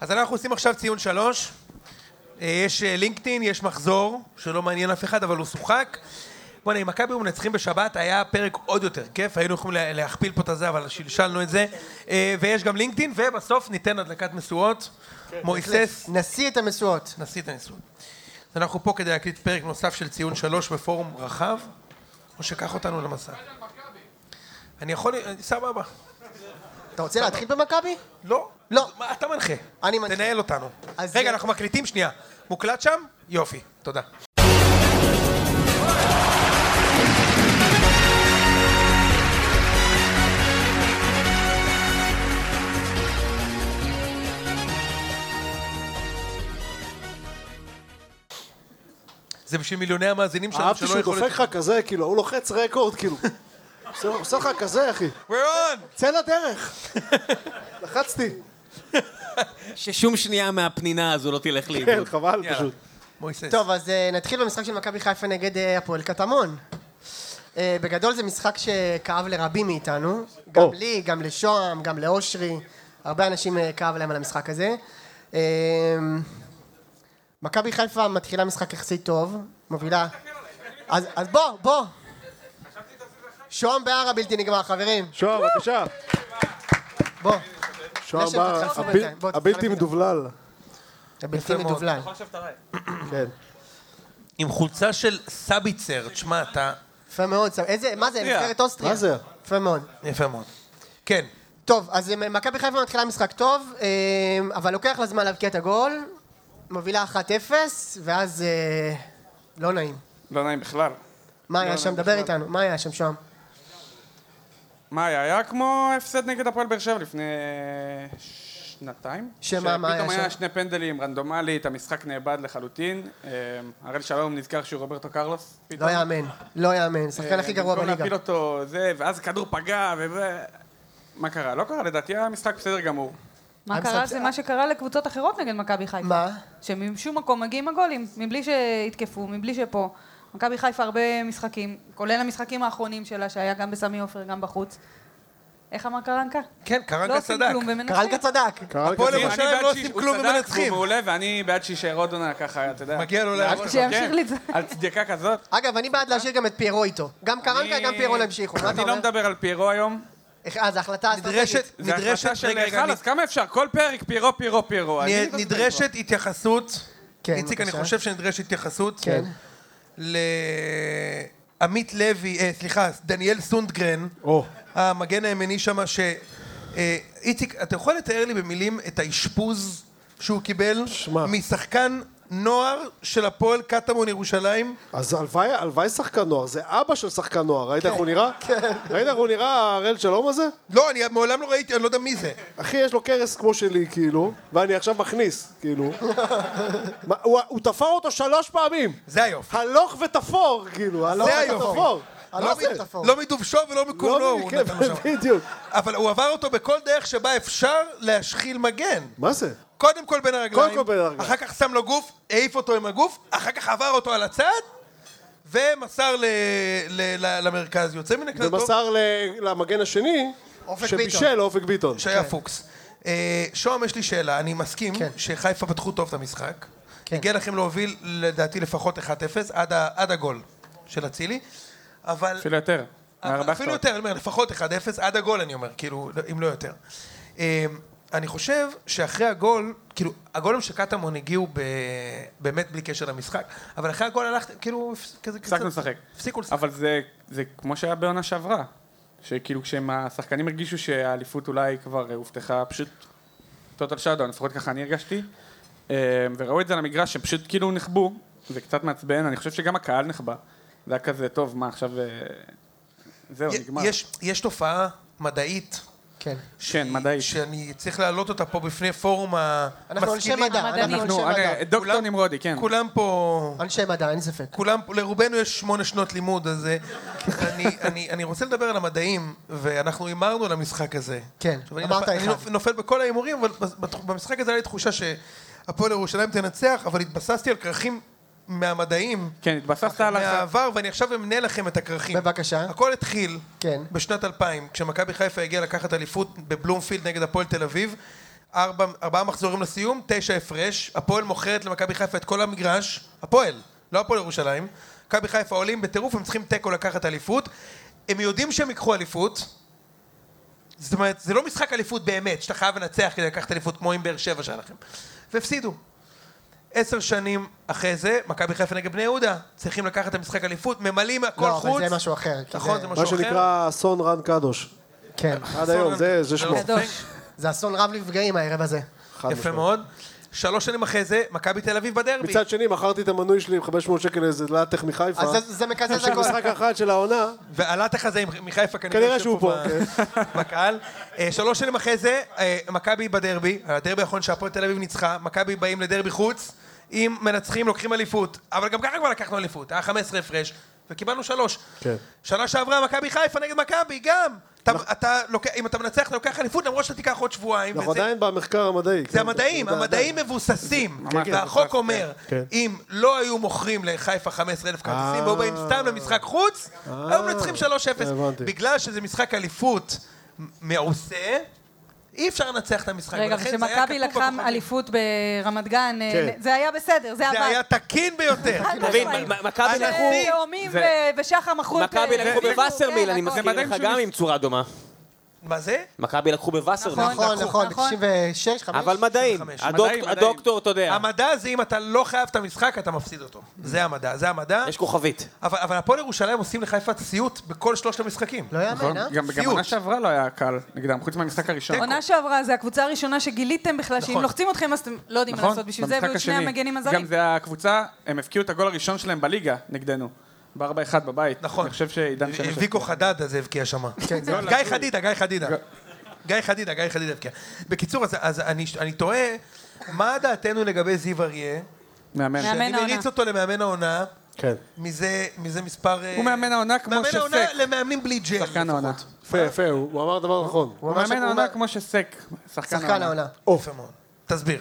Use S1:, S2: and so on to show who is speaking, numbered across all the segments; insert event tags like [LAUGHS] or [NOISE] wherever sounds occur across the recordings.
S1: אז אנחנו עושים עכשיו ציון שלוש. אה, יש אה, לינקדאין, יש מחזור, שלא מעניין אף אחד, אבל הוא שוחק. בוא'נה, אם מכבי היו מנצחים בשבת, היה פרק עוד יותר כיף, היינו יכולים לה- להכפיל פה את הזה, אבל שלשלנו את זה. אה, ויש גם לינקדאין, ובסוף ניתן הדלקת משואות. מויסס,
S2: נשיא את המשואות.
S1: נשיא את הנישואים. אז אנחנו פה כדי להקליט פרק נוסף של ציון שלוש בפורום רחב, או שקח אותנו למסע. אני יכול, אה, סבבה.
S2: אתה רוצה להתחיל במכבי?
S1: לא.
S2: לא.
S1: מה, אתה מנחה.
S2: אני מנחה.
S1: תנהל אותנו.
S2: אז-
S1: רגע, אנחנו מקליטים שנייה. מוקלט שם? יופי, תודה. זה בשביל מיליוני המאזינים שלנו
S3: אהבתי
S1: שלא
S3: שהוא
S1: יכולו...
S3: דופק לך כזה, כאילו, הוא לוחץ רקורד, כאילו. עושה- עושה לך כזה, אחי.
S1: רון!
S3: צא לדרך. לחצתי.
S4: [LAUGHS] ששום שנייה מהפנינה הזו לא תלך
S3: כן,
S4: לאיבוד.
S3: חבל
S1: יאללה.
S3: פשוט.
S1: מויסס.
S2: טוב, אז אה, נתחיל במשחק של מכבי חיפה נגד אה, הפועל קטמון. אה, בגדול זה משחק שכאב לרבים מאיתנו. גם
S3: או.
S2: לי, גם לשוהם, גם לאושרי. הרבה אנשים אה, כאב להם על המשחק הזה. אה, מכבי חיפה מתחילה משחק יחסית טוב, מובילה. אז אז בוא, בוא. שוהם בהר הבלתי נגמר, חברים.
S3: שוהם, בבקשה.
S2: בוא.
S3: שוהם
S2: לשם,
S3: בר,
S2: תתחלף
S3: הבל-
S2: בינתיים. בוא, תתחלף
S3: הבלתי
S2: איתם.
S3: מדובלל.
S2: הבלתי
S1: מאוד.
S2: מדובלל.
S3: כן.
S1: עם חולצה של סביצר, תשמע, אתה...
S2: יפה מאוד. סב- איזה, מה זה,
S1: אוסטריה.
S2: נבחרת אוסטריה.
S3: מה זה?
S2: יפה מאוד.
S1: יפה מאוד. כן.
S2: טוב, אז אה, מכבי חיפה מתחילה משחק טוב, אה, אבל לוקח לה זמן להבקיע את הגול, מובילה 1-0, ואז אה, לא נעים.
S5: לא נעים בכלל.
S2: מה
S5: לא
S2: היה שם?
S5: נעים
S2: דבר
S5: בכלל.
S2: איתנו, מה היה שם לא שם?
S5: מה היה? היה כמו הפסד נגד הפועל באר שבע לפני אה, שנתיים.
S2: שמה, מה היה
S5: שפתאום היה
S2: שם?
S5: שני פנדלים, רנדומלית, המשחק נאבד לחלוטין. אה, הראל שלום נזכר שהוא רוברטו קרלוס.
S2: לא
S5: פתאום.
S2: יאמן, לא יאמן, שחקן
S5: אה,
S2: הכי גרוע
S5: במקום
S2: בליגה.
S5: להפיל אותו, זה, ואז הכדור פגע, וזה... מה קרה? לא קרה, לדעתי היה משחק בסדר גמור.
S6: מה
S2: המשחק
S6: קרה?
S2: זה-
S6: זה מה שקרה לקבוצות אחרות נגד מכבי חיפה.
S2: מה?
S6: שמשום מקום מגיעים הגולים, מבלי שיתקפו, מבלי שפה. מכבי חיפה הרבה משחקים, כולל המשחקים האחרונים שלה, שהיה גם בסמי עופר, גם בחוץ. איך אמר קרנקה?
S1: כן,
S6: לא
S1: קרנקה
S6: עושים
S1: צדק.
S6: כלום ומנצחים.
S2: קרנקה צדק.
S3: קרה לי
S1: הפועל
S3: כזה.
S1: ירושלים
S5: אני בעד
S1: לא
S5: ש-
S1: עושים
S5: הוא
S1: כלום
S5: צדק,
S1: ומנצחים.
S5: והוא מעולה, ואני בעד שיישאר עוד עונה ככה, אתה יודע. כן,
S1: מגיע לו להראות לך.
S6: שימשיך לצד-
S5: על צדקה כזאת.
S2: אגב, אני בעד להשאיר גם את פיירו איתו. גם קרנקה,
S5: אני-
S2: גם פיירו להמשיכו. מה אתה
S5: אני לא
S2: אומר?
S5: מדבר על פיירו היום.
S2: איך- אה, זו החלטה אסטרטגית.
S1: נדרשת,
S5: זה
S1: נדרשת,
S5: החלטה של
S1: רגע, רגע,
S5: חלאס, כמה אפשר? כל פרק פיירו, פיירו, פיירו.
S1: נ-
S5: אני-
S1: נ- נדרשת התייחסות,
S2: כן,
S1: איציק, אני
S2: בבקשה.
S1: חושב שנדרשת התייחסות,
S2: כן.
S1: לעמית לוי, אה, סליחה, דניאל סונדגרן,
S3: או.
S1: המגן הימני שם, ש... אה, איציק, אתה יכול לתאר לי במילים את האשפוז שהוא קיבל
S3: שמע.
S1: משחקן נוער של הפועל קטמון ירושלים?
S3: אז הלוואי- הלוואי שחקן נוער, זה אבא של שחקן נוער, ראית איך
S2: כן.
S3: הוא נראה? ראית איך הוא נראה, הראל שלום הזה?
S1: לא, אני מעולם לא ראיתי, אני לא יודע מי זה.
S3: אחי, יש לו קרס כמו שלי, כאילו, ואני עכשיו מכניס,
S2: [LAUGHS]
S3: כאילו. מה, הוא- הוא תפר אותו שלוש פעמים.
S1: זה היופי.
S3: הלוך ותפור, כאילו, הלוך
S1: זה היופי.
S3: ותפור.
S1: לא
S2: הלוך
S1: מ-
S2: ותפור.
S1: לא מדובשו ולא מקורנו,
S3: אה, לא,
S1: הוא
S3: כן,
S1: נתן לו שם.
S3: בדיוק.
S1: אבל הוא עבר אותו בכל דרך שבה אפשר להשחיל מגן.
S3: מה זה?
S1: קודם כל בין הרגליים,
S3: קודם כל בין הרגליים.
S1: אחר כך שם לו גוף, העיף אותו עם הגוף, אחר כך עבר אותו על הצד, ומסר ל, ל, ל, למרכז. יוצא מן הכלל טוב,
S3: ומסר ל- למגן השני,
S2: כן, אופק ביטון.
S3: שבישל אופק ביטון.
S1: שהיה פוקס. אה, שוהם, יש לי שאלה, אני מסכים
S2: כן.
S1: שחיפה פתחו טוב את המשחק.
S2: כן.
S1: הגיע לכם להוביל לדעתי לפחות 1-0 עד, ה- עד הגול של אצילי, אבל...
S5: אפילו יותר.
S1: אבל אפילו יותר, אני אומר, לפחות 1-0, עד הגול אני אומר, כאילו, לא- אם לא יותר. אה, אני חושב שאחרי הגול, כאילו, הגולים של קטמון הגיעו ב... באמת בלי קשר למשחק, אבל אחרי הגול הלכתם, כאילו, הפס- כזה
S5: הפסקנו לשחק.
S1: הפסיקו לשחק.
S5: אבל זה, זה כמו שהיה בעונה שעברה. שכאילו כשהשחקנים הרגישו שהאליפות אולי כבר אה, הובטחה, פשוט טוטל שאדון, לפחות ככה אני הרגשתי. אה, וראו את זה על המגרש, הם פשוט כאילו נחבאו, זה קצת מעצבן, אני חושב שגם הקהל נחבא. זה היה כזה, טוב, מה עכשיו... אה, זהו,
S1: י-
S5: נגמר.
S1: יש, יש תופעה מדעית.
S2: כן.
S5: כן, מדעית.
S1: שאני צריך להעלות אותה פה בפני פורום המשכילים.
S2: אנחנו אנשי מדע, אנחנו
S6: המדענים.
S2: אנשי
S5: נו,
S2: מדע.
S5: אה, דוקטור
S1: כולם-
S5: נמרודי, כן.
S1: כולם פה...
S2: אנשי מדע, אין ספק.
S1: כולם, לרובנו יש שמונה שנות לימוד, אז אה, אני, אני, אני רוצה לדבר על המדעים, ואנחנו הימרנו על המשחק הזה.
S2: כן,
S1: עכשיו, אני
S2: אמרת
S1: נופל- אני
S2: אחד.
S1: נופ- נופל בכל ההימורים, אבל בס- בת- במשחק הזה הייתה לי תחושה שהפועל ירושלים תנצח, אבל התבססתי על כרכים מהמדעים,
S5: כן, התבססת על הח-
S1: מהעבר, ואני עכשיו אמנה לכם את הכרכים.
S2: בבקשה.
S1: הכל התחיל
S2: כן.
S1: בשנת 2000, כשמכבי חיפה הגיעה לקחת אליפות בבלומפילד נגד הפועל תל אביב. ארבע, ארבעה מחזורים לסיום, תשע הפרש, הפועל מוכרת למכבי חיפה את כל המגרש, הפועל, לא הפועל ירושלים, מכבי חיפה עולים בטירוף, הם צריכים תיקו לקחת אליפות, הם יודעים שהם ייקחו אליפות, זאת אומרת, זה לא משחק אליפות באמת, שאתה חייב לנצח כדי לקחת אליפות כמו עם באר שבע שהיה לכם, והפסידו. עשר שנים אחרי זה, מכבי חיפה נגד בני יהודה, צריכים לקחת את המשחק אליפות, ממלאים הכל
S2: לא,
S1: חוץ,
S2: אבל זה משהו אחר. כי
S1: נכון,
S2: זה-
S1: זה משהו
S3: מה
S1: אחר,
S3: שנקרא אסון רן קדוש.
S2: כן.
S3: עד היום, זה זה שמו.
S1: לא ספק.
S6: קדוש.
S2: זה אסון רב נפגעים הערב הזה.
S3: חד
S1: יפה
S3: משמעית.
S1: מאוד. שלוש שנים אחרי זה, מכבי תל אביב בדרבי.
S3: מצד שני, מכרתי את המנוי שלי עם 500 שקל לאיזה לטח מחיפה.
S2: אז זה- זה מקזז
S3: של
S2: הכל.
S3: משחק אחד של העונה,
S1: והלטח הזה עם- מחיפה כנראה
S3: כנראה
S1: יושב
S3: שהוא כן.
S1: ב- בקהל. אה, שלוש שנים אחרי זה, אה, מכבי בדרבי, הדרבי האחרון שהפועל תל אביב ניצחה, מכבי באים לדרבי חוץ, אם מנצחים לוקחים אליפות, אבל גם ככה כבר לקחנו אליפות, היה 15 הפרש, וקיבלנו שלוש.
S3: כן. נכון.
S1: שנה שעברה מכבי חיפה נגד מכבי, גם. אתה, אתה לוקח, אם אתה מנצח אתה לוקח אליפות למרות שאתה תיקח עוד שבועיים.
S3: אנחנו
S1: וזה-
S3: עדיין במחקר המדעי.
S1: זה
S3: כן,
S1: המדעים,
S3: אתה יודע,
S1: המדעים מבוססים.
S5: ממש
S1: והחוק
S5: מבוסס,
S1: אומר,
S3: כן.
S1: אם לא היו מוכרים לחיפה 15,000 כרטיסים, והיו באים סתם למשחק חוץ, היו מנצחים 3-0.
S3: הבנתי.
S1: בגלל שזה משחק אליפות מעושה, אי אפשר לנצח את המשחק.
S6: רגע,
S1: ולכן זה היה
S6: וכשמכבי
S1: כתוב
S6: לקחה
S1: בכוכבים.
S6: אליפות ברמת גן, אה,
S3: כן.
S6: זה היה בסדר, זה
S1: זה היה
S6: עבר.
S1: תקין
S6: [LAUGHS]
S1: ביותר.
S4: תבין, מ- מ- מכבי
S1: הנשיא-
S4: לקחו...
S6: תאומים
S5: זה-
S6: ו- ושחר מחול.
S4: מכבי
S6: ו-
S4: לקחו
S6: כן,
S4: בווסרמיל,
S6: הכל.
S4: אני מזכיר
S5: מדהים
S4: לך
S5: שהוא
S4: גם
S5: מס-
S4: עם צורה דומה.
S1: מה זה?
S4: מכבי לקחו בווסרמיל.
S6: נכון.
S2: נכון, נכון,
S6: נכון.
S2: ב-96, 5.
S4: אבל מדעים,
S1: 25.
S4: הדוקטור-
S5: מדעים, מדעים.
S4: הדוקטור, אתה יודע,
S1: המדע זה אם אתה לא חייב את המשחק, אתה מפסיד אותו. זה המדע, זה המדע.
S4: יש כוכבית. אה,
S1: אבל אבל הפועל ירושלים עושים לחיפה סיוט בכל שלושת המשחקים.
S2: לא יאמן,
S5: נכון?
S2: אה?
S5: גם גם
S1: סיוט.
S5: עונה שעברה לא היה קל נגדם, חוץ מהמשחק הראשון.
S6: כן. עונה שעברה, זו הקבוצה הראשונה שגיליתם בכלל, שאם
S1: נכון.
S6: לוחצים אתכם אז אתם לא יודעים מה
S5: נכון?
S6: לעשות בשביל זה,
S5: במשחק
S6: והיו את שני
S5: השני.
S6: המגנים
S5: גם
S6: הזרים.
S5: זה הקבוצה, הם הבקיעו את הגול הראשון שלהם בליגה נגדנו. ב-4-1 בבית.
S1: נכון.
S5: אני חושב שעידן שמש... לא,
S1: ויקו חדד הזה הבקיע שם. גיא חדידה, גיא חדידה. גיא חדידה, גיא חדידה הבקיע. בקיצור, אז- אז אני- אני תוהה, מה דעתנו לגבי זיו אריה?
S5: מאמן.
S6: מאמן.
S1: שאני
S6: העונה.
S1: מריץ אותו למאמן העונה,
S3: כן.
S1: מזה מזה מספר... אה,
S5: הוא מאמן העונה כמו
S1: מאמן העונה
S5: שסק.
S1: למאמנים בלי ג'ל.
S5: שחקן העונה.
S3: יפה, יפה, הוא הוא אמר דבר נכון.
S2: הוא
S5: הוא
S2: אמר ש-
S5: מאמן
S2: הוא
S5: העונה
S2: אמר-
S5: כמו שסק.
S2: שחקן העונה.
S1: יפה מאוד. תסביר.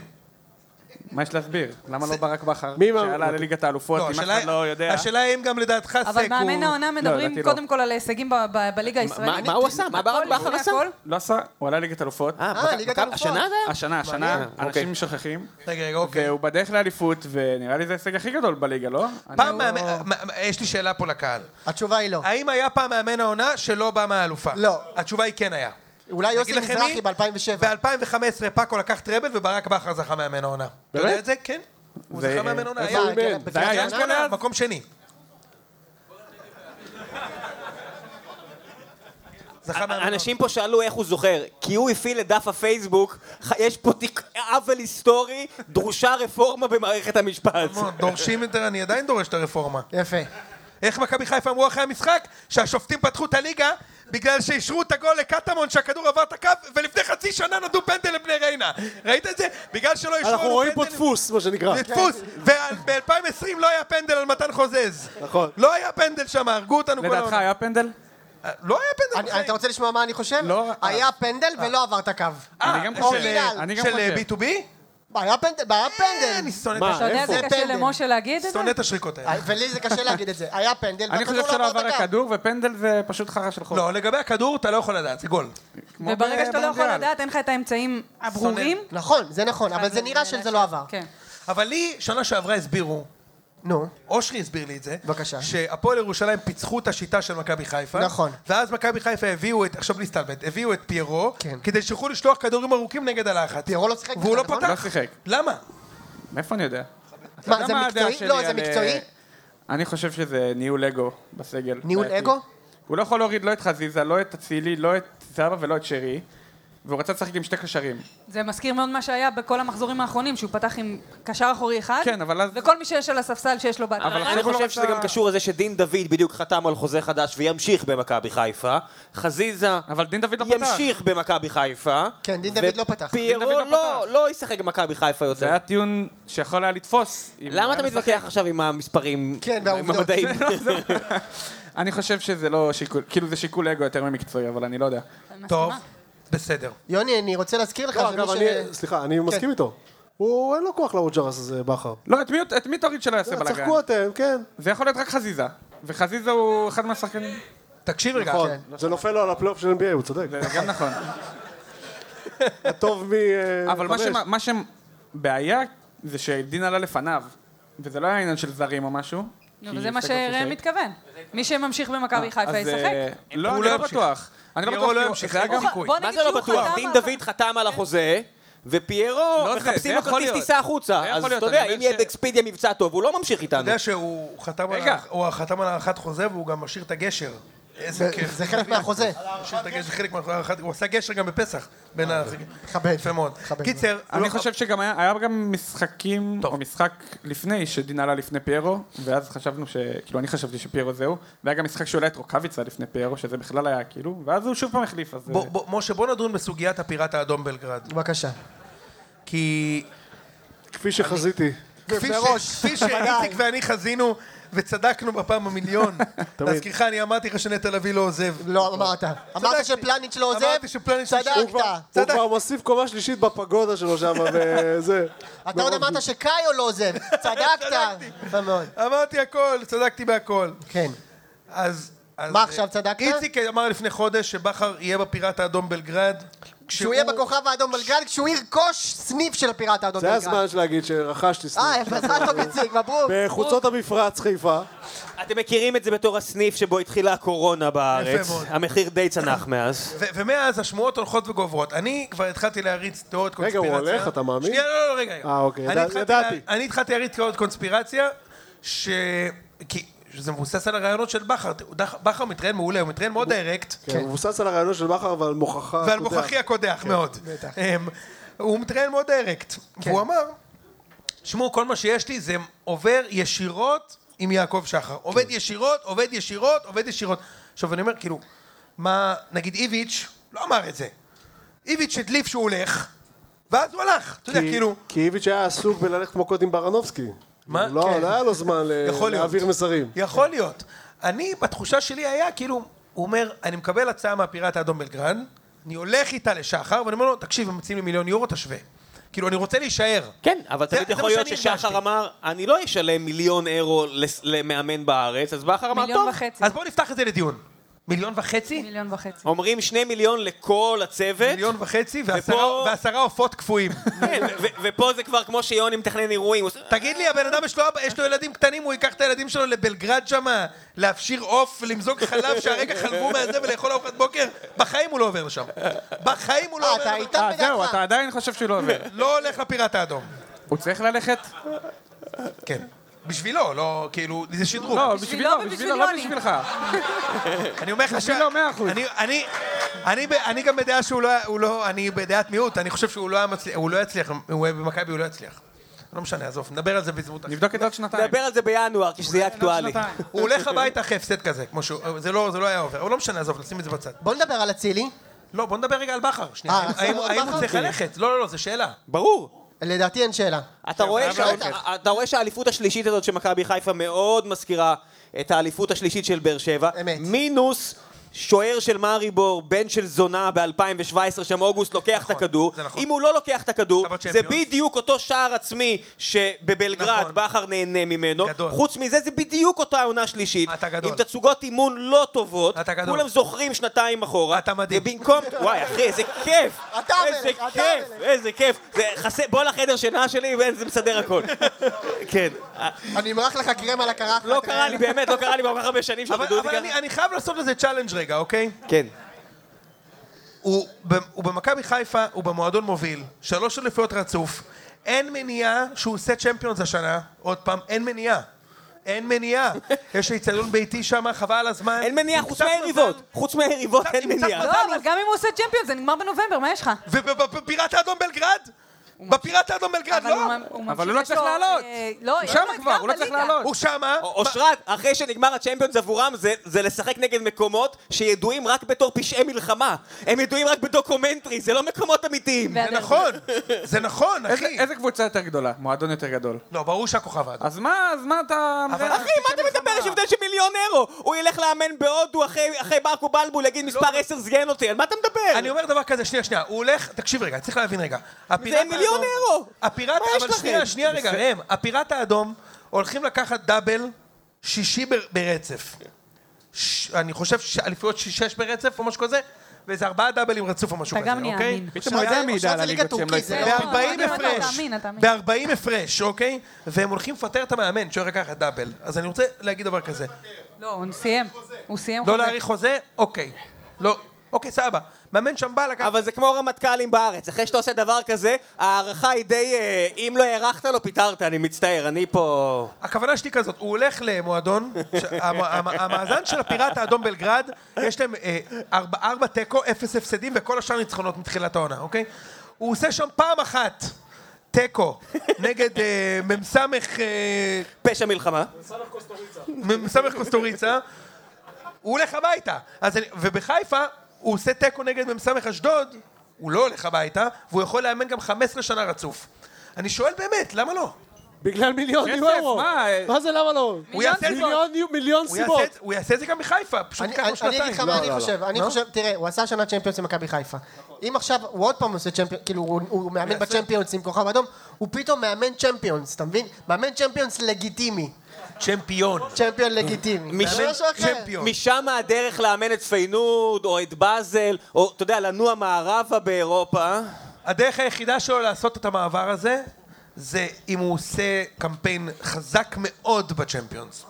S5: מה יש להסביר? למה לא ברק בכר?
S3: מי מאמן?
S5: שעלה לליגת האלופות,
S1: לא,
S5: אם אף
S1: השאלה-
S5: אחד לא יודע.
S1: השאלה היא אם גם לדעתך סק הוא...
S6: אבל מאמן העונה מדברים
S5: לדעתי לא.
S6: קודם כל על ההישגים ב- ב-
S4: מה
S6: בליגה הישראלית.
S4: מה הוא עשה? מה ברק בכר
S6: לפני
S4: עשה?
S6: הכל.
S5: לא עשה, הוא עלה לליגת האלופות.
S2: אה,
S4: מכבי-
S2: ליגת
S4: מכבי-
S2: אלופות.
S4: השנה זה היה?
S5: השנה, השנה,
S4: מעניין. אוקיי.
S5: אנשים שוכחים.
S1: רגע, רגע, אוקיי.
S5: והוא בדרך לאליפות, ונראה לי זה ההישג הכי גדול בליגה, לא?
S1: פעם
S5: אני לא-
S1: מאמן... מ- מ- יש לי שאלה פה לקהל.
S2: התשובה היא לא.
S1: האם היה פעם מאמן העונה שלא בא מהאלופה?
S2: לא.
S1: התשובה היא כן היה.
S2: אולי
S1: אני
S2: לא, יוסי
S1: אגיד לכם מי?
S2: מזרחי ב-2007.
S1: ב-2015 פאקו לקח טראבל וברק בכר זכה מאמן העונה. אתה יודע את זה? כן. הוא
S5: זה-
S1: זכה מאמן העונה.
S3: איפה
S1: היה- כן.
S3: הוא אימן?
S2: כן,
S5: זה היה
S1: היה
S5: יאנקל'ה
S1: שנה,
S5: אז?
S1: מקום שני. זכה מאמן העונה.
S4: אה, אנשים פה שאלו איך הוא זוכר, כי הוא הפעיל את דף הפייסבוק, ח- יש פה תיק- עוול היסטורי, דרושה רפורמה במערכת המשפט.
S1: נו, דורשים את זה, אני עדיין דורש את הרפורמה.
S2: יפה.
S1: איך מכבי חיפה אמרו אחרי המשחק? שהשופטים פתחו את הליגה בגלל שאישרו את הגול לקטמון שהכדור עבר את הקו ולפני חצי שנה נדעו פנדל לבני ריינה. ראית את זה? בגלל שלא אישרו...
S3: אנחנו
S1: לנו
S3: רואים פה
S1: פנדל-
S3: דפוס, מה שנקרא.
S1: זה [LAUGHS] דפוס, וב-2020 לא היה פנדל על מתן חוזז.
S3: נכון.
S1: לא היה פנדל שם, הרגו אותנו כל
S5: לדעתך אה,
S1: העונה.
S5: היה פנדל?
S1: לא היה פנדל.
S2: אני-
S1: בחיים.
S2: אתה רוצה לשמוע מה אני חושב?
S5: לא.
S2: היה פנדל ולא עבר את הקו.
S1: אה,
S5: אני גם
S1: של-
S5: חושב. אני גם
S1: של אה,
S5: חושב.
S1: B2B?
S2: היה פנדל, היה פנדל.
S1: אני שונא את
S3: מה,
S1: הש-
S6: אתה יודע,
S3: איפה?
S6: זה
S2: זה
S6: קשה
S2: פנדל.
S6: למשה להגיד את זה?
S1: שונא את השריקות האלה.
S2: ולי זה קשה להגיד את זה. היה פנדל,
S5: אני חושב
S2: והכדור
S5: שלא
S2: לא
S5: עבר
S2: את הקו.
S5: הכדור, ופנדל זה פשוט חרא של
S2: נכון.
S5: חור.
S1: לא, לגבי הכדור אתה לא יכול לדעת, זה גול.
S5: כמו
S6: וברגע שאתה לא יכול
S5: במונדיאל.
S6: לדעת, אין לך את האמצעים הברורים.
S2: נכון, זה נכון, אבל זה נראה שזה לא עבר.
S6: כן.
S1: אבל לי, שנה שעברה הסבירו,
S2: נו,
S1: אושרי הסביר לי את זה,
S2: בבקשה.
S1: שהפועל ירושלים פיצחו את השיטה של מכבי חיפה,
S2: נכון.
S1: ואז מכבי חיפה הביאו את, עכשיו בלי סטלבט, הביאו את פיירו,
S2: כן.
S1: כדי שיוכלו לשלוח כדורים ארוכים נגד הלחץ.
S2: פיירו לא שיחק
S1: והוא לא
S2: בכלל, נכון?
S1: פתח.
S5: לא שיחק.
S1: למה?
S5: מאיפה אני יודע? אתה
S2: מה,
S5: יודע
S2: זה
S5: הדעה
S2: מקצועי?
S5: שלי
S2: לא, זה
S5: על, אה,
S2: מקצועי?
S5: אני חושב שזה ניהול אגו בסגל.
S2: ניהול
S5: בעייתי.
S2: אגו?
S5: הוא לא יכול להוריד לא את חזיזה, לא את אצילי, לא את זהבה ולא את שרי. והוא רצה לשחק עם שתי קשרים.
S6: זה מזכיר מאוד מה שהיה בכל המחזורים האחרונים, שהוא פתח עם קשר אחורי אחד,
S5: כן, אבל אז...
S6: וכל מי שיש על הספסל שיש לו בהתחלה.
S5: אבל
S4: אני
S5: עכשיו הוא לא
S4: חושב
S5: רצה-
S4: שזה גם קשור לזה שדין דוד בדיוק חתם על חוזה חדש וימשיך במכבי חיפה. חזיזה
S5: אבל דין דוד לא פתח.
S4: ימשיך במכבי חיפה.
S2: כן, דין דוד לא פתח.
S4: ופיירו
S5: דין דוד לא
S4: לא-
S5: פתח.
S4: לא ישחק במכבי חיפה
S5: זה
S4: יותר.
S5: היה טיעון שיכול היה לתפוס. אם הוא
S4: למה אתה
S5: היה
S4: מתווכח עכשיו עם המספרים?
S2: כן,
S4: עם
S2: והעובדות.
S5: [LAUGHS]
S4: המדעים?
S5: נכון. משחק? אני חושב שזה לא שיקול, כאילו זה שיקול אגו יותר ממקצועי, אבל אני לא יודע.
S1: טוב, בסדר.
S2: יוני, אני רוצה להזכיר לך
S3: לא,
S2: שמי
S3: אגב,
S2: ש... כן.
S3: אני, סליחה, אני מסכים איתו. הוא, אין לו כוח לג'רס הזה, בכר.
S5: לא, את מי- את מי תוריד שלא
S2: לא,
S5: יעשה בלאגן?
S3: צחקו אתם, כן.
S5: זה יכול להיות רק חזיזה. וחזיזה הוא אחד מהשחקנים.
S1: תקשיב רגע.
S3: נכון. זה נופל לו על הפלייאוף של NBA, הוא צודק.
S5: זה גם נכון.
S3: הטוב מ...
S1: כן,
S3: אה,
S5: אבל מה
S3: חמש.
S5: שמה- מה שבעיה זה שדין עלה לפניו, וזה לא היה עניין של זרים או משהו.
S6: נו,
S5: כי
S6: לא, וזה מה
S5: סגל
S6: שראם
S5: שיחק.
S6: מתכוון. מי שממשיך במכבי חיפה
S5: אז,
S6: ישחק.
S5: אה, לא,
S1: הוא
S5: אני
S1: לא
S5: לא
S1: ימשיך.
S5: בטוח. אני לא
S1: ליאור
S5: נכון. בטוח,
S1: לא
S5: כי הוא-
S1: ימשיך.
S5: זה היה גם...
S1: הוא ח-
S6: בוא
S7: מה
S6: נגיד
S7: זה לא
S6: שהוא
S7: בטוח?
S6: חתם
S7: דין
S6: על-
S7: דוד חתם על החוזה, ופיירו,
S5: לא זה, זה
S7: מחפשים לו
S5: יכול
S7: כרטיס
S5: להיות.
S7: טיסה החוצה.
S5: זה
S7: אז
S5: יכול
S7: אתה
S5: להיות,
S7: יודע,
S5: אני
S7: אם
S5: אומר
S7: יהיה
S5: ש-
S7: באקספידיה מבצע טוב, הוא לא ממשיך
S1: אתה
S7: איתנו.
S1: יודע שהוא חתם על
S5: רגע.
S1: הארכ- הוא חתם על הארכת חוזה והוא גם משאיר את הגשר. איזה כיף.
S2: זה חלק מהחוזה.
S1: משאיר את הגשר, חלק מהארכת... הוא עשה גשר גם בפסח. בין
S2: אה,
S1: ה...
S2: מכבד.
S1: יפה מאוד.
S2: מכבד.
S1: קיצר, הוא
S5: אני
S1: לא-
S5: חושב שגם היה היה גם משחקים, או משחק לפני, שדין עלה לפני פיירו, ואז חשבנו ש... כאילו, אני חשבתי שפיירו זהו, והיה גם משחק שהוא עלה את רוקאביצה לפני פיירו, שזה בכלל היה כאילו, ואז הוא שוב פעם החליף, אז... אה,
S1: בוא- בוא- משה, בוא נדון בסוגיית הפיראט האדום בלגרד.
S2: בבקשה.
S1: כי
S3: כפי שחזיתי.
S1: כפי ש-
S2: בראש. [LAUGHS]
S1: כפי שאיציק ואני חזינו וצדקנו בפעם
S5: [LAUGHS]
S1: המיליון, להזכירך, אני אמרתי לך שנטע לביא לא עוזב.
S2: לא, אמרת. אמרת
S1: צדקתי.
S2: שפלניץ' לא עוזב?
S1: אמרתי שפלניץ' נשאר.
S2: צדקת.
S3: הוא כבר- הוא
S1: צדק.
S3: כבר מוסיף קומה שלישית בפגודה
S1: [LAUGHS]
S3: שלו שם, וזה.
S2: אתה עוד אמרת שקאיו לא עוזב. צדקת.
S1: צדקתי.
S2: יפה מאוד.
S1: אמרתי הכל, צדקתי בהכל.
S2: כן.
S1: אז... אז-
S2: מה, עכשיו צדקת?
S1: איציק אמר לפני חודש שבכר יהיה בפיראט האדום בלגרד.
S2: כשהוא יהיה בכוכב האדום בלגרד, כשהוא ירכוש סניף של הפיראט האדום
S3: זה
S2: בלגרד.
S3: הזמן להגיד שרכשתי סניף.
S2: אה, יפה, מזל טוב איציק, מברוק.
S3: בחוצות המפרץ, חיפה.
S1: כן.
S7: אתם מכירים את זה בתור הסניף שבו התחילה הקורונה בארץ.
S1: יפה מאוד.
S7: המחיר די צנח מאז.
S1: ו- ומאז השמועות הולכות וגוברות. אני כבר התחלתי להריץ תיאוריות
S3: רגע,
S1: קונספירציה.
S3: הוא הולך, אתה מאמין?
S1: שנייה, לא, לא, רגע. רגע.
S3: אה, אוקיי,
S1: אני
S3: ידע-
S1: התחלתי
S3: ידעתי.
S1: לה- אני התחלתי להריץ תיאוריות קונספירציה, ש... כי... שזה מבוסס על הרעיונות של בכר. דח- בכר מתראיין מעולה, הוא מתראיין מאוד דיירקט.
S3: כן, הוא מבוסס על הרעיון של בכר ועל מוכחה.
S1: ועל
S3: אתה יודע.
S1: מוכחי הקודח מאוד. אמ, הוא מתראיין מאוד דיירקט. והוא אמר, שמעו, כל מה שיש לי זה עובר ישירות עם יעקב שחר. עובד ישירות, עובד ישירות, עובד ישירות. עכשיו אני אומר, כאילו, מה, נגיד איביץ' לא אמר את זה. איביץ' הדליף שהוא הולך, ואז הוא הלך. אתה יודע,
S3: כי-
S1: כאילו...
S3: כי איביץ' היה עסוק בללכת מכות עם ברנובסקי.
S1: מה?
S3: לא,
S1: כן.
S3: לא היה לו זמן ל-
S1: יכול להיות.
S3: להעביר מסרים.
S1: יכול להיות. אני, בתחושה שלי היה כאילו, הוא אומר, אני מקבל הצעה מהפיראט האדום בלגרד, אני הולך איתה לשחר, ואני אומר לו, תקשיב, הם מציעים לי מיליון יורו, תשווה. כאילו, אני רוצה להישאר.
S7: כן, אבל
S1: זה-
S7: תמיד
S1: זה
S7: יכול
S1: מה
S7: להיות
S1: שאני
S7: ששחר
S1: הרגשתי.
S7: אמר, אני לא אשלם מיליון אירו לס- למאמן בארץ, אז בכר אמר,
S6: מיליון
S7: טוב,
S6: וחצי.
S1: אז בואו נפתח את זה לדיון. מיליון וחצי?
S6: מיליון וחצי.
S7: אומרים שני מיליון לכל הצוות,
S1: מיליון וחצי ועשרה-
S7: ופה-
S1: ועשרה עופות קפואים. [LAUGHS]
S7: כן, ו- ו- ופה זה כבר כמו שיוני מתכנן אירועים, הוא עושה-
S1: תגיד לי, הבן אדם יש לו אבא- יש לו ילדים קטנים, הוא ייקח את הילדים שלו לבלגרד שמה, להפשיר עוף, למזוג חלב שהרגע חלבו מהזה ולאכול ארוחת בוקר? בחיים הוא לא עובר לשם. בחיים הוא לא
S2: אה,
S1: עובר
S2: אתה
S1: לשם.
S2: איתם
S5: אה, זהו,
S2: בדעתך.
S5: אתה עדיין חושב שהוא לא עובר.
S1: לא הולך לפיראט האדום.
S5: הוא צריך ללכת?
S1: כן. בשבילו, לא, כאילו, זה שדרוג.
S5: לא,
S6: בשבילו
S5: בשבילו,
S6: ובשביל
S5: בשבילו, לא
S6: יוני.
S5: בשבילך.
S1: אני אומר לך ש...
S5: בשבילו, מאה אחוז.
S1: אני- אני- אני ב- אני גם בדעה שהוא לא... היה- הוא לא- אני בדעת מיעוט, אני חושב שהוא לא היה מצליח, הוא לא יצליח, הוא היה במכבי הוא לא יצליח. לא משנה, עזוב, נדבר על זה בזמות אחרת.
S5: נבדוק את זה עוד שנתיים.
S7: נדבר על זה בינואר, כשזה יהיה אקטואלי.
S5: שנתיים.
S1: הוא הולך הביתה אחרי הפסד כזה, כמו שהוא... זה לא זה לא היה עובר, אבל לא משנה, עזוב, נשים את זה בצד.
S2: בוא נדבר על אצילי.
S1: לא, בוא נדבר רגע על בכר. שנייה,
S2: אה,
S1: האם-
S2: אנחנו
S1: האם
S2: מדברים על
S1: האם הוא
S2: בכר?
S1: צריך
S2: כן.
S1: ללכת? לא, לא, לא, זו שאלה.
S7: ברור.
S2: לדעתי אין שאלה.
S7: אתה רואה,
S1: חייב
S7: ש... אתה, אתה רואה שהאליפות השלישית הזאת של מכבי חיפה מאוד מזכירה את האליפות השלישית של באר שבע.
S2: אמת.
S7: מינוס שוער של מאריבור, בן של זונה ב-2017, שם אוגוסט לוקח
S1: נכון,
S7: את הכדור.
S1: זה נכון.
S7: אם הוא לא לוקח את הכדור,
S1: אתה
S7: זה
S1: בצ'מפיונס.
S7: בדיוק אותו שער עצמי שבבלגרד
S1: נכון.
S7: בכר נהנה ממנו.
S1: גדול.
S7: חוץ מזה, זה בדיוק אותה עונה שלישית.
S1: אתה גדול.
S7: עם תצוגות אימון לא טובות.
S1: אתה גדול.
S7: כולם זוכרים שנתיים אחורה.
S1: אתה מדהים.
S7: ובמקום... וואי, אחי, איזה כיף!
S2: אתה
S7: איזה
S2: המלך, אתה
S7: כיף!
S2: המלך.
S7: איזה כיף, זה חסר, בוא לחדר שינה שלי וזה מסדר הכל. כן, אה,
S2: אני אמרח לך קרם על הקרחת.
S7: לא קרה לי, באמת, לא קרה לי בכל כך הרבה שנים
S1: אבל
S7: שחדדו אותי
S1: אבל אני-
S7: ככה.
S1: אני חייב לעשות לזה צ'אלנג' רגע, אוקיי?
S7: כן.
S1: הוא, ב- הוא במכבי חיפה, הוא במועדון מוביל, שלוש אליפויות רצוף, אין מניעה שהוא עושה צ'מפיונס השנה, עוד פעם, אין מניעה. אין מניעה. יש לי אצטדיון ביתי שם, חבל על הזמן.
S7: אין מניעה,
S1: עם
S7: חוץ
S1: קצת
S7: מהיריבות.
S1: מזל,
S7: חוץ מהיריבות
S1: קצת-
S7: אין
S1: עם קצת
S7: מניעה.
S1: מזל.
S6: לא, אבל גם אם הוא עושה צ'מפיון, זה נגמר בנובמבר, מה יש לך?
S1: ובפיראט האדום בלגרד? בפיראט האדום בלגרד,
S6: אבל הוא
S1: לא?
S6: ממ- ממשיך,
S5: אבל הוא לא
S6: יש
S5: צריך
S6: לו,
S5: לעלות.
S6: אה, לא,
S5: הוא
S6: יש
S5: שם
S6: לו את
S5: כבר,
S6: גם
S5: הוא לא צריך
S6: בליגה.
S5: לעלות.
S1: הוא שמה.
S7: א- אושרת, אחרי שנגמר הצ'מפיונס עבורם זה- זה לשחק נגד מקומות שידועים רק בתור פשעי מלחמה. הם ידועים רק בדוקומנטרי, זה לא מקומות אמיתיים.
S1: זה נכון, זה נכון,
S5: איזה-
S1: אחי.
S5: איזה קבוצה יותר גדולה? מועדון יותר גדול.
S1: לא, ברור שהכוכב האדום.
S5: אז מה, אז מה אתה...
S1: אבל
S7: אחי, מה אתה מדבר? יש הבדל של מיליון אירו. הוא ילך לאמן בהודו אחרי אחרי ברקו בלבול, יגיד מספר 10 זיין אותי, על מה אתה מדבר?
S1: לא- אני אומר דבר כזה, שנייה, שנייה, הוא הולך, תקשיב רגע, צריך להבין רגע. הפיראט האדום-
S7: מיליון אירו.
S1: הפיראט,
S7: מה יש
S1: אבל
S7: לכם?
S1: שנייה, שנייה רגע, ראם, הפיראט האדום הולכים לקחת דאבל שישי בר- ברצף. ש- אני חושב שאליפויות שש ברצף או משהו כזה, ואיזה ארבעה דאבלים רצוף או משהו
S6: אתה
S1: כזה,
S6: גם נהיה
S1: אוקיי?
S6: אמין.
S5: פתאום הוא יודע
S2: שעת-
S5: מידע
S2: שעת
S5: על
S2: זה ליגה
S5: הליגות שהם לא
S2: טורקית, זה
S5: הצליחו.
S2: לא-
S1: ב-40
S6: אתה מאמין,
S1: הפרש,
S6: אתה מאמין.
S1: ב-40 הפרש, אוקיי? והם הולכים לפטר את המאמן, שוער לקח דאבל. אז אני רוצה להגיד דבר כזה.
S6: לא, הוא סיים. הוא סיים
S1: לא להאריך חוזה? אוקיי. לא. אוקיי, סבבה. מאמן שם בא לקח...
S4: אבל זה כמו רמטכ"לים בארץ, אחרי שאתה עושה דבר כזה, ההערכה היא די... אה, אם לא הארכת לו, פיטרת, אני מצטער, אני פה...
S1: הכוונה שלי כזאת, הוא הולך למועדון, ש- [LAUGHS] המ- המ- המאזן של הפיראט האדום בלגרד, יש להם אה, ארבע ארבע תיקו, אפס הפסדים וכל השאר ניצחונות מתחילת העונה, אוקיי? הוא עושה שם פעם אחת תיקו נגד אה, מ"ס אה,
S4: פשע מלחמה.
S1: מסמך קוסטוריצה, הוא הולך הביתה. אז אני, ובחיפה הוא עושה תיקו נגד מסמך אשדוד, הוא לא הולך הביתה, והוא יכול לאמן גם 15 שנה רצוף. אני שואל באמת, למה לא?
S3: בגלל מיליון
S5: כסף,
S3: יורו.
S5: מה, אה,
S3: מה זה למה לא?
S1: הוא יעשה את זה,
S3: מיליון יו- מיליון
S1: הוא יעשה
S3: סיבות.
S1: את זה- הוא יעשה את זה גם בחיפה, פשוט
S2: אני
S1: ככה
S2: אני- אני אגיד
S1: שנתיים.
S2: לך מה אני
S3: לא, לא.
S2: חושב, אני חושב, תראה, הוא עשה שנה צ'מפיונס עם מכבי חיפה. אם עכשיו הוא עוד פעם עושה צ'מפיונס, כאילו הוא- הוא מאמן בצ'מפיונס עם כוכב אדום, הוא פתאום מאמן צ'מפיונס, אתה מבין? מאמן צ'מפיונס לגיטימי.
S4: לא.
S1: צ'מפיון.
S2: צ'מפיון לגיטימי.
S4: מי ש-
S2: זה משהו אחר.
S1: צ'מפיון.
S4: משם הדרך לאמן את פיינוד, או את באזל, או, אתה יודע, לנוע מערבה באירופה. כן,
S1: הדרך היחידה שלו לעשות את המעבר הזה, זה אם הוא עושה קמפיין חזק מאוד בצ'מפיונס.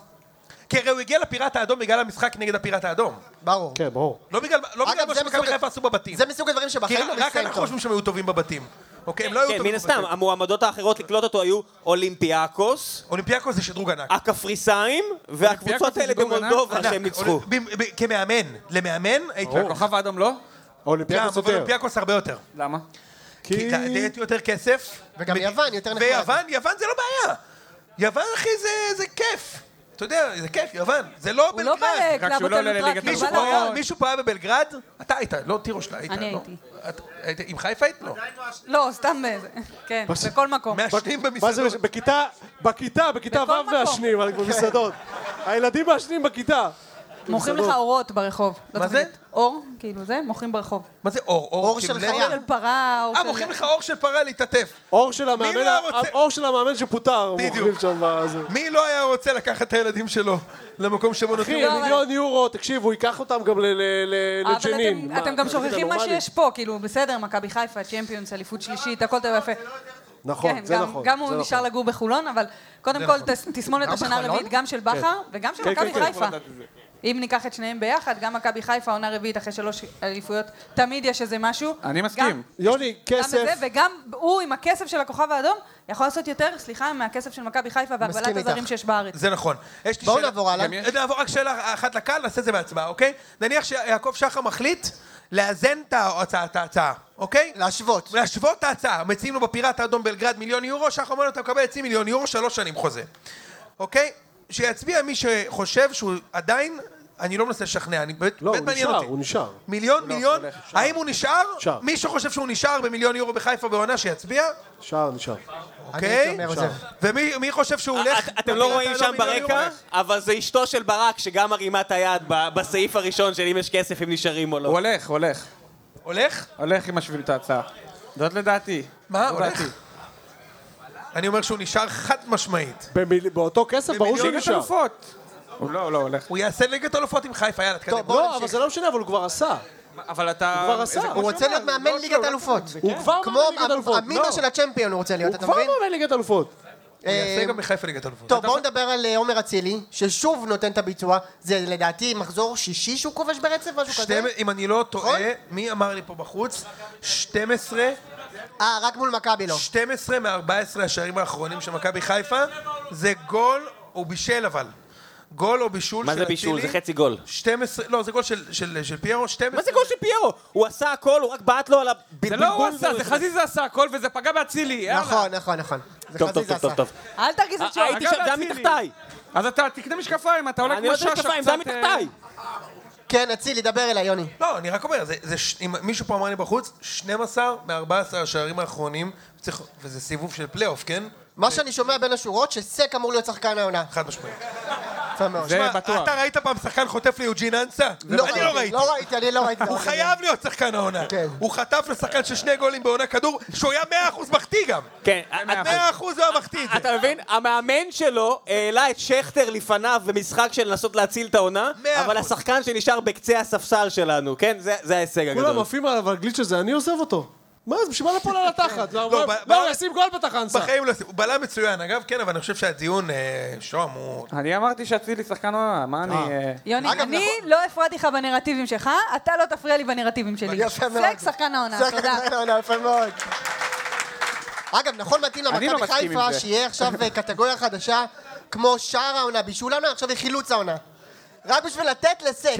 S1: כי הרי הוא הגיע לפיראט האדום בגלל המשחק נגד הפיראט האדום.
S2: ברור.
S3: כן, ברור.
S1: לא בגלל לא בגלל מה שמכבי חיפה עשו בבתים.
S2: זה מסוג הדברים
S1: כי
S2: שבחיים לא
S1: רק
S2: נסיים
S1: אנחנו
S2: טוב.
S1: חושבים שהם היו טובים בבתים. אוקיי, הם לא היו
S4: כן,
S1: טובים
S4: מן הסתם,
S1: בבתים.
S4: המועמדות האחרות לקלוט אותו היו אולימפיאקוס,
S1: אולימפיאקוס זה שדרוג ענק.
S4: הקפריסאים, והקבוצות האלה
S5: זה דוג ענק,
S4: במולדובה
S1: ענק.
S4: שהם ניצחו.
S1: אולי- ב- ב- כמאמן, למאמן, הייתי לקוח.
S5: הכוכב האדום לא?
S3: האולימפיאקוס
S1: גם, אבל
S3: יותר.
S1: אולימפיאקוס הרבה יותר.
S5: למה?
S1: כי דייתי יותר כסף.
S2: וגם
S1: ו-
S2: יוון, יותר נחמד.
S1: ויוון, יוון זה לא בעיה. יוון, אחי, זה- זה כיף. אתה יודע, זה כיף, יוון. זה לא
S6: הוא לא בא
S1: בלגרד.
S5: שהוא
S6: לקלאבות
S5: לא עולה
S6: הנוטרקט,
S5: לליגת
S6: הוא
S1: מישהו
S6: בא
S1: פה
S5: האלופות.
S6: ל...
S1: היה- מישהו פה היה בבלגרד? אתה היית, לא תירוש, היית.
S6: אני
S1: לא.
S6: הייתי.
S1: את- היית- עם חיפה היית? לא.
S6: לא, סתם איזה. כן, בכל מקום.
S1: מעשנים
S3: מה זה,
S2: לא
S1: במסעדות.
S3: בכיתה, בכיתה, בכיתה
S6: בכל
S3: ו'
S6: מקום.
S3: מעשנים, אבל
S1: כן.
S3: במסעדות. הילדים מעשנים בכיתה.
S6: מוכרים לך
S3: במסעדות.
S6: אורות ברחוב. לא
S1: מה זה?
S6: תמיד. אור, כאילו זה, מוכרים ברחוב.
S1: מה זה אור?
S2: אור
S1: כאילו,
S2: של
S1: לב?
S5: לא.
S2: חיה.
S6: אור של פרה, אור של...
S1: אה, מוכרים לך אור של פרה להתעטף.
S3: אור של
S1: מי
S3: המאמן,
S1: לא רוצה-
S3: אור של המאמן שפוטר,
S1: בדיוק.
S3: מוכרים שם בזה.
S1: מי לא היה רוצה לקחת את הילדים שלו למקום שבו נותנים...
S3: אחי,
S6: לא, אבל-
S3: מיליון יורו, תקשיב, הוא ייקח אותם גם ל- ל- ל-
S6: אה, אבל
S3: לג'נין.
S6: אתם-
S3: מה,
S6: אתם גם
S3: אתה
S6: שוכחים מה
S3: נורמלי?
S6: שיש פה, כאילו, בסדר, מכבי חיפה, צ'מפיונס, אליפות שלישית, הכל טוב ויפה.
S5: לא
S3: נכון,
S6: כן,
S3: זה
S6: גם-
S3: נכון.
S6: גם
S3: זה
S6: הוא
S3: נכון.
S6: נשאר לגור בחולון, אבל קודם כל
S5: נכון.
S6: תס- תסמונת השנה הרביעית, גם של בכר וגם של מכבי
S3: כן,
S6: חיפה. אם ניקח את שניהם ביחד, גם מכבי חיפה עונה רביעית אחרי שלוש אליפויות, תמיד יש איזה משהו.
S5: אני
S6: גם-
S5: מסכים.
S3: יוני,
S6: גם בזה,
S3: כסף.
S6: וגם הוא עם הכסף של הכוכב האדום, יכול לעשות יותר, סליחה, מהכסף של מכבי חיפה והגבלת
S2: מסכים
S6: הזרים
S2: איתך.
S6: שיש בארץ.
S1: זה נכון. יש לי
S2: בואו
S1: שאלה-
S2: נעבור הלאה.
S1: גם יש- נעבור רק שאלה אחת לקהל, נעשה את זה בהצבעה, אוקיי? נניח שיעקב שחר מחליט לאזן את ההצעה, את ההצעה, אוקיי?
S2: להשוות.
S1: להשוות את ההצעה. מציעים לו בפיראט האדום בלגרד מיליון יורו, שחר אומר לו, אתה מקבל חצי מיליון יורו, שלוש שנים חוזה. אוקיי? שיצביע מי שחושב שהוא עדיין... אני לא מנסה לשכנע, אני באמת
S3: לא,
S1: באמת
S3: הוא
S1: מעניין
S3: נשאר,
S1: אותי.
S3: הוא נשאר. לא,
S1: מיליון, מיליון,
S5: הולך, נשאר.
S1: האם הוא נשאר?
S3: נשאר.
S1: מי שחושב שהוא נשאר במיליון יורו בחיפה בעונה, שיצביע.
S3: נשאר, נשאר.
S1: אוקיי?
S2: הייתי אומר, עוזב.
S1: ומי מי חושב שהוא הולך...
S4: את- אתם לא רואים
S1: אוקיי, אתה
S4: שם
S1: מיליון יורו
S4: ברקע,
S1: הולך.
S4: אבל זה אשתו של ברק שגם מרימה את היד ב- בסעיף הראשון של אם יש כסף, אם נשארים או
S5: הוא
S4: לא.
S5: הולך, הולך.
S1: הולך?
S5: הולך אם משווים את ההצעה. זאת לדעתי.
S1: מה,
S5: זו
S1: הולך?
S5: דעתי.
S1: אני אומר שהוא נשאר חד משמעית.
S3: במיל- באותו כסף, ברור שהוא
S5: ליגת
S3: נשאר.
S5: אלופות. הוא לא, הוא לא הולך.
S1: הוא יעשה ליגת אלופות עם חיפה, יאללה, תקדם.
S2: טוב, בואו
S3: לא, אבל
S2: נמשיך.
S3: זה לא משנה, אבל הוא כבר עשה.
S5: אבל אתה...
S3: כבר עשה.
S5: זה כמו
S2: הוא רוצה
S5: שהוא
S2: להיות
S5: אומר,
S2: מאמן
S5: לא
S2: ליגת
S5: שהוא-
S2: אלופות.
S3: הוא
S1: לא
S3: כבר
S2: כמו
S3: מאמן ליגת אלופות.
S2: המימר
S3: לא.
S2: של הצ'מפיון הוא רוצה להיות,
S3: הוא
S2: אתה
S3: כבר
S2: מבין?
S3: מאמן ליגת אלופות.
S1: הוא יעשה
S2: אה,
S1: גם מחיפה ליגת אלופות.
S2: טוב, בואו נדבר על אה, עומר אצילי, ששוב נותן את הביצוע. זה לדעתי מחזור שישי שהוא כובש ברצף, משהו
S1: שתי-
S2: כזה?
S1: אם אני לא טועה,
S2: נכון?
S1: מי אמר לי פה בחוץ? 12,
S2: אה, רק מול מכבי לא.
S1: 12 מ-14 השערים האחרונים של מכבי חיפה, זה גול או בישל אבל. גול או בישול של
S4: מה
S1: אצילי.
S4: זה בישול? זה חצי גול.
S1: 12, לא, זה גול של- של של פיירו, 12.
S4: מה זה גול של פיירו? הוא עשה הכל, הוא רק בעט לו על
S5: זה
S4: הבלבול.
S5: לא הוא עשה, זה חזיזה עשה הכל וזה פגע באצילי. יאללה.
S2: נכון, נכון, נכון. זה
S4: טוב, טוב,
S2: חזיזה
S4: טוב, טוב,
S2: עשה.
S4: טוב.
S6: אל תרגיז את שוער.
S4: אה, הייתי שם, זה היה
S5: אצילי.
S4: מתחתיי.
S5: אז אתה תקנה משקפיים, אתה עולה
S4: אני
S5: כמו
S4: לא
S5: שש.
S4: צריך כפיים, זה היה מתחתיי.
S2: כן, אצילי, דבר אליי, יוני.
S1: לא, אני רק אומר, זה, זה ש... אם מישהו פה אמר לי בחוץ, 12 מ-14 השערים האחרונים, צריך... וזה סיבוב של פלייאוף, כן?
S2: מה שאני שומע בין השורות, שסק אמור להיות שחקן העונה.
S1: חד משמעית.
S2: יפה מאוד.
S5: זה
S1: שמע,
S5: בטוח.
S1: אתה ראית פעם שחקן חוטף ליוג'ין אנסה? אני לא ראיתי.
S2: לא ראיתי, אני לא ראיתי.
S1: הוא חייב להיות שחקן העונה.
S2: כן.
S1: הוא חטף לשחקן של שני גולים בעונה כדור, שהוא היה 100% מחטיא גם.
S4: כן,
S1: עד 100% הוא היה מחטיא את זה.
S4: אתה מבין? המאמן שלו העלה את שכטר לפניו במשחק של לנסות להציל את העונה,
S1: מאה
S4: אבל
S1: אחוז.
S4: השחקן שנשאר בקצה הספסל שלנו, כן? זה זה ההישג
S3: כולם
S4: הגדול.
S3: עפים עליו על הגליץ' הזה, אני עוזב אותו. מה, אז בשביל מה לפעול על התחת? לא,
S1: לא,
S3: הוא-
S1: ב-
S3: לא,
S1: ב-
S3: הוא ישים גול בטח אנסה.
S1: בחיים לא... הוא בלם מצוין, אגב, כן, אבל אני חושב שהדיון, אה, שוהם, הוא...
S5: אני אמרתי שאצילי שחקן עונה, מה אני... אה,
S6: יוני,
S2: אגב,
S6: אני לא הפרעתי לך בנרטיבים שלך, אתה לא תפריע לי בנרטיבים שלי.
S2: יפה מאוד.
S6: פלג שחקן העונה,
S2: זה
S6: אה, תודה.
S2: שחקן העונה, יפה מאוד. אגב, נכון מתאים
S5: אני לא
S2: למכבי
S5: מסכים עם
S2: חיפה
S5: זה.
S2: שיהיה עכשיו אה, קטגוריה חדשה כמו שער העונה, בישול העונה, עכשיו היא חילוץ העונה. רק בשביל לתת לסק.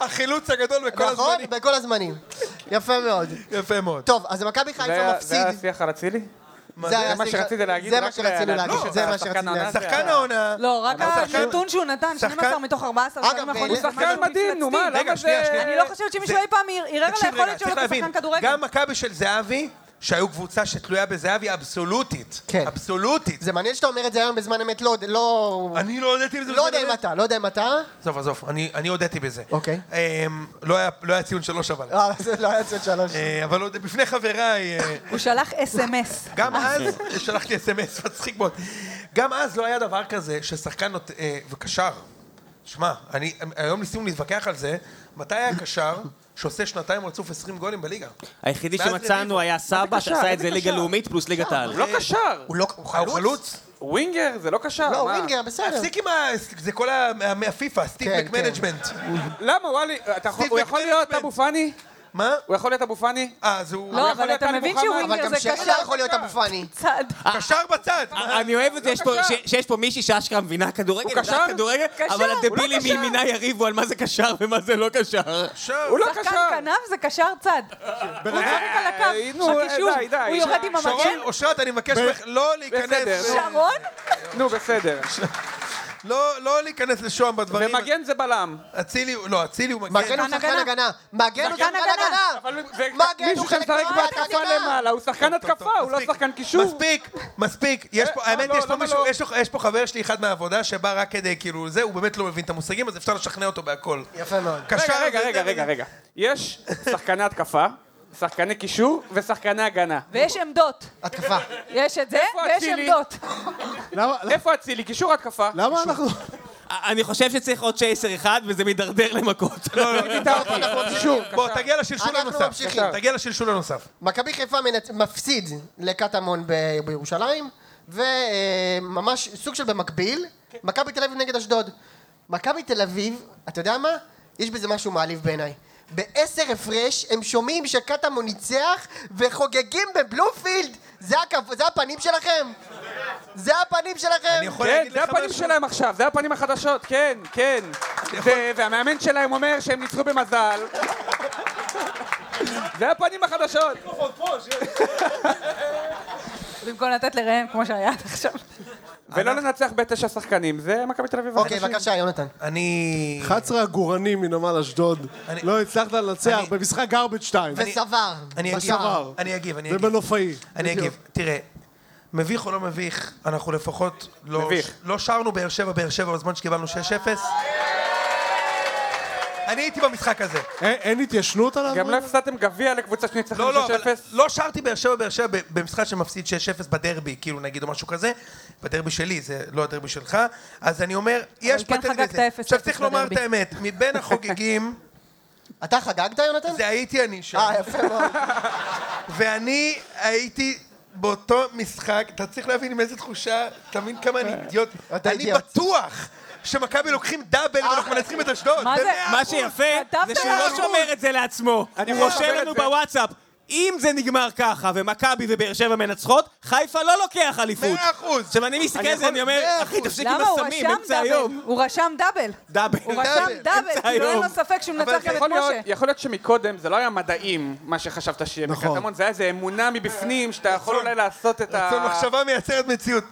S1: החילוץ הגדול בכל
S2: נכון?
S1: הזמנים.
S2: בכל הזמנים. יפה מאוד.
S1: יפה מאוד.
S2: טוב, אז מכבי
S5: זה היה-
S2: חיפה
S5: זה היה
S2: מפסיד.
S5: השיח על אצילי? זה מה
S2: השיח-
S5: שרציתי להגיד,
S2: זה
S5: רק
S2: מה שרצינו
S5: להדגיש
S2: להגיד.
S5: את
S2: זה מה
S5: השחקן
S2: שרצינו
S5: העונה
S2: להגיד.
S1: שחקן העונה...
S6: לא, רק
S1: שחקן-
S6: הנתון שהוא נתן,
S1: שחקן-
S6: 12 מתוך 14,
S2: אגב, הוא
S6: דברים האחרונים, זה
S5: שחקן
S6: משהו
S5: מדהים, נו, מה,
S6: מפלצתי.
S5: למה
S1: רגע,
S5: זה-
S1: שנייה, שנייה.
S6: אני לא חושבת שמישהו
S1: זה-
S6: אי פעם ערער על
S1: תקשיב רגע,
S6: היכולת שלו
S2: לא
S1: צריך להבין,
S6: כשחקן כדורגל.
S1: גם מכבי של זהבי, שהיו קבוצה שתלויה בזהבי אבסולוטית.
S2: כן.
S1: אבסולוטית.
S2: זה מעניין שאתה אומר את זה היום בזמן אמת, לא... לא-
S1: אני לא הודיתי בזה.
S2: לא
S1: בזמן
S2: יודע אם
S1: אמת.
S2: אתה, לא יודע אם אתה.
S1: עזוב, עזוב, אני אני הודיתי בזה.
S2: אוקיי.
S1: אמ, לא היה- לא היה ציון שלוש אבל.
S2: אה, זה לא היה ציון שלוש.
S1: אה, אבל עוד בפני חבריי, אה,
S6: הוא שלח אס.אם.אס.
S1: גם אז, שלחתי אס.אם.אס, [LAUGHS] מצחיק מאוד. גם אז לא היה דבר כזה ששחקן נות- אה, וקשר. שמע, אני, היום ניסינו להתווכח על זה, מתי היה קשר שעושה שנתיים רצוף 20 גולים בליגה?
S4: היחידי
S1: ואז
S4: שמצאנו
S1: רביבו.
S4: היה סבא,
S5: קשר?
S4: שעשה
S5: מה
S4: את
S5: זה
S4: זה ליגה
S5: קשר?
S4: לאומית פלוס ליגת העל.
S5: הוא לא קשר,
S2: הוא לא... הוא
S1: הוא
S2: חלוץ?
S1: חלוץ?
S5: ווינגר זה לא קשר.
S2: לא,
S5: מה?
S2: ווינגר, בסדר.
S1: תפסיק עם ה... זה כל ה- מה- מהפיפ"א, סטיב
S2: כן,
S1: מקמנג'מנט.
S5: למה, וואלי, אתה יכול- הוא יכול להיות אבו פאני?
S1: מה?
S5: הוא יכול להיות אבו פאני?
S1: אה, אז הוא...
S6: לא,
S5: יכול
S6: אבל
S5: להיות
S6: אתה
S5: טל
S6: מבין
S5: מוחמד.
S2: אבל
S6: שווינגר
S2: גם
S6: זה
S2: שרי
S6: קשר
S2: לא יכול להיות אבו פאני.
S6: צד.
S1: קשר בצד!
S4: אה, אני אוהב את זה יש פה- ש- שיש פה מישהי שאשכרה מבינה כדורגל,
S5: הוא
S4: יודעת
S5: קשר?
S4: כדורגל,
S6: קשר,
S4: אבל
S6: הוא לא
S4: הדבילים
S6: קשר.
S4: מימינה יריבו על מה זה קשר ומה זה לא קשר.
S2: אה,
S1: קשר!
S5: הוא לא
S6: שחקן
S5: קשר.
S6: כנף זה קשר צד. הוא צוחק על
S5: אה,
S6: הקו,
S5: נו,
S6: הקישור,
S5: די, די.
S6: הוא יורד עם
S1: שרון,
S6: המגן.
S1: אושרת, אני מבקש ממך לא להיכנס...
S5: בסדר.
S6: שרון?
S5: נו, בסדר.
S1: לא לא להיכנס לשוהם בדברים.
S5: ומגן זה בלם.
S1: אצילי, הוא- לא, אצילי הוא מגן.
S2: מגן הוא שחקן
S6: הגנה.
S2: הגנה. מגן הוא
S6: שחקן
S2: שחקן
S6: הגנה.
S2: הגנה.
S5: אבל זה
S2: מגן אה, הוא
S5: מישהו
S2: חלק
S5: שמשחק
S2: מהגנה.
S5: בהתקפה למעלה, הוא שחקן
S1: טוב, טוב,
S5: התקפה, הוא לא
S1: מספיק.
S5: שחקן קישור.
S1: מספיק, מספיק. יש פה,
S5: אה,
S1: האמת,
S5: לא,
S1: יש פה
S5: למה
S1: מישהו,
S5: לא?
S1: יש פה- יש פה חבר שלי, אחד מהעבודה, שבא רק כדי, כאילו, זה, הוא באמת לא מבין את המושגים, אז אפשר לשכנע אותו בהכל.
S2: יפה מאוד.
S1: קשר
S5: רגע, רגע,
S1: זה-
S5: רגע, רגע, רגע. יש שחקני התקפה, שחקני קישור ושחקני הגנה.
S6: ויש עמדות.
S2: התקפה.
S6: יש את זה,
S5: איפה
S6: ויש
S5: אצילי?
S6: עמדות.
S3: למה-
S5: איפה אצילי? קישור התקפה.
S3: למה אנחנו...
S4: אני חושב שצריך עוד צ'ייסר אחד, וזה מידרדר למכות.
S5: קישור.
S1: בוא, תגיע לשלשול
S2: אנחנו
S1: הנוסף.
S2: ממשיכים.
S1: תגיע לשלשול הנוסף.
S2: מכבי חיפה מנצ- מפסיד לקטמון ב- בירושלים, וממש סוג של במקביל, מכבי תל אביב נגד אשדוד. מכבי תל אביב, אתה יודע מה? יש בזה משהו מעליב בעיניי. בעשר הפרש הם שומעים שקטמון ניצח וחוגגים בבלומפילד! זה, הכב... זה הפנים שלכם? זה הפנים שלכם?
S1: אני יכול
S5: כן,
S1: להגיד
S5: זה
S1: לך
S5: הפנים
S1: משהו?
S5: שלהם עכשיו, זה הפנים החדשות, כן, כן. זה- והמאמן שלהם אומר שהם ניצחו במזל. זה הפנים החדשות.
S6: במקום לתת לראם כמו שהיה עד עכשיו.
S5: ולא לנצח בתשע שחקנים, זה מכבי תל אביב
S2: אוקיי,
S5: החדשים.
S2: בבקשה, יונתן.
S1: אני...
S3: 11 הגורנים מנמל אשדוד.
S1: אני-
S3: לא הצלחת לנצח
S1: אני-
S3: במשחק גרבג' 2.
S2: וסבר.
S1: אני אגיב,
S2: בשער.
S3: בסדר.
S1: אני אגיב, אני אגיב.
S3: ובנופאי.
S1: אני אגיב. תראה, מביך או לא מביך, אנחנו לפחות לא...
S5: מביך.
S1: לא שרנו באר שבע, באר שבע בזמן שקיבלנו 6-0. אני הייתי במשחק הזה.
S3: אין- אין התיישנות עליו?
S5: גם לא הפסדתם גביע לקבוצה שניצחתם 6-0.
S1: לא, לא, אבל לא שרתי באר שבע, באר שבע ב- במשחק שמפסיד 6-0 בדרבי, כאילו נגיד, או משהו כזה. בדרבי שלי, זה לא הדרבי שלך. אז אני אומר, יש
S6: כן
S1: פטנט
S6: חגגת
S1: לזה.
S6: 0-0
S1: עכשיו צריך לומר את
S6: בדרבי.
S1: האמת, מבין החוגגים,
S2: אתה חגגת, יונתן?
S1: זה הייתי אני שם.
S2: אה, יפה מאוד.
S1: ואני הייתי באותו משחק, אתה צריך להבין עם איזה תחושה, אתה מבין כמה אני אידיוט.
S2: אתה
S1: אני
S2: אידיוט.
S1: בטוח שמכבי לוקחים דאבל ואנחנו מנצחים את אשדוד.
S6: מה זה?
S1: במאה
S4: מה
S1: אחוז.
S4: שיפה, זה
S6: כתבת
S4: שהוא לא
S6: לנו.
S4: שומר את זה לעצמו.
S5: אני
S4: הוא
S5: יכול
S4: רושם
S5: לקבל
S4: לנו
S5: את זה.
S4: בוואטסאפ. אם זה נגמר ככה, ומכבי ובאר שבע מנצחות, חיפה לא לוקח אליפות.
S1: מאה אחוז.
S4: עכשיו, אני מסתכל על זה, אני אומר, אחי, תפסיק עם
S6: למה
S7: כאילו
S6: הוא
S4: הסמים,
S6: רשם
S4: אמצע
S6: דאבל?
S4: היום.
S6: הוא רשם דאבל.
S4: דאבל.
S6: הוא רשם דאבל,
S4: אמצע
S6: כאילו אין
S4: היום.
S6: לו ספק שהוא מנצח גם את
S5: יכול להיות,
S6: משה.
S5: יכול להיות שמקודם זה לא היה מדעים, מה שחשבת שיהיה
S3: נכון.
S5: בקטמון, זה היה איזה אמונה מבפנים, שאתה יכול אולי לעשות את ה...
S1: רצון מחשבה מייצרת מציאות.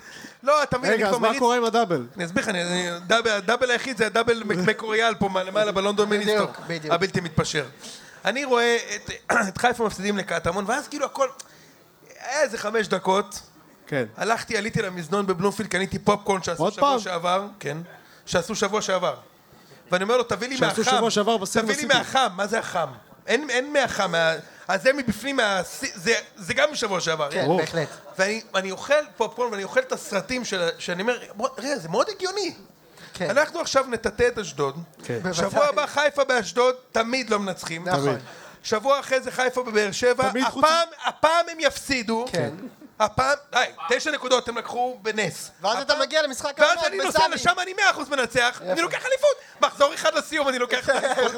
S1: לא, אתה מבין, אני
S3: רגע, אז
S1: כבר
S3: מה
S1: מליץ...
S3: קורה עם הדאבל?
S1: אני אסביר לך, אני- אני- הדאבל- הדאבל היחיד זה הדאבל מק- מקוריאל פה למעלה בלונדון מיניסטוק.
S2: בדיוק.
S1: הבלתי מתפשר. אני רואה את- [COUGHS] את חיפה מפסידים לקטמון, ואז כאילו הכל... היה איזה חמש דקות,
S3: כן.
S1: הלכתי, עליתי למזנון בבלומפילד, קניתי פופקורן שעשו
S3: עוד
S1: שבוע
S3: פעם?
S1: שעבר. כן. שעשו שבוע שעבר. ואני אומר לו, תביא לי מהחם.
S3: שעשו שבוע שעבר בסיר
S1: תביא לי
S3: וסיפי.
S1: מהחם, מה זה החם? אין, אין מהחם, מה... אז זה מבפנים, מה... זה, זה גם משבוע שעבר.
S2: כן, בהחלט.
S1: ואני ואני אוכל פופקורן ואני אוכל את הסרטים של... שאני אומר, "בוא, רגע, זה מאוד הגיוני.
S2: כן.
S1: אנחנו עכשיו נטאטא את אשדוד.
S2: בוודאי.
S1: שבוע הבא חיפה באשדוד, תמיד לא מנצחים.
S2: נכון.
S1: שבוע אחרי זה חיפה בבאר שבע,
S3: תמיד חוץ-
S1: הפעם, הפעם הם יפסידו.
S2: כן.
S1: הפעם, די, תשע נקודות הם לקחו בנס.
S2: ואז אתה
S1: הפעם-
S2: מגיע למשחק
S1: ואז
S2: העונה
S1: אני נוסע
S2: בסמי.
S1: לשם, אני מאה אחוז מנצח, אני לוקח אליפות. מחזור אחד לסיום, אני
S2: [LAUGHS]
S1: לוקח את האליפות.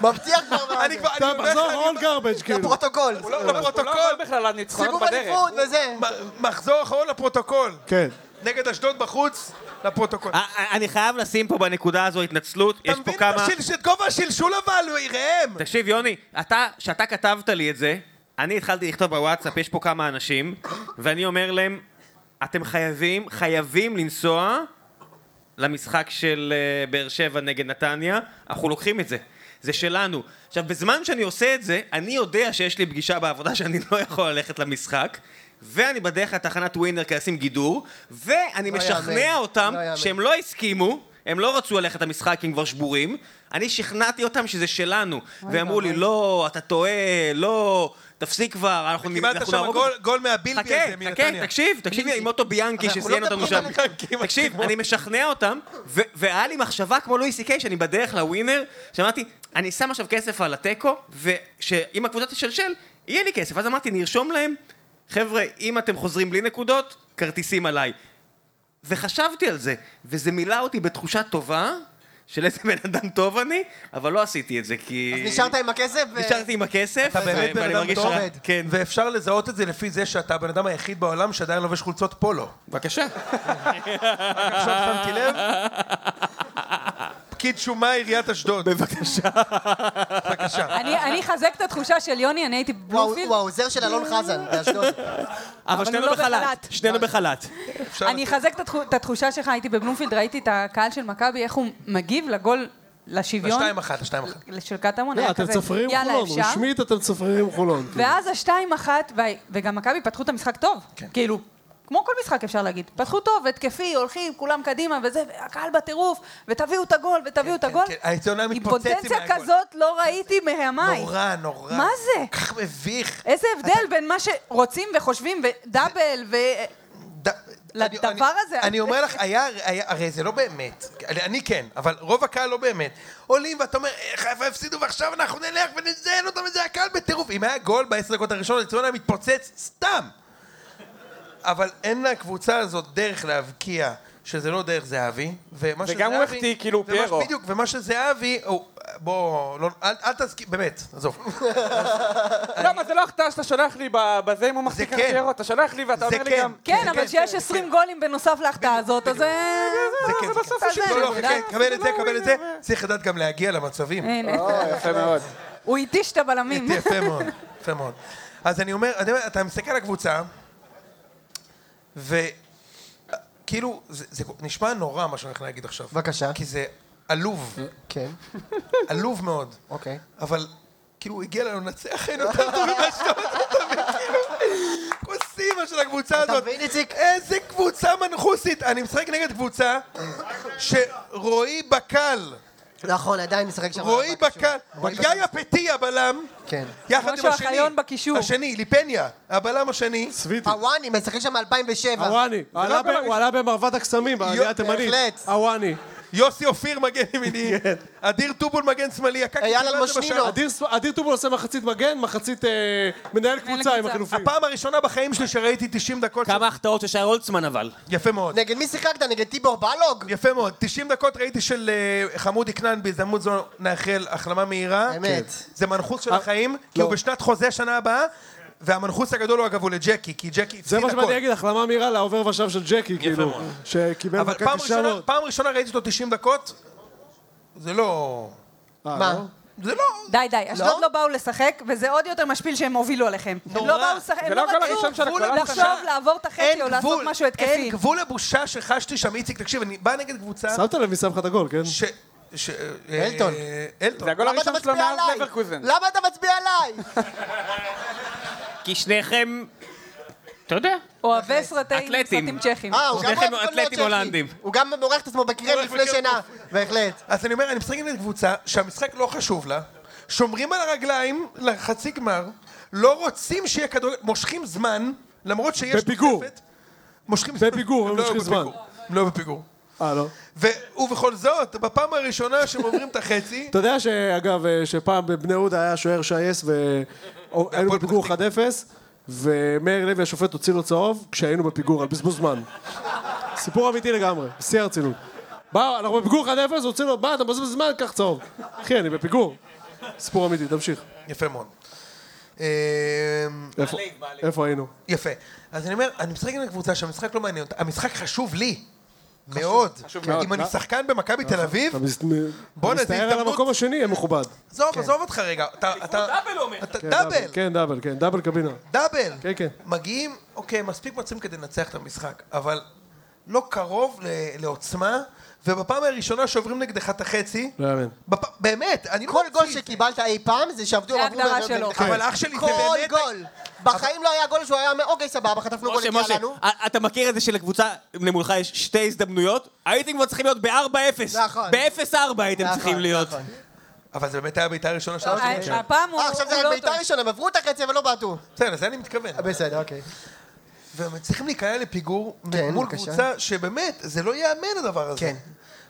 S2: מבטיח
S1: [LAUGHS]
S2: כבר
S1: אני
S2: [LAUGHS]
S1: כבר,
S3: אתה
S1: אני הולך...
S3: מחזור
S1: אני-
S3: אול גארבג' כאילו.
S2: לפרוטוקול.
S1: לא, לפרוטוקול,
S5: בכלל הניצחונות
S2: סיבוב
S5: בדרך.
S2: אליפות וזה.
S1: מ- מחזור אחרון לפרוטוקול.
S3: כן.
S1: נגד אשדוד בחוץ, לפרוטוקול.
S7: אני חייב לשים פה בנקודה הזו התנצלות, אה,
S1: אתה
S7: יש פה
S1: מבין את
S7: כמה...
S1: השל- את גובה השלשול אבל, ראם?
S7: תקשיב, יוני, אתה, שאתה כתבת לי את זה, אני התחלתי לכתוב בוואטסאפ, יש פה כמה אנשים, ואני אומר להם, אתם חייבים, חייבים לנסוע למשחק של אה, באר שבע נגד נתניה, אנחנו לוקחים את זה. זה שלנו. עכשיו, בזמן שאני עושה את זה, אני יודע שיש לי פגישה בעבודה שאני לא יכול ללכת למשחק, ואני בדרך לתחנת ווינר כדי לשים גידור, ואני
S2: לא
S7: משכנע
S2: יאמן.
S7: אותם
S2: לא יאמן.
S7: שהם לא הסכימו, הם לא רצו ללכת למשחק כי הם כבר שבורים, אני שכנעתי אותם שזה שלנו, ואמרו לי,
S6: ואבוי.
S7: לא, אתה טועה, לא, תפסיק כבר, אנחנו נ-
S1: קיבלת
S7: אנחנו
S1: שם
S7: נהרוג
S1: גול-
S7: אותך."
S1: גול מהבילבי הזה,
S7: חכה, חכה,
S1: מנתניה.
S7: תקשיב, תקשיב עם אוטו ביאנקי
S2: אנחנו לא
S7: שזיין אותנו
S2: מדברים
S7: שם.
S2: על
S1: ביאנקי,
S7: תקשיב, אני משכנע אותם, ו- והיה לי מחשבה כמו לואי סי קיי, שאני בדרך לווינר, שאמרתי, אני שם עכשיו כסף על התיקו, ושאם הקבוצה תשלשל, יהיה לי כסף. אז אמרתי, נרשום להם, חבר'ה, אם אתם חוזרים בלי נקודות, כרטיסים עליי. וחשבתי על זה, וזה מילא אותי בתחושה טובה, של איזה בן אדם טוב אני, אבל לא עשיתי את זה, כי...
S2: נשארת עם הכסף? ו-
S7: נשארתי עם הכסף,
S1: אתה באמת
S7: ואני
S1: בן אדם
S7: מרגיש
S1: טוב.
S7: רע. כן.
S1: ואפשר לזהות את זה לפי זה שאתה הבן אדם היחיד בעולם שעדיין לובש חולצות פולו.
S5: בבקשה.
S1: עכשיו שמתי לב? פקיד שומה עיריית אשדוד.
S7: בבקשה.
S1: בבקשה.
S6: אני אני אחזק את התחושה של יוני, אני הייתי
S2: וואו,
S6: בבלומפילד,
S2: הוא העוזר של אלון
S1: [LAUGHS]
S2: חזן באשדוד.
S7: אבל
S6: הוא
S7: שנינו
S6: לא
S7: בחל"ת.
S6: בחל"ת.
S7: שנינו בחל"ת.
S1: אפשר-
S6: אני אחזק את התחו- את התחושה שלך, הייתי בבלומפילד, ראיתי את הקהל של מכבי, איך הוא מגיב לגול, לשוויון
S1: השתיים אחת, השתיים אחת.
S6: של קטמון,
S3: לא,
S6: היה
S3: אתם
S6: כזה,
S3: צפרירים
S6: יאללה
S3: חולון.
S6: אפשר,
S3: רשמית אתם צפרירים חולון. כאילו.
S6: ואז השתיים אחת, וה- וגם מכבי פתחו את המשחק טוב,
S1: כן.
S6: כאילו, כמו כל משחק אפשר להגיד, פתחו טוב, התקפי, הולכים, כולם קדימה וזה, והקהל בטירוף, ותביאו את הגול, ותביאו את הגול,
S1: כן, האצטדיון היה
S6: עם
S1: מתפוצץ אם
S6: פוטנציה
S1: היה גול.
S6: כזאת לא ראיתי מהמאי,
S1: נורא, נורא.
S6: מה זה?
S1: כל כך מביך.
S6: איזה הבדל בין מה שרוצים וחושבים, ודאבל, ו...
S1: ד- אני-
S6: לדבר
S1: אני-
S6: הזה.
S1: אני אומר לך, היה, היה- הרי זה לא באמת. אני אני כן, אבל רוב הקהל לא באמת. עולים ואתה אומר, "אה, חיפה הפסידו ועכשיו אנחנו נלך ונזיין אותם וזה הקהל בטירוף. אם היה גול בעשר דקות הראשונות, הציון היה מתפוצץ סתם. אבל אין לקבוצה הזאת דרך להבקיע. שזה לא דרך זהבי, ומה שזהבי...
S5: וגם הוא החטיא, כאילו,
S1: ומה-
S5: פיירו.
S1: בדיוק, ומה שזהבי, הוא- בוא, לא- אל אל תסכים, באמת, עזוב.
S5: למה זה לא החטאה שאתה שולח לי ב- בזה אם הוא מחזיק
S1: כן.
S5: קריירות? אתה שולח לי ואתה
S1: זה
S5: אומר לי
S1: כן.
S5: גם...
S6: כן, אבל שיש 20 גולים בנוסף להחטאה הזאת, אז... אה,
S1: זה כן, זה
S5: בסוף
S1: כן.
S5: הוא שיקר.
S1: לא, לא,
S6: זה,
S1: כן,
S6: זה
S1: קבל את זה,
S5: לא
S1: קבל את
S5: ווינר,
S1: זה. צריך לדעת גם להגיע למצבים.
S6: הנה,
S5: יפה מאוד.
S6: הוא התיש את הבלמים.
S1: יפה מאוד, יפה מאוד. אז אני אומר, אני אומר, אתה מסתכל על הקבוצה, וכאילו, זה זה נשמע נורא מה שאני הולך להגיד עכשיו.
S2: בבקשה.
S1: כי זה עלוב,
S2: כן,
S1: עלוב מאוד.
S2: אוקיי.
S1: אבל כאילו הוא הגיע לנו לנצח, אין יותר טוב ממשהו, אתה מבין? כאילו, כוסימה של הקבוצה
S2: אתה
S1: הזאת.
S2: מבין, איציק?
S1: איזה קבוצה מנחוסית. אני משחק נגד קבוצה שרועי בקל,
S2: נכון, עדיין משחק שם.
S1: רועי
S2: בקישור.
S1: בקל,
S2: רועי בקל.
S1: יאיה פטי הבלם,
S2: כן.
S1: יחד עם
S6: משה
S1: השני,
S6: אוחיון בקישור.
S1: השני, ליפניה, הבלם השני,
S3: סוויטי.
S2: הוואני משחק שם מ-2007.
S3: הוואני. עלה ב-
S5: גם-
S3: הוא עלה במרבד הקסמים, בעלייה התימנית.
S2: בהחלט.
S3: הוואני.
S1: יוסי אופיר מגן ימיני,
S3: [LAUGHS] כן.
S1: אדיר טובול מגן שמאלי, הקקי
S2: אייל
S1: טובול זה
S2: אלמושנינו.
S1: בשער.
S3: אדיר ס- אדיר טובול עושה מחצית מגן, מחצית אה, מנהל קבוצה עם
S6: קבוצה.
S3: החילופים.
S1: הפעם הראשונה בחיים שלי שראיתי 90 דקות, של-
S7: כמה החטאות של שי הולצמן אבל.
S1: יפה מאוד.
S2: נגד מי שיחקת? נגד טיבור בלוג?
S1: יפה מאוד. 90 דקות ראיתי של אה, חמודי כנען, בהזדמנות זו נאחל החלמה מהירה.
S2: אמת.
S1: זה מנחוס של החיים, כי
S3: לא.
S1: הוא בשנת חוזה שנה הבאה, והמנחוס הגדול הוא אגב הוא לג'קי, כי ג'קי
S3: זה
S1: הפסיד
S3: מה שבאתי
S1: הכל.
S3: להגיד, החלמה מהירה לעובר ושב של ג'קי, כאילו,
S1: מאוד.
S3: שקיבל לא-
S1: אבל
S3: מכה
S1: פעם
S3: קשה
S1: ראשונה-
S3: מאוד.
S1: פעם ראשונה ראיתי אותו 90 דקות, זה לא...
S3: אה,
S2: מה?
S3: לא?
S1: זה לא...
S6: די, די, אשדוד לא באו לשחק, וזה עוד יותר משפיל שהם הובילו עליכם. הם לא באו לשחק, הם
S5: זה
S6: לא
S5: לא הגול הראשון של
S6: רצו
S5: הקבוצה.
S6: לחשוב, לעבור את החצי או לעשות משהו
S1: אין
S6: התקפי.
S1: גבול לבושה שחשתי שם, איציק, תקשיב, אני בא נגד קבוצה
S3: לא? שמת לב מי שם לך את הגול, כן?
S1: ש... ש- אה,
S2: אלטון.
S1: אה, אלטון.
S5: זה הגול
S2: למה אתה
S5: הראשון שלו
S2: מצביע
S5: מאז
S2: עליי?
S5: לברקוזן.
S1: [LAUGHS]
S2: למה אתה מצביע עליי?
S7: כי שניכם
S4: אתה יודע.
S6: אוהבי סרטי
S4: אתלטים.
S6: סרטים צ'כים.
S2: אה, הוא גם
S4: שניכם
S2: אוהב כל מיני
S4: אתלטים
S2: צ'כי.
S4: הולנדים.
S2: הוא גם מורח את עצמו בקרם
S1: הוא
S2: לפני
S1: הולך
S2: שינה. בהחלט.
S1: אז אני אומר, אני משחק נגד קבוצה שהמשחק לא חשוב לה, שומרים על הרגליים לחצי גמר, לא רוצים שיהיה כדורגל, מושכים זמן, למרות שיש...
S3: בפיגור.
S1: תוספת, מושכים
S3: בפיגור, הם
S1: לא היו
S3: מושכים זמן.
S1: בפיגור. הם לא היו בפיגור.
S3: אה, לא.
S1: ו- ובכל זאת, בפעם הראשונה שהם עוברים את החצי,
S3: אתה יודע שאגב, אה, שפעם בבני יהודה היה שוער
S1: [LAUGHS]
S3: שייס והיינו
S1: והפועל
S3: בפיגור
S1: פתח
S3: 1-0 ומאיר לוי השופט הוציא לו צהוב כשהיינו בפיגור על בזבוז זמן. סיפור אמיתי לגמרי, בשיא הרצינות. בא, אנחנו בפיגור 1-0, הוציא לו, בא, אתה מבזבז זמן, קח צהוב. אחי, אני בפיגור. סיפור אמיתי, תמשיך.
S1: יפה מאוד. אמ,
S3: איפה- איפה היינו?
S1: יפה. אז אני אומר, אני משחק עם הקבוצה שהמשחק לא מעניין אותה. המשחק חשוב לי. מאוד.
S5: מאוד,
S3: לא.
S1: אם אני שחקן במכבי תל אביב,
S3: אתה מס-
S1: בואנה,
S3: אתה
S1: זה
S3: מסתער על
S1: הזדמנות.
S3: המקום השני, המכובד.
S1: עזוב, עזוב אותך רגע. אתה... אתה- אתה-
S3: כן,
S1: דאבל.
S3: כן, דאבל, כן, דאבל קבינה.
S1: דאבל.
S3: כן, כן.
S1: מגיעים, אוקיי, מספיק מצבים כדי לנצח את המשחק, אבל לא קרוב ל- לעוצמה, ובפעם הראשונה שעוברים נגדך את החצי,
S3: לא יאמן.
S1: בפ- באמת, אני לא
S2: כל גול
S1: ממציא.
S2: שקיבלת אי פעם זה שעבדו...
S6: זה
S2: עברו
S6: ההגדרה
S2: ב-
S6: שלו.
S2: ב-
S1: אבל אח שלי, זה
S2: כל
S1: באמת-
S2: גול. בחיים לא היה גול שהוא היה אומר, אוקיי, סבבה, חטפנו גול,
S7: משה,
S2: הגיע
S7: משה,
S2: לנו.
S7: א- אתה מכיר את זה שלקבוצה למולך יש שתי הזדמנויות? הייתם כבר צריכים להיות ב-4-0.
S2: נכון.
S7: ב-0-4 הייתם
S2: נכון,
S7: צריכים להיות.
S2: נכון.
S1: אבל זה באמת היה הבעיטה הראשונה שלנו.
S6: ה- הפעם הוא
S2: אה, עכשיו זה
S6: הוא
S2: רק
S6: לא
S2: בעיטה
S6: טוב.
S2: ראשונה, הם עברו את החצי אבל לא בעטו.
S1: בסדר, לזה אני מתכוון.
S2: בסדר, אוקיי.
S1: והם צריכים להיקלע לפיגור
S2: כן,
S1: מול
S2: בבקשה.
S1: קבוצה שבאמת, זה לא ייאמן הדבר הזה.
S2: כן.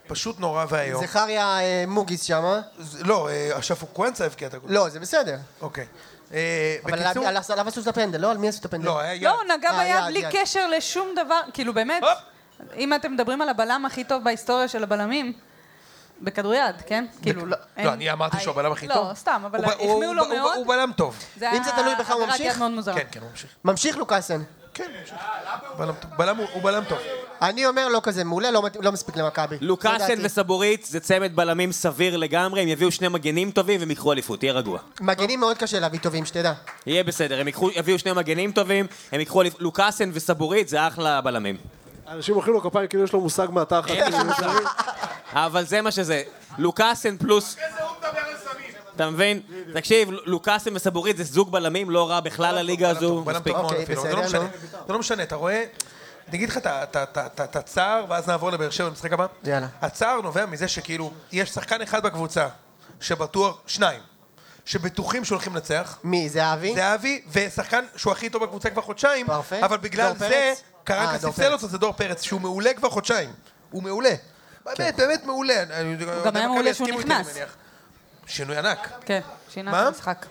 S1: פשוט נורא ואיום.
S2: זכריה אה, מוגיס שמה.
S1: זה- לא, אה, השפוקוואנסה הבקיע את הגול.
S2: לא, זה בסדר.
S1: אוקיי. אה,
S2: אבל
S1: בקיצור,
S2: על- על- עליו עשו את הפנדל, לא? על מי עשו את הפנדל?
S1: לא, היה יד.
S6: לא, הוא נגע
S2: אה,
S6: ביד
S2: יד,
S6: בלי
S2: יד.
S6: קשר לשום דבר, כאילו באמת,
S1: הופ.
S6: אם אתם מדברים על הבלם הכי טוב בהיסטוריה של הבלמים, בכדוריד, כן? כאילו, לא... אין-
S1: לא, אני אמרתי שהוא
S6: אה,
S1: הבלם הכי
S6: לא,
S1: טוב.
S6: סתם, אבל
S1: הוא ב-
S6: החמיאו
S1: הוא-
S6: לו
S1: הוא-
S6: מאוד. לא.
S1: הוא בלם טוב.
S2: אם זה תלוי בך, הוא
S6: עבירת יד
S2: ממשיך?
S6: מאוד מוזרה.
S1: כן, כן, הוא ממשיך.
S2: ממשיך לוקאסן.
S1: כן, הוא ממשיך. בלם טוב. בלם הוא- הוא בלם טוב.
S2: אני אומר לא כזה מעולה, לא מת- לא מספיק למכבי. לא
S7: לוקאסן
S2: דעתי.
S7: וסבורית זה צמד בלמים סביר לגמרי, הם יביאו שני מגנים טובים והם יקחו אליפות, תהיה רגוע.
S2: מגנים מאוד קשה להביא טובים, שתדע.
S7: יהיה בסדר, הם יקחו- יביאו שני מגנים טובים, הם יקחו אליפות, לוקאסן וסבורית זה אחלה בלמים.
S3: אנשים אוכלים לו כפיים כאילו יש לו מושג מהתחת. כאילו
S7: אבל זה מה שזה. לוקאסן פלוס... אתה מבין? תקשיב, לוקאסן וסבורית זה זוג בלמים לא רע בכלל לליגה הזו.
S1: בלם
S7: מספיק.
S1: טוב מאוד
S2: אוקיי,
S1: אפילו. זה
S2: בסדר,
S1: לא משנה.
S2: נו.
S1: זה לא משנה, אתה רואה? אני אגיד לך את ה- את ה- את ה- את ה- את הצער, ואז נעבור לבאר שבע במשחק הבא.
S2: יאללה.
S1: הצער נובע מזה שכאילו, יש שחקן אחד בקבוצה, שבטוח, שניים, שבטוחים שהולכים לנצח,
S2: מי, זהבי?
S1: זהבי, ושחקן שהוא הכי טוב בקבוצה כבר חודשיים,
S2: פרפה?
S1: אבל בגלל
S2: דור
S1: זה,
S2: פרץ? אה,
S1: קרנקה
S2: דור
S1: ספסל
S2: פרץ.
S1: אותו, זה דור פרץ, שהוא מעולה כבר חודשיים. הוא מעולה.
S2: כן.
S1: באמת, באמת מעולה. אני-
S6: גם היה
S1: מכבי
S6: מעולה שהוא
S1: יסכימו איתי, אני
S6: נכנס.
S1: מניח. שינוי ענק.
S6: כן, שינה
S1: מה?
S6: את המשחק.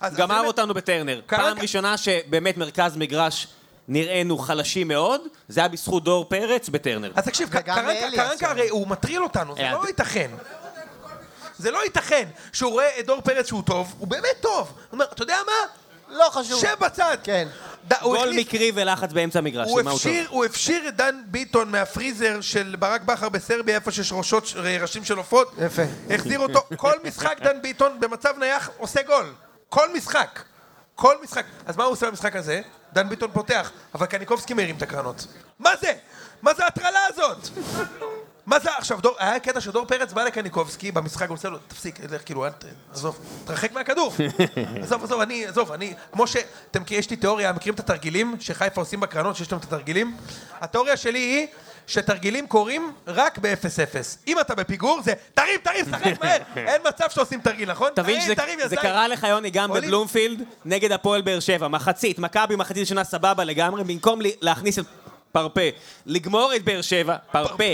S1: אז-
S7: גמר
S1: אז-
S7: אותנו בטרנר.
S1: קרנקה-
S7: פעם ראשונה שבאמת מרכז מגרש נראינו חלשים מאוד, זה היה בזכות דור פרץ בטרנר.
S1: אז תקשיב,
S2: וגם
S1: קרנקה,
S2: אלי
S1: קרנקה
S2: עשה.
S1: הרי הוא מטריל אותנו, זה
S7: אה,
S1: לא
S7: אתה-
S1: ייתכן. זה לא ייתכן שהוא רואה את דור פרץ שהוא טוב, הוא באמת טוב. הוא אומר, אתה יודע מה?
S2: לא חשוב.
S1: שב בצד.
S2: כן.
S1: ד- הוא
S7: גול
S1: הכניס-
S7: מקרי ולחץ באמצע המגרש,
S1: הוא
S7: מה הוא טוב?
S1: הפשיר, הוא הפשיר את דן ביטון מהפריזר של ברק בכר בסרביה, איפה שיש ראשות, ראשים של עופות.
S2: יפה.
S1: החזיר אותו. כל משחק דן ביטון במצב נייח עושה גול. כל משחק. כל משחק. אז מה הוא עושה במשחק הזה? דן ביטון פותח, אבל קניקובסקי מרים את הקרנות. מה זה? מה זה ההטרלה הזאת? מה זה עכשיו, דור, היה קטע שדור פרץ בא לקניקובסקי במשחק, הוא עושה לו, תפסיק, לך, כאילו, אל ת... עזוב, תרחק מהכדור. עזוב, עזוב, אני, עזוב, אני, כמו ש... אתם, יש לי תיאוריה, מכירים את התרגילים שחיפה עושים בקרנות, שיש להם את התרגילים? התיאוריה שלי היא שתרגילים קורים רק ב-0-0. אם אתה בפיגור, זה תרים, תרים, שחק מהר. אין מצב שעושים תרגיל, נכון?
S7: תבין
S1: תרים,
S7: שזה
S1: תרים,
S7: זה
S1: ידיים.
S7: קרה לך, יוני, גם
S1: עולים.
S7: בבלומפילד, נגד הפועל באר שבע. מחצית, מכבי מחצית ראשונה סבבה לגמרי, במקום ל- להכניס את פרפה, לגמור את באר שבע, פרפה,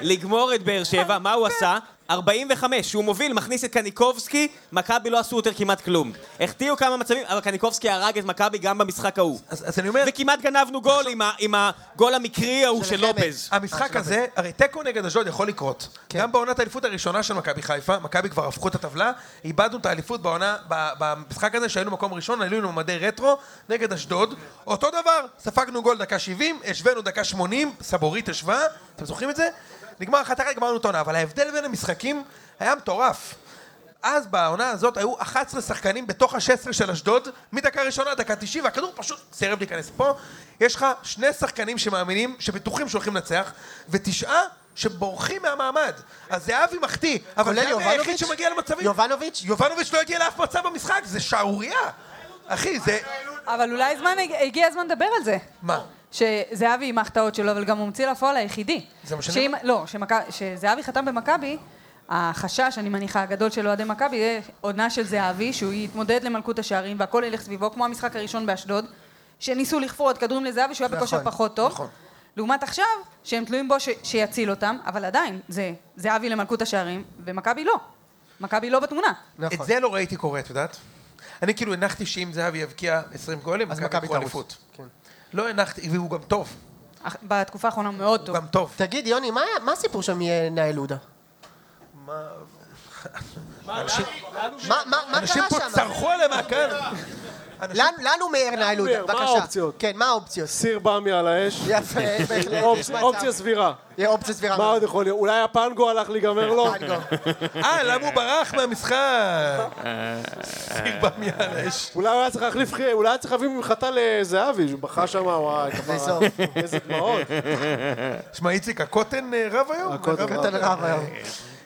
S7: לגמור את באר שבע, מה הוא עשה? 45, שהוא מוביל, מכניס את קניקובסקי, מכבי לא עשו יותר כמעט כלום. החטיאו כמה מצבים, אבל קניקובסקי הרג את מכבי גם במשחק ההוא.
S1: אז אז אני אומר,
S7: וכמעט גנבנו גול עם ה- עם הגול המקרי ההוא של לופז.
S1: המשחק הזה, הרי תיקו נגד אשדוד יכול לקרות. גם בעונת האליפות הראשונה של מכבי חיפה, מכבי כבר הפכו את הטבלה, איבדנו את האליפות בעונה, ב- במשחק הזה שהיינו מקום ראשון, עלינו לממדי רטרו נגד אשדוד. אותו דבר, ספגנו גול דקה 70, השווינו דקה 80, סבורית השווה, אתם זוכרים את זה? נגמר אחת אחת, גמרנו את העונה, אבל ההבדל בין המשחקים היה מטורף. אז בעונה הזאת היו 11 שחקנים בתוך ה-16 של אשדוד, מדקה ראשונה עד דקה 90, והכדור פשוט סירב להיכנס פה. יש לך שני שחקנים שמאמינים, שבטוחים שהולכים לנצח, ותשעה שבורחים מהמעמד. אז זהבי מחטיא, אבל
S2: כולל
S1: זהבי היחיד
S2: יובנוביץ'?
S1: שמגיע למצבים.
S2: יובנוביץ'?
S1: יובנוביץ' לא הגיע לאף מצב במשחק, זה שערורייה. אחי, זה...
S6: אבל אולי זמן, הגיע הזמן לדבר על זה.
S1: מה?
S6: שזהבי עם ההחטאות שלו, אבל גם הוא המציא לפועל היחידי.
S1: זה מה שאני
S6: שאם- לא, שמכ- שזהבי חתם במכבי, החשש, אני מניחה, הגדול של אוהדי מכבי, יהיה עונה של זהבי, שהוא יתמודד למלכות השערים והכל ילך סביבו, כמו המשחק הראשון באשדוד, שניסו לכפות כדורים לזהבי, שהוא היה
S1: נכון,
S6: בכושר פחות טוב.
S1: נכון.
S6: לעומת עכשיו, שהם תלויים בו ש- שיציל אותם, אבל עדיין, זה זהבי למלכות השערים, ומכבי לא. מכבי לא בתמונה.
S2: נכון.
S1: את זה לא ראיתי קורה, את יודעת? אני כאילו הנחתי שאם זהבי יבקיע 20 גולים,
S2: אז
S1: מכבי
S2: מכבי
S1: יקחו
S2: תרוץ.
S1: אליפות.
S2: כן.
S1: לא הנחתי, והוא גם טוב.
S6: אך- בתקופה האחרונה מאוד
S1: הוא
S6: טוב.
S1: גם טוב.
S2: תגיד, יוני, מה היה- מה הסיפור שם יהיה עודה? מה מה- מה
S1: אנשים פה
S2: קרה שם?
S1: צרחו עליהם מהקהל.
S2: לנו- לנו מאיר נאי עודה,
S3: מה
S2: בבקשה.
S3: האופציות?
S2: כן, מה
S8: [LAUGHS]
S2: האופציות?
S3: סיר במיה על האש.
S2: יפה, בהחלט.
S3: אופציה-
S2: נשמע
S3: אופציה
S2: טוב.
S3: סבירה.
S2: יהיה אופציה סבירה.
S3: מה עוד יכול להיות? אולי הפנגו הלך להיגמר לא. לו?
S1: אה, למה הוא ברח מהמשחק? סיר במיאל אש.
S3: אולי הוא היה צריך להחליף, חי- אולי היה צריך להביא ממחטה לזהבי, שהוא בכה שם,
S7: [LAUGHS]
S3: וואי, כפרה.
S2: בסוף.
S3: איזה דמעות.
S7: כאילו-
S1: שמע, איציק, הקוטן אה, רב היום?
S3: הקוטן
S1: רב.
S3: רב.
S2: קטן רב היום.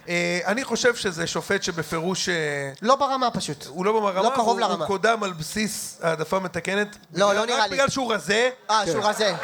S1: אה, אני חושב שזה שופט שבפירוש... אה,
S2: לא ברמה פשוט.
S1: הוא לא ברמה,
S2: לא קרוב
S1: הוא-
S2: לרמה.
S1: הוא קודם על בסיס העדפה מתקנת.
S2: לא,
S1: בגלל-
S2: לא נראה
S1: רק
S2: לי.
S1: בגלל שהוא רזה,
S2: אה, שהוא רזה.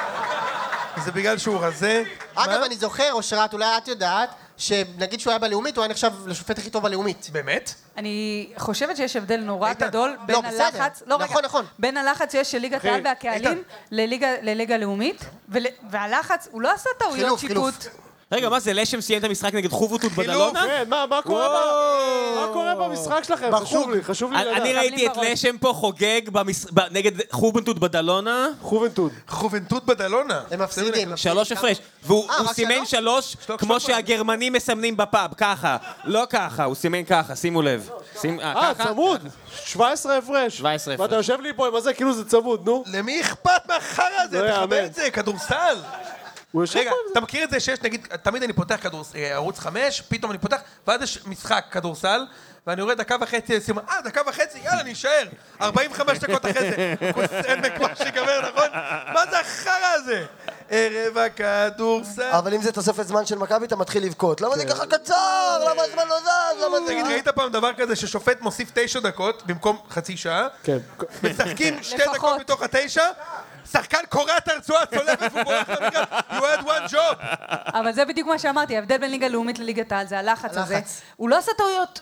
S1: זה בגלל שהוא רזה.
S2: אגב,
S1: מה?
S2: אני זוכר, אושרת, אולי את יודעת, שנגיד שהוא היה בלאומית, הוא היה נחשב לשופט הכי טוב בלאומית.
S1: באמת?
S6: אני חושבת שיש הבדל נורא
S1: איתן,
S6: גדול בין
S2: לא, בסדר.
S6: הלחץ, לא
S2: נכון,
S6: רגע,
S2: נכון.
S6: בין הלחץ שיש של ליגת העל והקהלים לליגה- לליגה לאומית, ול- והלחץ, הוא לא עשה טעויות
S2: חילוף, חילוף.
S6: שיפוט.
S7: רגע, מה זה, לשם סיים את המשחק נגד חובוטות בדלונה?
S3: כן, מה מה קורה ב- מה קורה במשחק שלכם? חשוב לי, חשוב לי
S7: אני- אני
S3: לדעת.
S7: ראיתי את
S6: בראש.
S7: לשם פה חוגג במש- ב- נגד חובוטות בדלונה,
S3: אה, חובנטוד.
S1: חובנטות בדלונה.
S2: הם מפסידים.
S7: שלוש הפרש, והוא
S2: אה,
S7: הוא
S2: רק
S7: סימן
S2: שלוש?
S7: שלוש, כמו שהגרמנים מסמנים בפאב, ככה, לא ככה, הוא סימן ככה, שימו לב. שים-
S3: אה,
S7: ככה?
S3: צמוד. 17 הפרש.
S7: 17 הפרש.
S3: ואתה יושב לי פה עם הזה, כאילו זה צמוד, נו.
S1: למי אכפת מהחרא הזה?
S3: לא
S1: תכבד
S3: יאמן.
S1: את זה, כדורסל.
S3: הוא יושב
S1: רגע,
S3: פה.
S1: אתה מכיר את זה שיש, נגיד, תמיד אני פותח כדורס- אה, ערוץ 5, פתאום אני פותח, ואז יש משחק כדורסל, ואני יורד דקה וחצי לסיום, אה, דקה וחצי, יאללה, אני אשאר. 45 דקות אחרי זה, כוס עמק כבר שיגמר, נכון? מה זה החרא הזה? ערב הכדורסל.
S8: אבל אם זה תוספת זמן של מכבי, אתה מתחיל לבכות. למה זה ככה קצר? למה הזמן לא זז? למה זה...
S1: תגיד, ראית פעם דבר כזה ששופט מוסיף תשע דקות במקום חצי שעה?
S3: כן.
S1: משחקים שתי
S6: לפחות.
S1: דקות מתוך התשע? שחקן קורע את הרצועה, צולף והוא בורח למגרש, you had one job!
S6: אבל זה בדיוק מה שאמרתי, ההבדל בין ליגה לאומית לליגת העל זה הלחץ הזה.
S2: הלחץ.
S6: הוא לא עשה טעויות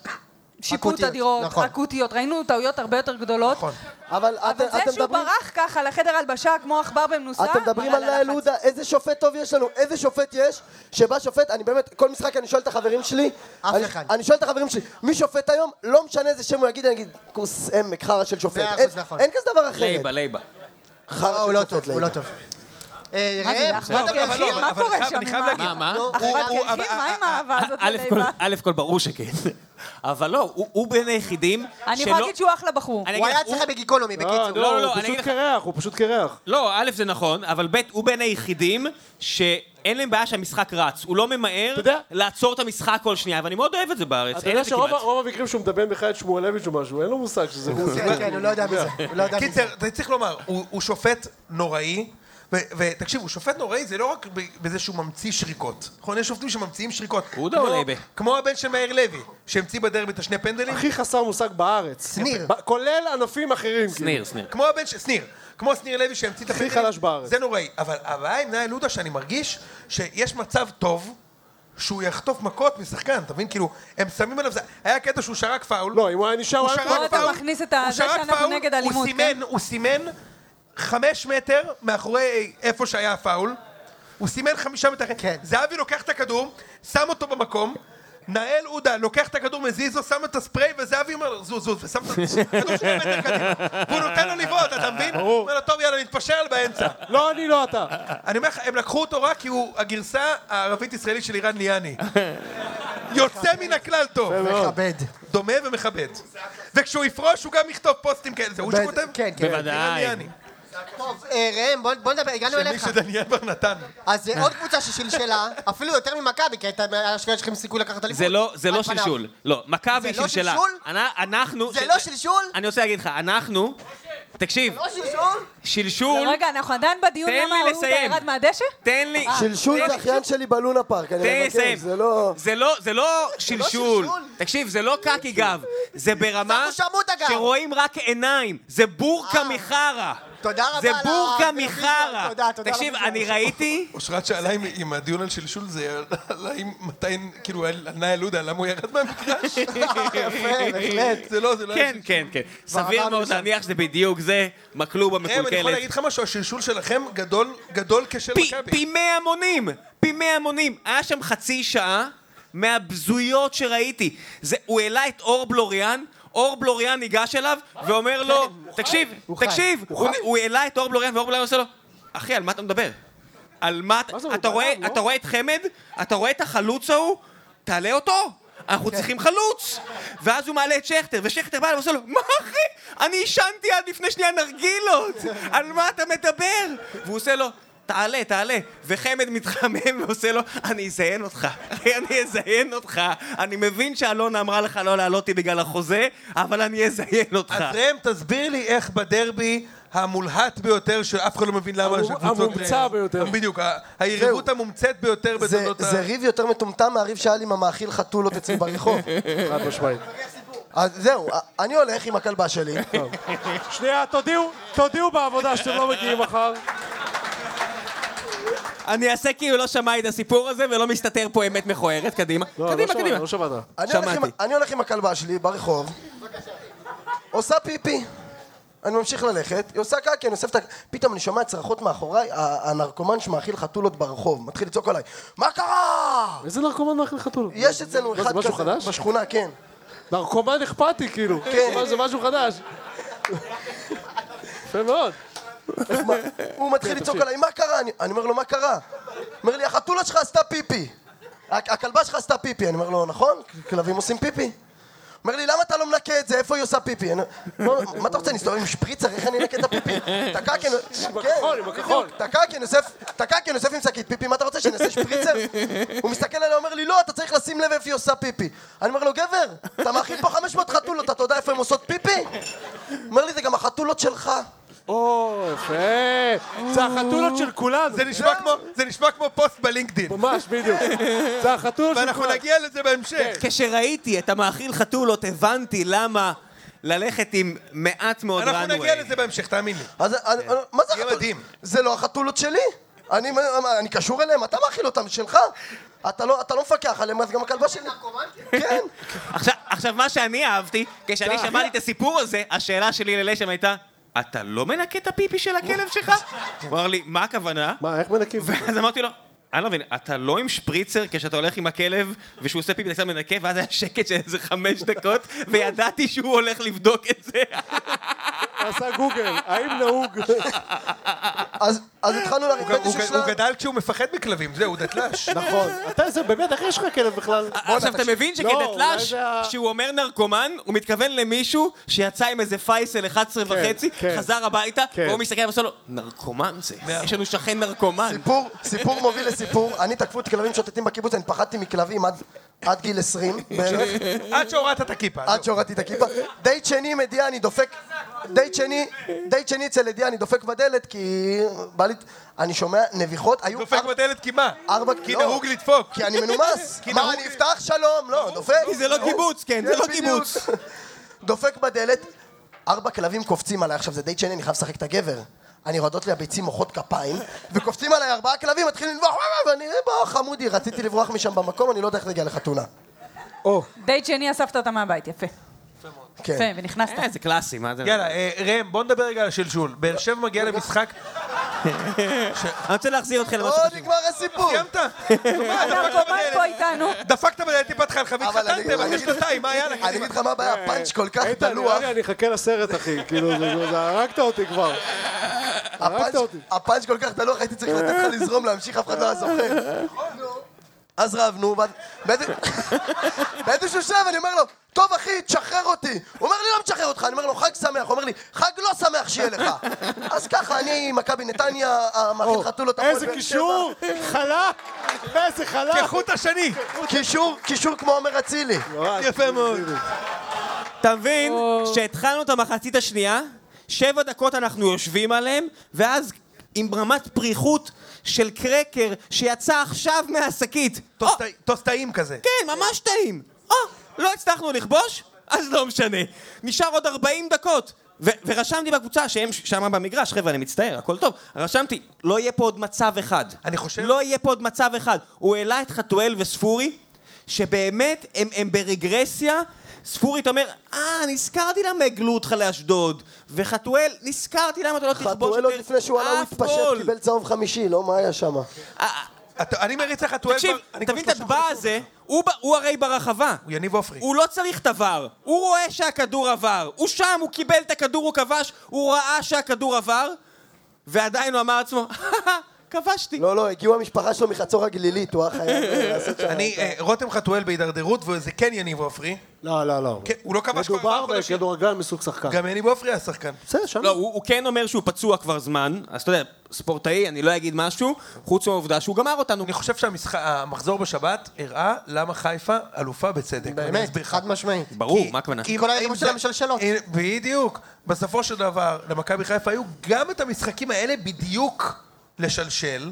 S6: שיפוט
S2: אקוטיות,
S6: אדירות,
S2: נכון.
S6: אקוטיות, ראינו טעויות הרבה יותר גדולות,
S1: נכון.
S8: אבל את-
S6: אבל זה
S8: אתם
S6: שהוא
S8: מדברים...
S6: ברח ככה לחדר הלבשה כמו עכבר במנוסה,
S8: אתם מדברים
S6: מראה
S8: על נאל
S6: הלחץ.
S8: הודה, איזה שופט טוב יש לנו, איזה שופט יש, שבא שופט, אני באמת, כל משחק אני שואל את החברים שלי,
S2: אף
S8: אני-
S2: אחד.
S8: אני שואל את החברים שלי, מי שופט היום, לא משנה איזה שם הוא יגיד, אני אגיד, כוס עמק, חרא של שופט,
S2: מאה
S8: אין
S2: אחוז, נכון.
S8: אין כזה דבר אחר,
S7: לייבה, לייבה.
S8: חרא
S2: אה, הוא
S8: של
S2: לא טוב,
S8: שופט,
S2: הוא לא
S8: לידה.
S2: טוב. אה,
S6: מה זה,
S2: ראם,
S6: אחמד?
S2: מה אתה
S1: אבל לא,
S6: אחי, כן, מה
S1: אבל- אבל
S6: קורה
S1: אני
S6: שם
S1: חייב
S6: עם
S1: להגיד-
S7: מה, מה?
S2: לא,
S6: אחי,
S2: הוא- אה,
S1: הוא- אבל-
S6: מה עם האהבה הזאת
S7: א' כל-
S6: לליבה?
S7: א' כל ברור שכן, אבל לא, הוא הוא בין היחידים שלא...
S6: אני יכולה להגיד שהוא אחלה בחור.
S7: אני
S2: הוא
S7: אגיד
S2: היה
S7: לך, הוא-
S2: אצלך בגיקונומי,
S3: אה,
S2: בקיצור.
S7: לא,
S3: לא,
S7: לא,
S3: הוא
S7: אני
S3: פשוט
S7: אגיד לך-
S3: קרח, הוא פשוט קרח.
S7: לא, א' זה נכון, אבל ב' הוא בין היחידים שאין להם בעיה שהמשחק רץ. הוא לא ממהר
S3: אתה יודע-
S7: לעצור את המשחק כל שנייה, ואני מאוד אוהב את זה בארץ.
S3: אתה
S7: אין
S3: יודע
S7: את זה
S3: שרוב
S7: כמעט.
S3: ה- רוב המקרים שהוא מדמיין בכלל את שמואלביץ' או משהו, אין לו מושג שזה
S7: [LAUGHS]
S3: הוא.
S2: כן, כן, הוא לא יודע מזה, הוא לא יודע מזה.
S1: קיצר, אתה צריך לומר, הוא הוא שופט נוראי, ו- ותקשיב, הוא שופט נוראי זה לא רק ב- בזה שהוא ממציא שריקות. נכון, יש שופטים שממציאים שריקות.
S7: הוא לא
S1: כמו-
S7: עולה ב-
S1: כמו הבן של מאיר לוי, שהמציא בדרבי את השני פנדלים.
S3: הכי חסר מושג בארץ.
S2: שניר.
S3: ב- כולל ענפים אחרים. כאילו.
S7: שניר, שניר.
S1: כמו הבן של שניר, כמו שניר לוי שהמציא את
S3: הכי
S1: הפנדלים.
S3: חלש בארץ.
S1: זה נוראי. אבל הבעיה עם נאי לודה שאני מרגיש שיש מצב טוב שהוא יחטוף מכות משחקן, אתה מבין? כאילו, הם שמים עליו זה. היה קטע שהוא שרק פאול.
S3: לא, אם הוא היה נשאר, הוא
S1: הוא
S3: היה
S1: שרק
S6: אתה
S1: פאול,
S6: מכניס את ה-
S1: הוא
S6: זה
S1: שרק
S6: שאנחנו
S1: פאול,
S6: נגד אלימות,
S1: הוא סימן, הוא סימן חמש מטר מאחורי איפה שהיה הפאול, הוא סימן חמישה מטר,
S2: כן.
S1: זהבי לוקח את הכדור, שם אותו במקום, נאל עודה לוקח את הכדור מזיזו, שם את הספרי, וזהבי אומר לו, זוז, זוז, ושם את הכדור שני מטר קדימה, והוא נותן לו לבעוט, אתה מבין? הוא אומר לו, טוב, יאללה, נתפשר על באמצע.
S3: לא, אני לא אתה.
S1: אני אומר לך, הם לקחו אותו רק כי הוא הגרסה הערבית-ישראלית של איראן ליאני. יוצא מן הכלל טוב.
S2: מכבד.
S1: דומה ומכבד. וכשהוא יפרוש הוא גם יכתוב פוסטים כאלה, זה הוא
S2: בד-
S1: שכותב?
S2: כן, כן.
S7: בוודאי.
S1: דניאני.
S2: טוב, אה, ראם, בוא בוא נדבר, הגענו
S1: שמי
S2: אליך.
S1: שדניאל בר נתן.
S2: אז אה, עוד קבוצה ששלשלה, אפילו יותר ממכבי, כי הייתה- אשכרה יש לכם סיכוי לקחת אליפות.
S7: זה לא, זה
S2: על
S7: לא
S2: פניו.
S7: שלשול. לא, מכבי
S2: זה לא
S7: שלשלה.
S2: שלשול?
S7: אנ- אנחנו...
S2: זה
S7: ש-
S2: לא שלשול?
S7: אני רוצה להגיד לך, אנחנו... תקשיב,
S2: לא שלשום?
S7: שלשול,
S6: רגע, אנחנו עדיין בדיון
S7: תן
S6: למה
S7: לי
S6: ההוא
S7: לסיים.
S6: ירד מהדשא?
S7: תן לי...
S2: אה.
S9: שלשול
S7: תן
S9: זה
S7: לי-
S9: אחיין שלי בלונה פארק,
S7: תן
S9: אני
S7: לי
S9: מבקש,
S7: לסיים.
S9: זה לא...
S7: זה לא, זה לא שלשול.
S2: שלשול.
S7: תקשיב, זה לא קקי גב. זה ברמה
S2: אנחנו שמות אגב. אה.
S7: שרואים רק עיניים. זה בורקה מחרא.
S2: תודה רבה
S7: זה
S2: על
S7: בורקה
S2: הטלוויזיה.
S7: מחרא.
S2: תודה, תודה
S7: תקשיב,
S2: לביזיון.
S7: אני ראיתי...
S1: אושרת שאלה אם- אם הדיון על שלשול זה, על האם מתי, כאילו, על נאי לודה, למה הוא ירד מהמגרש?
S2: [LAUGHS] יפה, בהחלט.
S1: זה לא, זה לא...
S7: כן, כן, כן. סביר מאוד להניח שזה בדיוק זה,
S2: כן,
S7: מקלובה
S1: ראם, אני יכול
S7: מקולקלת.
S1: להגיד לך משהו, השלשול שלכם גדול, גדול כשל
S7: פי-
S1: מכבי.
S7: פי מאה מונים! פי מאה מונים! היה שם חצי שעה מהבזויות שראיתי. זה, הוא העלה את אור בלוריאן, אור בלוריאן ניגש אליו ואומר לו, תקשיב, תקשיב, הוא- הוא העלה את אור בלוריאן ואור בלוריאן עושה לו, אחי, על מה אתה מדבר? על מה אתה...
S3: זה, הוא
S7: אתה רואה-
S3: גנב, לא?
S7: אתה רואה את חמד? אתה רואה את החלוץ ההוא? תעלה אותו! אנחנו צריכים חלוץ! ואז הוא מעלה את שכטר, ושכטר בא אליו ועושה לו, מה אחי? אני עישנתי עד לפני שנייה נרגילות! על מה אתה מדבר? והוא עושה לו, תעלה, תעלה. וחמד מתחמם ועושה לו, אני אזיין אותך. אחי, אני אזיין אותך. אני מבין שאלונה אמרה לך לא לעלות אותי בגלל החוזה, אבל אני אזיין אותך.
S1: אז ראם, תסביר לי איך בדרבי המולהט ביותר, שאף אחד לא מבין למה...
S3: המום-
S1: שהקבוצות-
S3: המומצא ביותר.
S1: בדיוק, ה- היריבות המומצאת ביותר
S9: זה-
S1: בתולדות ה...
S9: זה ריב יותר מטומטם מהריב שהיה לי עם המאכיל חתולות אצלי ברחוב.
S3: חד [LAUGHS] משמעית.
S9: אז זהו, אני הולך עם הכלבה שלי.
S3: שנייה, תודיעו, תודיעו בעבודה שאתם לא מגיעים מחר.
S5: אני אעשה כאילו לא שמע את הסיפור הזה ולא מסתתר פה אמת מכוערת, קדימה.
S3: לא, לא
S5: קדימה,
S3: שמעת,
S5: קדימה.
S3: לא שמעת.
S9: אני הולך עם-
S5: שמעתי.
S9: אני הולך עם הכלבה שלי ברחוב, עושה פיפי. אני ממשיך ללכת, היא עושה קקי, אני אוסף את ה... פתאום אני שומע צרחות מאחוריי, ה- הנרקומן שמאכיל חתולות ברחוב, מתחיל לצעוק עליי, מה קרה?
S3: איזה נרקומן מאכל חתול?
S9: יש אצלנו
S3: מה, זה
S9: אחד
S3: משהו
S9: כזה,
S3: חדש?
S9: בשכונה, כן.
S3: נרקומן אכפתי, כאילו.
S9: כן.
S3: זה משהו חדש. יפה מאוד.
S9: מה- הוא
S3: כן,
S9: מתחיל לצעוק עליי, מה קרה? אני- אני אומר לו, מה קרה? אומר לי, החתולה שלך עשתה פיפי. הכ- הכלבה שלך עשתה פיפי. אני אומר לו, נכון, כלבים עושים פיפי. אומר לי, למה אתה לא מנקה את זה? איפה היא עושה פיפי? אני אומר, "לא, מה אתה רוצה, נסתובב עם שפריצר? איך אני אנקה את הפיפי? תקע כן,
S3: הכחול, עם הכחול.
S9: בדיוק, תקע כן, יוסף, תקע כן, יוסף עם שקית פיפי, מה אתה רוצה, שאני אעשה שפריצר? הוא מסתכל עליי, אומר לי, לא, אתה צריך לשים לב איפה היא עושה פיפי. אני אומר לו, גבר, אתה מאכיל פה 500 חתולות, אתה יודע איפה הן עושות פיפי? אומר לי, זה גם החתולות שלך.
S3: או, יפה. זה החתולות של כולם.
S1: זה נשמע כמו- זה נשמע כמו פוסט בלינקדאין.
S3: ממש, בדיוק. זה החתולות של
S1: ואנחנו
S3: כולם.
S1: נגיע לזה בהמשך.
S5: כשראיתי את המאכיל חתולות, הבנתי למה ללכת עם מעט מאוד runway.
S1: אנחנו נגיע לזה בהמשך, תאמין לי.
S9: אז אני- אני- מה זה
S1: יהיה
S9: החתול?
S1: מדהים.
S9: זה לא החתולות שלי. אני אני קשור אליהם, אתה מאכיל אותם, שלך. אתה לא, אתה לא מפקח עליהם, אז גם הכלבה שלי. כן.
S7: עכשיו, עכשיו, מה שאני אהבתי, כשאני שמעתי את הסיפור הזה, השאלה שלי ללשם הייתה, אתה לא מנקה את הפיפי של הכלב שלך? הוא אמר לי, מה הכוונה?
S3: מה, איך מנקים?
S7: ואז אמרתי לו, אני לא מבין, אתה לא עם שפריצר כשאתה הולך עם הכלב, ושהוא עושה פיפי אתה קצת מנקה, ואז היה שקט של איזה חמש דקות, וידעתי שהוא הולך לבדוק את זה.
S3: עשה גוגל, האם נהוג?
S9: אז, אז התחלנו לריב
S1: הוא-
S9: בנשק
S1: הוא-
S9: שלה.
S1: הוא גדל כשהוא מפחד מכלבים, זהו, הוא [LAUGHS] דתל"ש.
S3: נכון. אתה איזה, באמת, איך יש לך כלב בכלל?
S5: עכשיו אתה מבין
S3: לא, אולי
S5: שכדתל"ש,
S3: זה ה-
S5: כשהוא אומר נרקומן, הוא מתכוון למישהו שיצא עם איזה פייסל 11 וחצי,
S3: כן.
S5: חזר הביתה,
S3: כן.
S5: והוא מסתכל ועושה לו, נרקומן זה, יש לנו שכן נרקומן.
S9: סיפור, סיפור מוביל לסיפור. אני תקפו את כלבים שוטטים בקיבוץ, אני פחדתי מכלבים עד, עד גיל 20 בערך.
S1: [LAUGHS] עד שהורדת את הכיפה. לא.
S9: עד שהורדתי את הכיפה. דייט שני עם אדיה, אני דופק... דייט שני, דייט שני אצל אדיה, אני דופק בדלת כי... בא לי... אני שומע נביחות, היו...
S1: דופק
S9: ארבע-
S1: בדלת כי מה?
S9: ארבע...
S1: כי
S9: לא.
S1: נהוג לדפוק.
S9: כי אני מנומס.
S1: כי
S9: מה,
S1: נהוג-
S9: אני אפתח שלום? לא, דופק.
S5: כי זה לא קיבוץ, כן, זה לא
S9: בדיוק.
S5: קיבוץ.
S9: דופק בדלת, ארבע כלבים קופצים עליי, עכשיו זה דייט שני, אני חייב לשחק את הגבר. אני רועדות לי הביצים מוחאות כפיים, וקופצים עליי ארבעה כלבים, מתחילים לברוח, ואני, "אה, בוא, חמודי, רציתי לברוח משם במקום, אני לא יודע איך להגיע לחתונה.
S6: דייט שני אספת אותה מהבית, יפה. יפה,
S9: כן.
S6: ונכנסת.
S5: אה, זה קלאסי, מה זה?
S1: יאללה, אה, ראם, בוא נדבר רגע על השלשול. באר שבע מגיע למשחק...
S5: אני רוצה להחזיר אתכם
S9: או,
S5: למשהו חשוב.
S9: נגמר הסיפור.
S1: [LAUGHS] סיימת?
S6: הנרקומן פה איתנו.
S1: דפקת בדלת, טיפת חלחבית,
S9: אבל אני-
S1: חתנתם, אחרי
S9: אני-
S1: שנתיים, מה היה לכם?
S9: אני אגיד לך מה הבעיה, הפאנץ' כל כך
S3: איתן,
S9: דלוח,
S3: נראה לי אני אחכה לסרט, אחי. כאילו, זה- זה- זה- הרגת אותי כבר. הרגת
S9: הפאנץ'-
S3: אותי.
S9: הפאנץ' כל כך דלוח, הייתי צריך לתת לך לזרום, להמשיך, אף אחד לא היה זוכר. אז רבנו, ואז- באיזה- באיזשהו שלב אני אומר לו, טוב אחי, תשחרר אותי. הוא אומר לי, לא משחרר אותך, אני אומר לו, חג שמח. הוא אומר לי, חג לא שמח שיהיה לך. אז ככה, אני מכבי נתניה, המאכיל חתולות, הפועל
S3: איזה
S9: באר שבע.
S3: קישור! חלק! איזה חלק!
S1: כחוט השני!
S9: קישור, קישור כמו עומר אצילי.
S3: ממש.
S1: יפה מאוד.
S5: אתה מבין שהתחלנו את המחצית השנייה
S7: שבע דקות אנחנו יושבים עליהם, ואז עם רמת פריחות של קרקר שיצא עכשיו מהשקית.
S1: טוס
S7: או,
S1: טעים- טוס טעים כזה.
S7: כן, ממש טעים. או, לא הצלחנו לכבוש? אז לא משנה. נשאר עוד 40 דקות. ו- ורשמתי בקבוצה שהם ש- שם במגרש, חבר'ה, אני מצטער, הכל טוב. רשמתי, לא יהיה פה עוד מצב אחד.
S1: אני חושב-
S7: לא יהיה פה עוד מצב אחד. הוא העלה את חתואל וספורי, שבאמת הם, הם ברגרסיה. ספורי, אתה אומר, אה, נזכרתי למה הגלו אותך לאשדוד. וחתואל, נזכרתי למה אתה לא תכבוש
S8: חתואל עוד
S7: יותר
S8: לפני שהוא עלה, הוא
S7: אף
S8: התפשט,
S7: גול."
S8: קיבל צהוב חמישי, לא? מה היה שם?
S7: אה,
S1: אתה- אני מריץ לך טואל
S7: תקשיב,
S1: כבר- אני כבר
S7: תבין את
S1: שלושה
S7: הדבר
S1: חודשים.
S7: הזה, הוא ב- הוא הרי ברחבה.
S1: הוא יניב עופרי.
S7: הוא לא צריך את הוואר, הוא רואה שהכדור עבר, הוא שם, הוא קיבל את הכדור, הוא כבש, הוא ראה שהכדור עבר, ועדיין הוא אמר לעצמו, כבשתי.
S8: לא, לא, הגיעו המשפחה שלו מחצור הגלילית, הוא היה חייב אה, לעשות שם.
S1: אני, אה, רותם חתואל בהידרדרות, וזה כן יניב עופרי.
S3: לא, לא, לא.
S1: כן, הוא לא כבש כבר
S3: מדובר
S1: ארבעה חודשים.
S3: בכדורגלן מסוג שחקן.
S1: גם יניב עופרי היה שחקן.
S3: בסדר, שם.
S7: לא, הוא, הוא כן אומר שהוא פצוע כבר זמן, אז אתה יודע, ספורטאי, אני לא אגיד משהו, חוץ מהעובדה שהוא גמר אותנו.
S1: אני חושב שהמחזור בשבת הראה למה חיפה אלופה בצדק. ואני
S2: באמת,
S1: אסביר לך.
S2: חד משמעית.
S7: ברור,
S1: כי-
S7: מה הכוונה?
S1: כי
S2: כל
S1: אם
S2: ההגמות
S1: זה-
S2: של המשלשלות.
S1: אה, בדיוק. בסופו של דבר, למכבי חיפה היו גם את המשחקים האלה בדיוק לשלשל.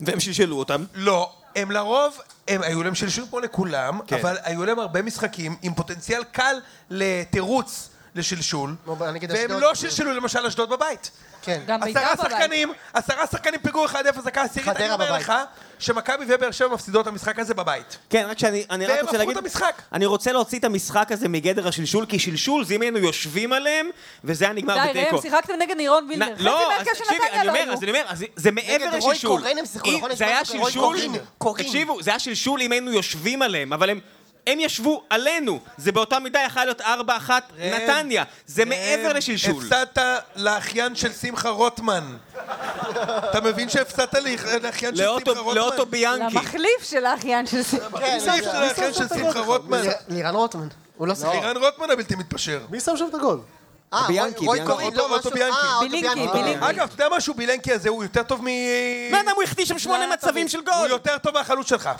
S7: והם שלשלו אותם.
S1: לא, הם לרוב, הם היו להם שלשול כמו לכולם,
S7: כן.
S1: אבל היו להם הרבה משחקים עם פוטנציאל קל לתירוץ לשלשול,
S2: כמו נגד
S1: והם
S2: אשדוד.
S1: לא שלשלו למשל אשדוד בבית.
S2: כן.
S6: גם בית"ר
S1: עשרה
S6: בבית.
S1: שחקנים, עשרה שחקנים פיגור 1-0 דקה עשירית,
S2: חדרה
S1: אני אומר
S2: בבית.
S1: לך שמכבי ובאר שבע מפסידות את המשחק הזה בבית.
S7: כן, רק שאני אני רק
S1: והם
S7: רוצה
S1: הפכו
S7: להגיד...
S1: את המשחק.
S7: אני רוצה להוציא את המשחק הזה מגדר השלשול, כי שלשול זה אם היינו יושבים עליהם, וזה היה נגמר
S6: די,
S7: בתיקו.
S6: ראם, שיחקתם נגד נירון
S7: נ-
S6: בילדר.
S7: לא, אז
S6: חצי מהרכב של
S7: תקשיבי,
S6: נתניה
S7: אני
S6: לא
S7: אומר,
S6: היו.
S7: אז אני אומר, אז זה מעבר
S2: נגד רוי
S7: לשלשול.
S2: קורין הם שיחקו,
S7: אם-
S2: נכון? יש
S7: זה היה
S2: משהו כזה, רוי
S7: שלשול,
S2: קורין, קורין.
S7: תקשיבו, זה היה שלשול אם היינו יושבים עליהם, אבל הם... הם ישבו עלינו, זה באותה מידה יכול להיות 4-1 נתניה, זה מעבר
S1: הם-
S7: לשלשול.
S1: אה, הפסדת לאחיין של שמחה רוטמן. אתה מבין שהפסדת לאח- לאחיין של
S7: לאוטו-
S1: שמחה רוטמן?
S7: לאוטו ביאנקי.
S6: למחליף של האחיין של סיפור.
S2: כן,
S1: סעיף של האחיין של שמחה רוטמן.
S2: ליר- לירן רוטמן. הוא לא שיחק.
S1: לירן רוטמן הבלתי מתפשר.
S3: מי שם שם את הגול?
S2: אה, רוי-
S7: ביאנקי,
S2: רוי
S7: ביאנקי.
S2: קורין, לא,
S1: אוטו-
S2: משהו-
S1: ביאנקי.
S2: אה, אוטו
S6: בילינקי, בילינקי.
S1: אגב, אתה יודע משהו? בילנקי הזה הוא יותר טוב מ...
S7: בן אדם, הוא החטיא שם שמונה מצבים של
S1: הוא
S7: גול.
S1: יותר טוב מהחלוץ שלך.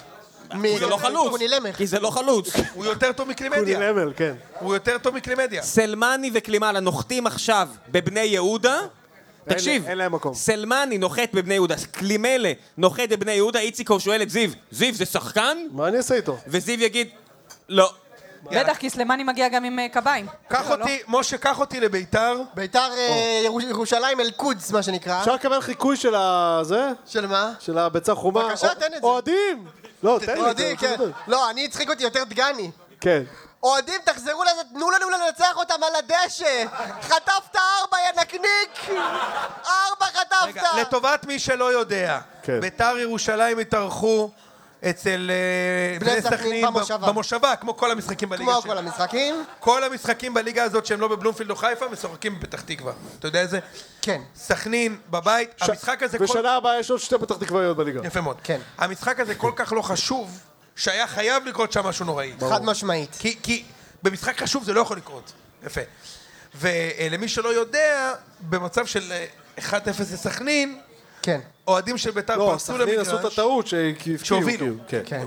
S2: מ-
S7: זה לא חלוץ,
S2: קונילמך.
S7: כי זה לא חלוץ.
S1: הוא יותר טוב מקלימדיה.
S3: קולי למל, כן.
S1: הוא יותר טוב מקלימדיה.
S7: סלמני וקלימאלה נוחתים עכשיו בבני יהודה. תקשיב,
S3: אין להם מקום.
S7: סלמני נוחת בבני יהודה, קלימלה נוחת בבני יהודה, איציקו שואל את זיו, זיו זה שחקן?
S3: מה אני אעשה איתו?
S7: וזיו יגיד, לא.
S6: בטח, כי סלימני מגיע גם עם אה, קביים.
S1: קח
S6: לא, לא.
S1: אותי, משה, קח אותי לביתר.
S2: ביתר אה, ירוש- ירושלים אל-קודס, מה שנקרא.
S3: אפשר לקבל חיקוי של ה... זה?
S2: של מה?
S3: של הביצה חומה?
S2: בבקשה, תן את זה.
S3: אוהדים! לא, תן לי.
S2: אוהדים, כן.
S3: אתה יודע.
S2: לא, אני הצחיק אותי יותר דגני.
S3: כן.
S2: אוהדים, תחזרו לזה, תנו לנו לנצח אותם על הדשא! חטפת ארבע, יא נקניק! ארבע
S1: רגע,
S2: חטפת!
S1: לטובת מי שלא יודע,
S3: כן.
S1: ביתר ירושלים התארחו אצל אה,
S2: בני סכנין במושבה.
S1: במושבה, כמו כל המשחקים בליגה
S2: כמו
S1: שלה.
S2: כל המשחקים.
S1: כל המשחקים בליגה הזאת שהם לא בבלומפילד או חיפה, משוחקים בפתח תקווה. אתה יודע איזה?
S2: כן.
S1: סכנין, בבית, המשחק הזה... כל-
S3: ושנה הבאה יש עוד שתי פתח תקוויות בליגה.
S1: יפה מאוד.
S2: כן.
S1: המשחק הזה כל כך לא חשוב, שהיה חייב לקרות שם משהו נוראי.
S2: חד משמעית.
S1: כי, כי במשחק חשוב זה לא יכול לקרות. יפה. ולמי שלא יודע, במצב של אה, 1-0 לסכנין,
S2: כן.
S1: אוהדים של ביתר
S3: לא,
S1: פרצו
S3: סכנין
S1: למגרש,
S3: עשו את הטעות שהפקיעו.
S1: שהובילו.
S3: כאילו, כן.
S2: כן.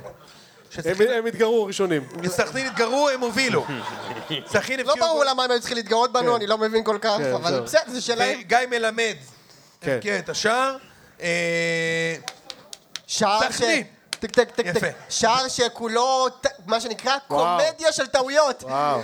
S1: שסכנין-
S3: הם- הם התגרעו ראשונים.
S1: סכנין התגרו, הם
S3: [LAUGHS]
S1: הובילו. סכנין
S2: לא
S1: הבקיעו
S2: ברור
S1: גול.
S2: למה הם היו צריכים להתגאות
S3: כן.
S2: בנו, אני לא מבין כל כך,
S3: כן,
S2: אבל
S3: זהו.
S2: בסדר, זה שלהם.
S1: וגיא מלמד
S3: כן.
S1: הבקיע את השער. אה,
S2: שער ש...
S1: סכנין.
S2: טק טק טק
S1: יפה.
S2: טק. שער שכולו, ט- מה שנקרא,
S3: וואו.
S2: קומדיה של טעויות.
S3: וואו.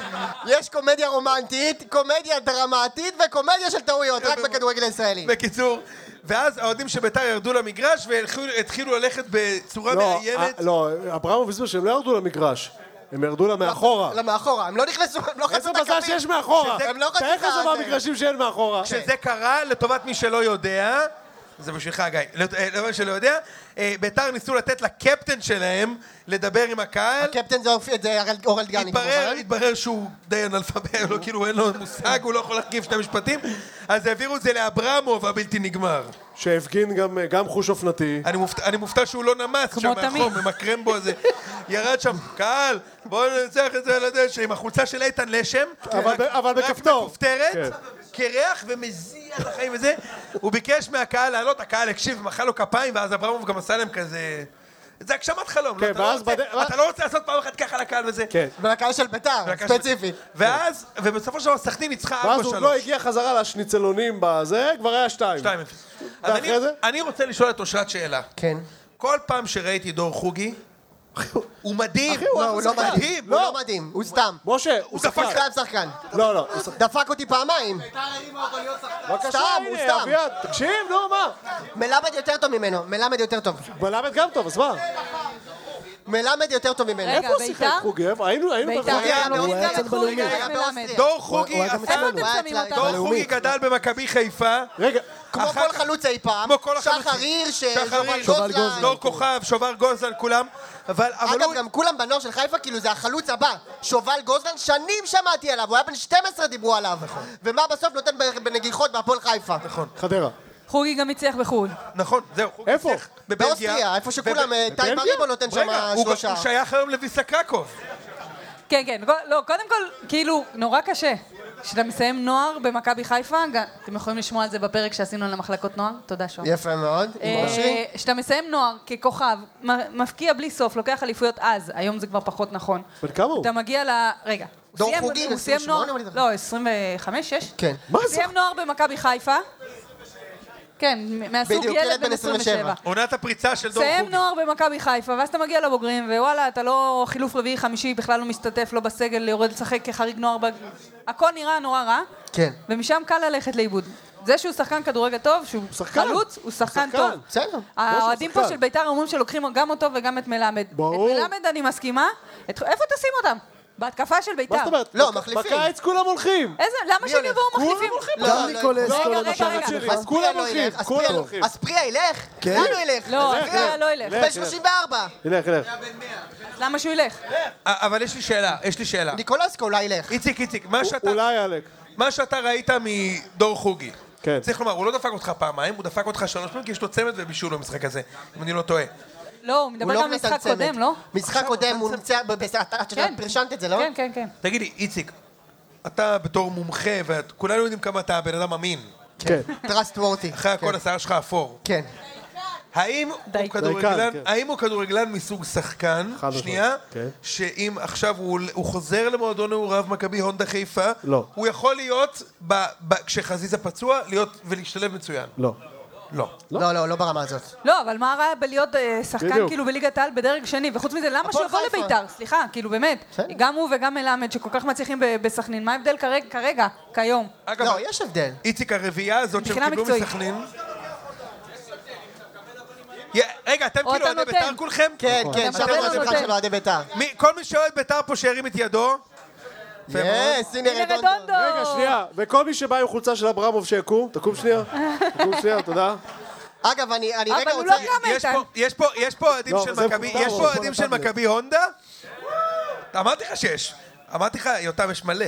S2: יש קומדיה רומנטית, קומדיה דרמטית וקומדיה של טעויות, רק בכדורגל הישראלי.
S1: בקיצור, ואז האוהדים של ביתר ירדו למגרש והתחילו ללכת בצורה
S3: לא,
S1: מאיימת.
S3: אה, לא, אברהם וסביר שהם לא ירדו למגרש. הם ירדו לה מאחורה.
S2: לא, מאחורה, הם לא נכנסו, הם לא חצו
S3: איזה
S2: את
S3: מזל
S2: הקווים.
S3: שיש מאחורה.
S2: שזה- הם לא
S3: תאר לך
S2: חצי
S3: זה
S2: שעה, זה-
S3: מהמגרשים שאין מאחורה.
S1: שזה קרה, לטובת מי שלא יודע, זה בשבילך גיא, לט- אה, לטובת מי שלא יודע, אה, ביתר ניסו לתת לקפטן שלהם לדבר עם הקהל,
S2: הקפטן זה אופי- זה אורל- אורל דגני
S1: התברר,
S2: כמובן.
S1: התברר שהוא די אנאלפבית, לא, כאילו אין לו מושג, הוא לא יכול להרכיב שני משפטים, אז העבירו את זה לאברמוב הבלתי נגמר.
S3: שהפגין גם- אה, גם חוש אופנתי.
S1: אני מופתע, אני מופתע שהוא לא נמס
S6: כמו
S1: שם
S6: תמיד.
S1: מהחום, עם הקרמבו הזה. ירד שם, קהל, בואו ננצח את זה על הדשא, עם החולצה של איתן לשם.
S3: אבל
S1: רק-
S3: ב- אבל
S1: רק
S3: בכפתור.
S1: מכופתרת,
S3: כן.
S1: קרח ומזיע לחיים וזה. הוא ביקש מהקהל לעלות, הקהל הקשיב, מחא לו כפיים, ואז אברמוב גם עשה להם כזה... זה הגשמת חלום.
S3: כן,
S1: לא, אתה לא
S3: ואז
S1: רוצה-
S3: בד-
S1: אתה לא רוצה לעשות פעם אחת ככה לקהל וזה.
S3: כן.
S2: ולקהל של ביתר,
S1: ולקהל של-
S2: ספציפי.
S1: ואז, ובסופו של דבר סכנין ניצחה 4-3.
S3: ואז הוא לא הגיע חזרה לשניצלונים בזה, כבר היה שתיים.
S1: 2-0. אז
S3: ואחרי
S1: אני-
S3: זה?
S1: אני רוצה לשאול את אושרת שאלה.
S2: כן.
S1: כל פעם שראיתי דור חוגי, הוא מדהים.
S3: אחי, הוא
S2: לא, הוא לא
S3: שחקן.
S2: מדהים. הוא
S3: לא.
S2: לא מדהים, הוא סתם.
S3: משה, הוא
S1: דפק
S3: שחקן.
S2: סתם שחקן.
S3: לא, לא, הוא שחקן.
S2: דפק אותי פעמיים.
S3: בבקשה,
S2: סתם, הוא
S3: הנה,
S2: סתם.
S3: אביעד, תקשיב, נו, מה?
S2: מלמד יותר טוב ממנו, מלמד יותר טוב.
S3: מלמד גם טוב, אז מה?
S2: מלמד יותר טוב ממנו.
S6: רגע,
S3: איפה הוא שיחק?
S6: ביתר?
S3: חוגב? היינו, היינו
S6: ביתר,
S3: בחוגג.
S2: היה
S6: אתם
S2: הוא
S6: לוקחים
S2: היה
S6: גם
S2: אצל
S6: את חוגג
S2: בלאומית.
S6: ואת מלמד.
S1: דור
S2: הוא
S1: חוגי,
S2: היה גם
S1: עשה-
S6: איפה אתם
S2: הוא היה
S6: שמים
S2: אצל-
S6: אותם?
S1: דור
S3: בלאומית.
S1: חוגי גדל במכבי חיפה.
S3: רגע,
S2: כמו
S1: אחר
S2: כל
S1: כך-
S2: חלוץ אי פעם.
S1: כמו כל החלוצים.
S2: שחר הירש,
S1: שחר
S2: שובל
S1: גוזלן, דור כוכב, שובר גוזלן, כולם. אבל אבל
S2: אגב,
S1: הוא...
S2: גם כולם בנוער של חיפה, כאילו זה החלוץ הבא. שובל גוזלן, שנים שמעתי עליו, הוא היה בן 12 דיברו עליו. ומה בסוף נותן ב- בנגיחות בהפועל חיפה. נכון.
S3: חדרה.
S6: חוגי גם הצליח בחו"ל.
S1: נכון, זהו. חוגי
S3: איפה?
S1: ניצח בבלגיה.
S2: באוסטריה, איפה שכולם, אה,
S3: בבלגיה?
S2: טייב מריבו נותן שם
S1: רגע, הוא
S2: שלושה.
S1: הוא שייך היום לוויסה קרקוב.
S6: כן, כן, לא, קודם כל, כאילו, נורא קשה. כשאתה מסיים נוער במכבי חיפה, גם- אתם יכולים לשמוע על זה בפרק שעשינו על המחלקות נוער, תודה שוהם.
S2: יפה מאוד, עם אושרי.
S6: אה, כשאתה מסיים נוער ככוכב, מ- מפקיע בלי סוף, לוקח אליפויות אז, היום זה כבר פחות נכון.
S3: בן כמה הוא?
S6: אתה מגיע ל... רגע. הוא
S2: דור
S6: סיים-
S2: חוגי,
S6: הוא סיים
S2: 28,
S6: נוער...
S2: אבל אני-
S6: לא, 25, 6?
S2: כן.
S3: מה זה?
S6: סיים נוער במכבי חיפה. כן, מ- מהסוג
S2: בדיוק,
S6: ילד בן 27.
S1: עונת הפריצה של דור
S6: סיים
S1: חוגי.
S6: נוער במכבי חיפה, ואז אתה מגיע לבוגרים, ווואלה, אתה לא חילוף רביעי חמישי, בכלל לא מסתתף, לא בסגל, יורד לשחק כחריג נוער, בג... הכל נראה נורא רע,
S2: כן.
S6: ומשם קל ללכת לאיבוד. זה שהוא שחקן כדורגל טוב, שהוא
S3: שחקן.
S6: חלוץ, הוא שחקן
S3: שחקן.
S6: טוב.
S2: בסדר.
S6: האוהדים
S3: שחקן.
S6: פה של ביתר אומרים שלוקחים גם אותו וגם את מלמד.
S3: ברור.
S6: את מלמד אני מסכימה, את... איפה תשים אותם? בהתקפה של ביתר.
S3: מה זאת אומרת?
S2: לא,
S3: בק-
S2: מחליפים.
S3: בקיץ כולם הולכים.
S6: איזה, למה שהם יבואו מחליפים?
S2: לא, לא,
S3: ניקולס,
S6: רגע,
S3: כל
S6: רגע,
S3: המשמעת
S6: רגע.
S3: שלי.
S2: אז
S3: כולם
S2: פריה לא
S3: הולכים,
S2: ילך, אז
S3: כולם
S2: פריה לא-
S3: הולכים.
S2: אז פריה ילך? לאן הוא ילך?
S6: לא,
S2: אז
S6: אז פריה לא ילך.
S2: בן 34.
S3: ילך, ילך.
S6: אז למה שהוא ילך?
S1: אה, אבל יש לי שאלה, יש לי שאלה.
S2: ניקולסקו אולי ילך.
S1: איציק, איציק, מה שאתה-
S3: אולי עלק.
S1: מה שאתה ראית מדור חוגי.
S3: כן.
S1: צריך לומר, הוא לא דפק אותך פעמיים, הוא דפק אותך שלוש פעמים, כי יש לו צמד ובישול במשחק הזה, אם אני לא טועה.
S6: לא, הוא
S2: הוא
S6: מדבר
S2: לא
S6: גם על
S2: נתן
S6: משחק
S2: צמד.
S6: קודם, לא?
S2: משחק קודם, הוא נמצא... ב- ב- אתה- אתה יודע, פרשנת את זה, לא?
S6: כן, כן, כן.
S1: תגיד לי, איציק, אתה בתור מומחה, וכולנו יודעים כמה אתה בן אדם אמין.
S3: כן.
S2: טראסט וורטי.
S1: אחרי הכל השיער שלך אפור.
S2: כן.
S1: האם הוא
S6: דייקן.
S1: כדורגלן,
S3: דייקן, כן.
S1: האם הוא כדורגלן מסוג שחקן,
S3: חד משמעית,
S1: שנייה,
S3: כן.
S1: שאם עכשיו הוא הוא חוזר למועדון נעוריו מכבי הונדה חיפה,
S3: לא.
S1: הוא יכול להיות, ב- ב- כשחזיזה פצוע, להיות ולהשתלב מצוין.
S3: לא.
S1: לא.
S2: לא, לא, לא ברמה הזאת.
S6: לא, אבל מה רע בלהיות אה,
S3: בדיוק.
S6: שחקן כאילו בליגת העל בדרג שני? וחוץ מזה, למה שהוא
S2: הפועל
S6: יבוא
S2: חיפה.
S6: לביתר? סליחה, כאילו באמת.
S2: בסדר.
S6: גם הוא וגם מלמד, שכל כך מצליחים ב- בסכנין, מה ההבדל כרגע- כרגע, כיום?
S1: אגב,
S2: לא, יש הבדל.
S1: איציק, הרביעייה הזאת שהם
S6: מבחינה
S1: קיבלו
S6: מקצועית.
S1: מסכנין... יא, רגע, אתם
S6: או
S1: כאילו
S6: אתה
S1: אוהדי
S6: נותן.
S1: בית"ר כולכם?
S2: כן, כן,
S6: אתה
S2: שווה
S6: מקבל או
S2: לשמחה
S6: נותן?
S2: של אוהדי בית"ר.
S1: מי- כל מי שאוהד בית"ר פה שירים את ידו. יפה מאוד.
S2: יס, הנה
S6: הנה
S2: רדונדו.
S6: רדונדו!
S3: רגע, שנייה. וכל מי שבא עם חולצה של אברמוב שיקום, תקום שנייה. תקום שנייה, תודה.
S2: אגב, אני אני
S6: אבל
S2: רגע
S6: הוא
S2: רוצה...
S6: לא גם
S1: יש
S6: איתן.
S1: פה- יש פה- יש פה אוהדים
S3: לא,
S1: של
S3: זה
S1: מכבי,
S3: מותר,
S1: יש
S3: הוא
S1: פה
S3: פה
S1: אוהדים
S3: נתן
S1: של
S3: לי.
S1: מכבי הונדה? אמרתי לך שיש. אמרתי לך, יותם, יש מלא.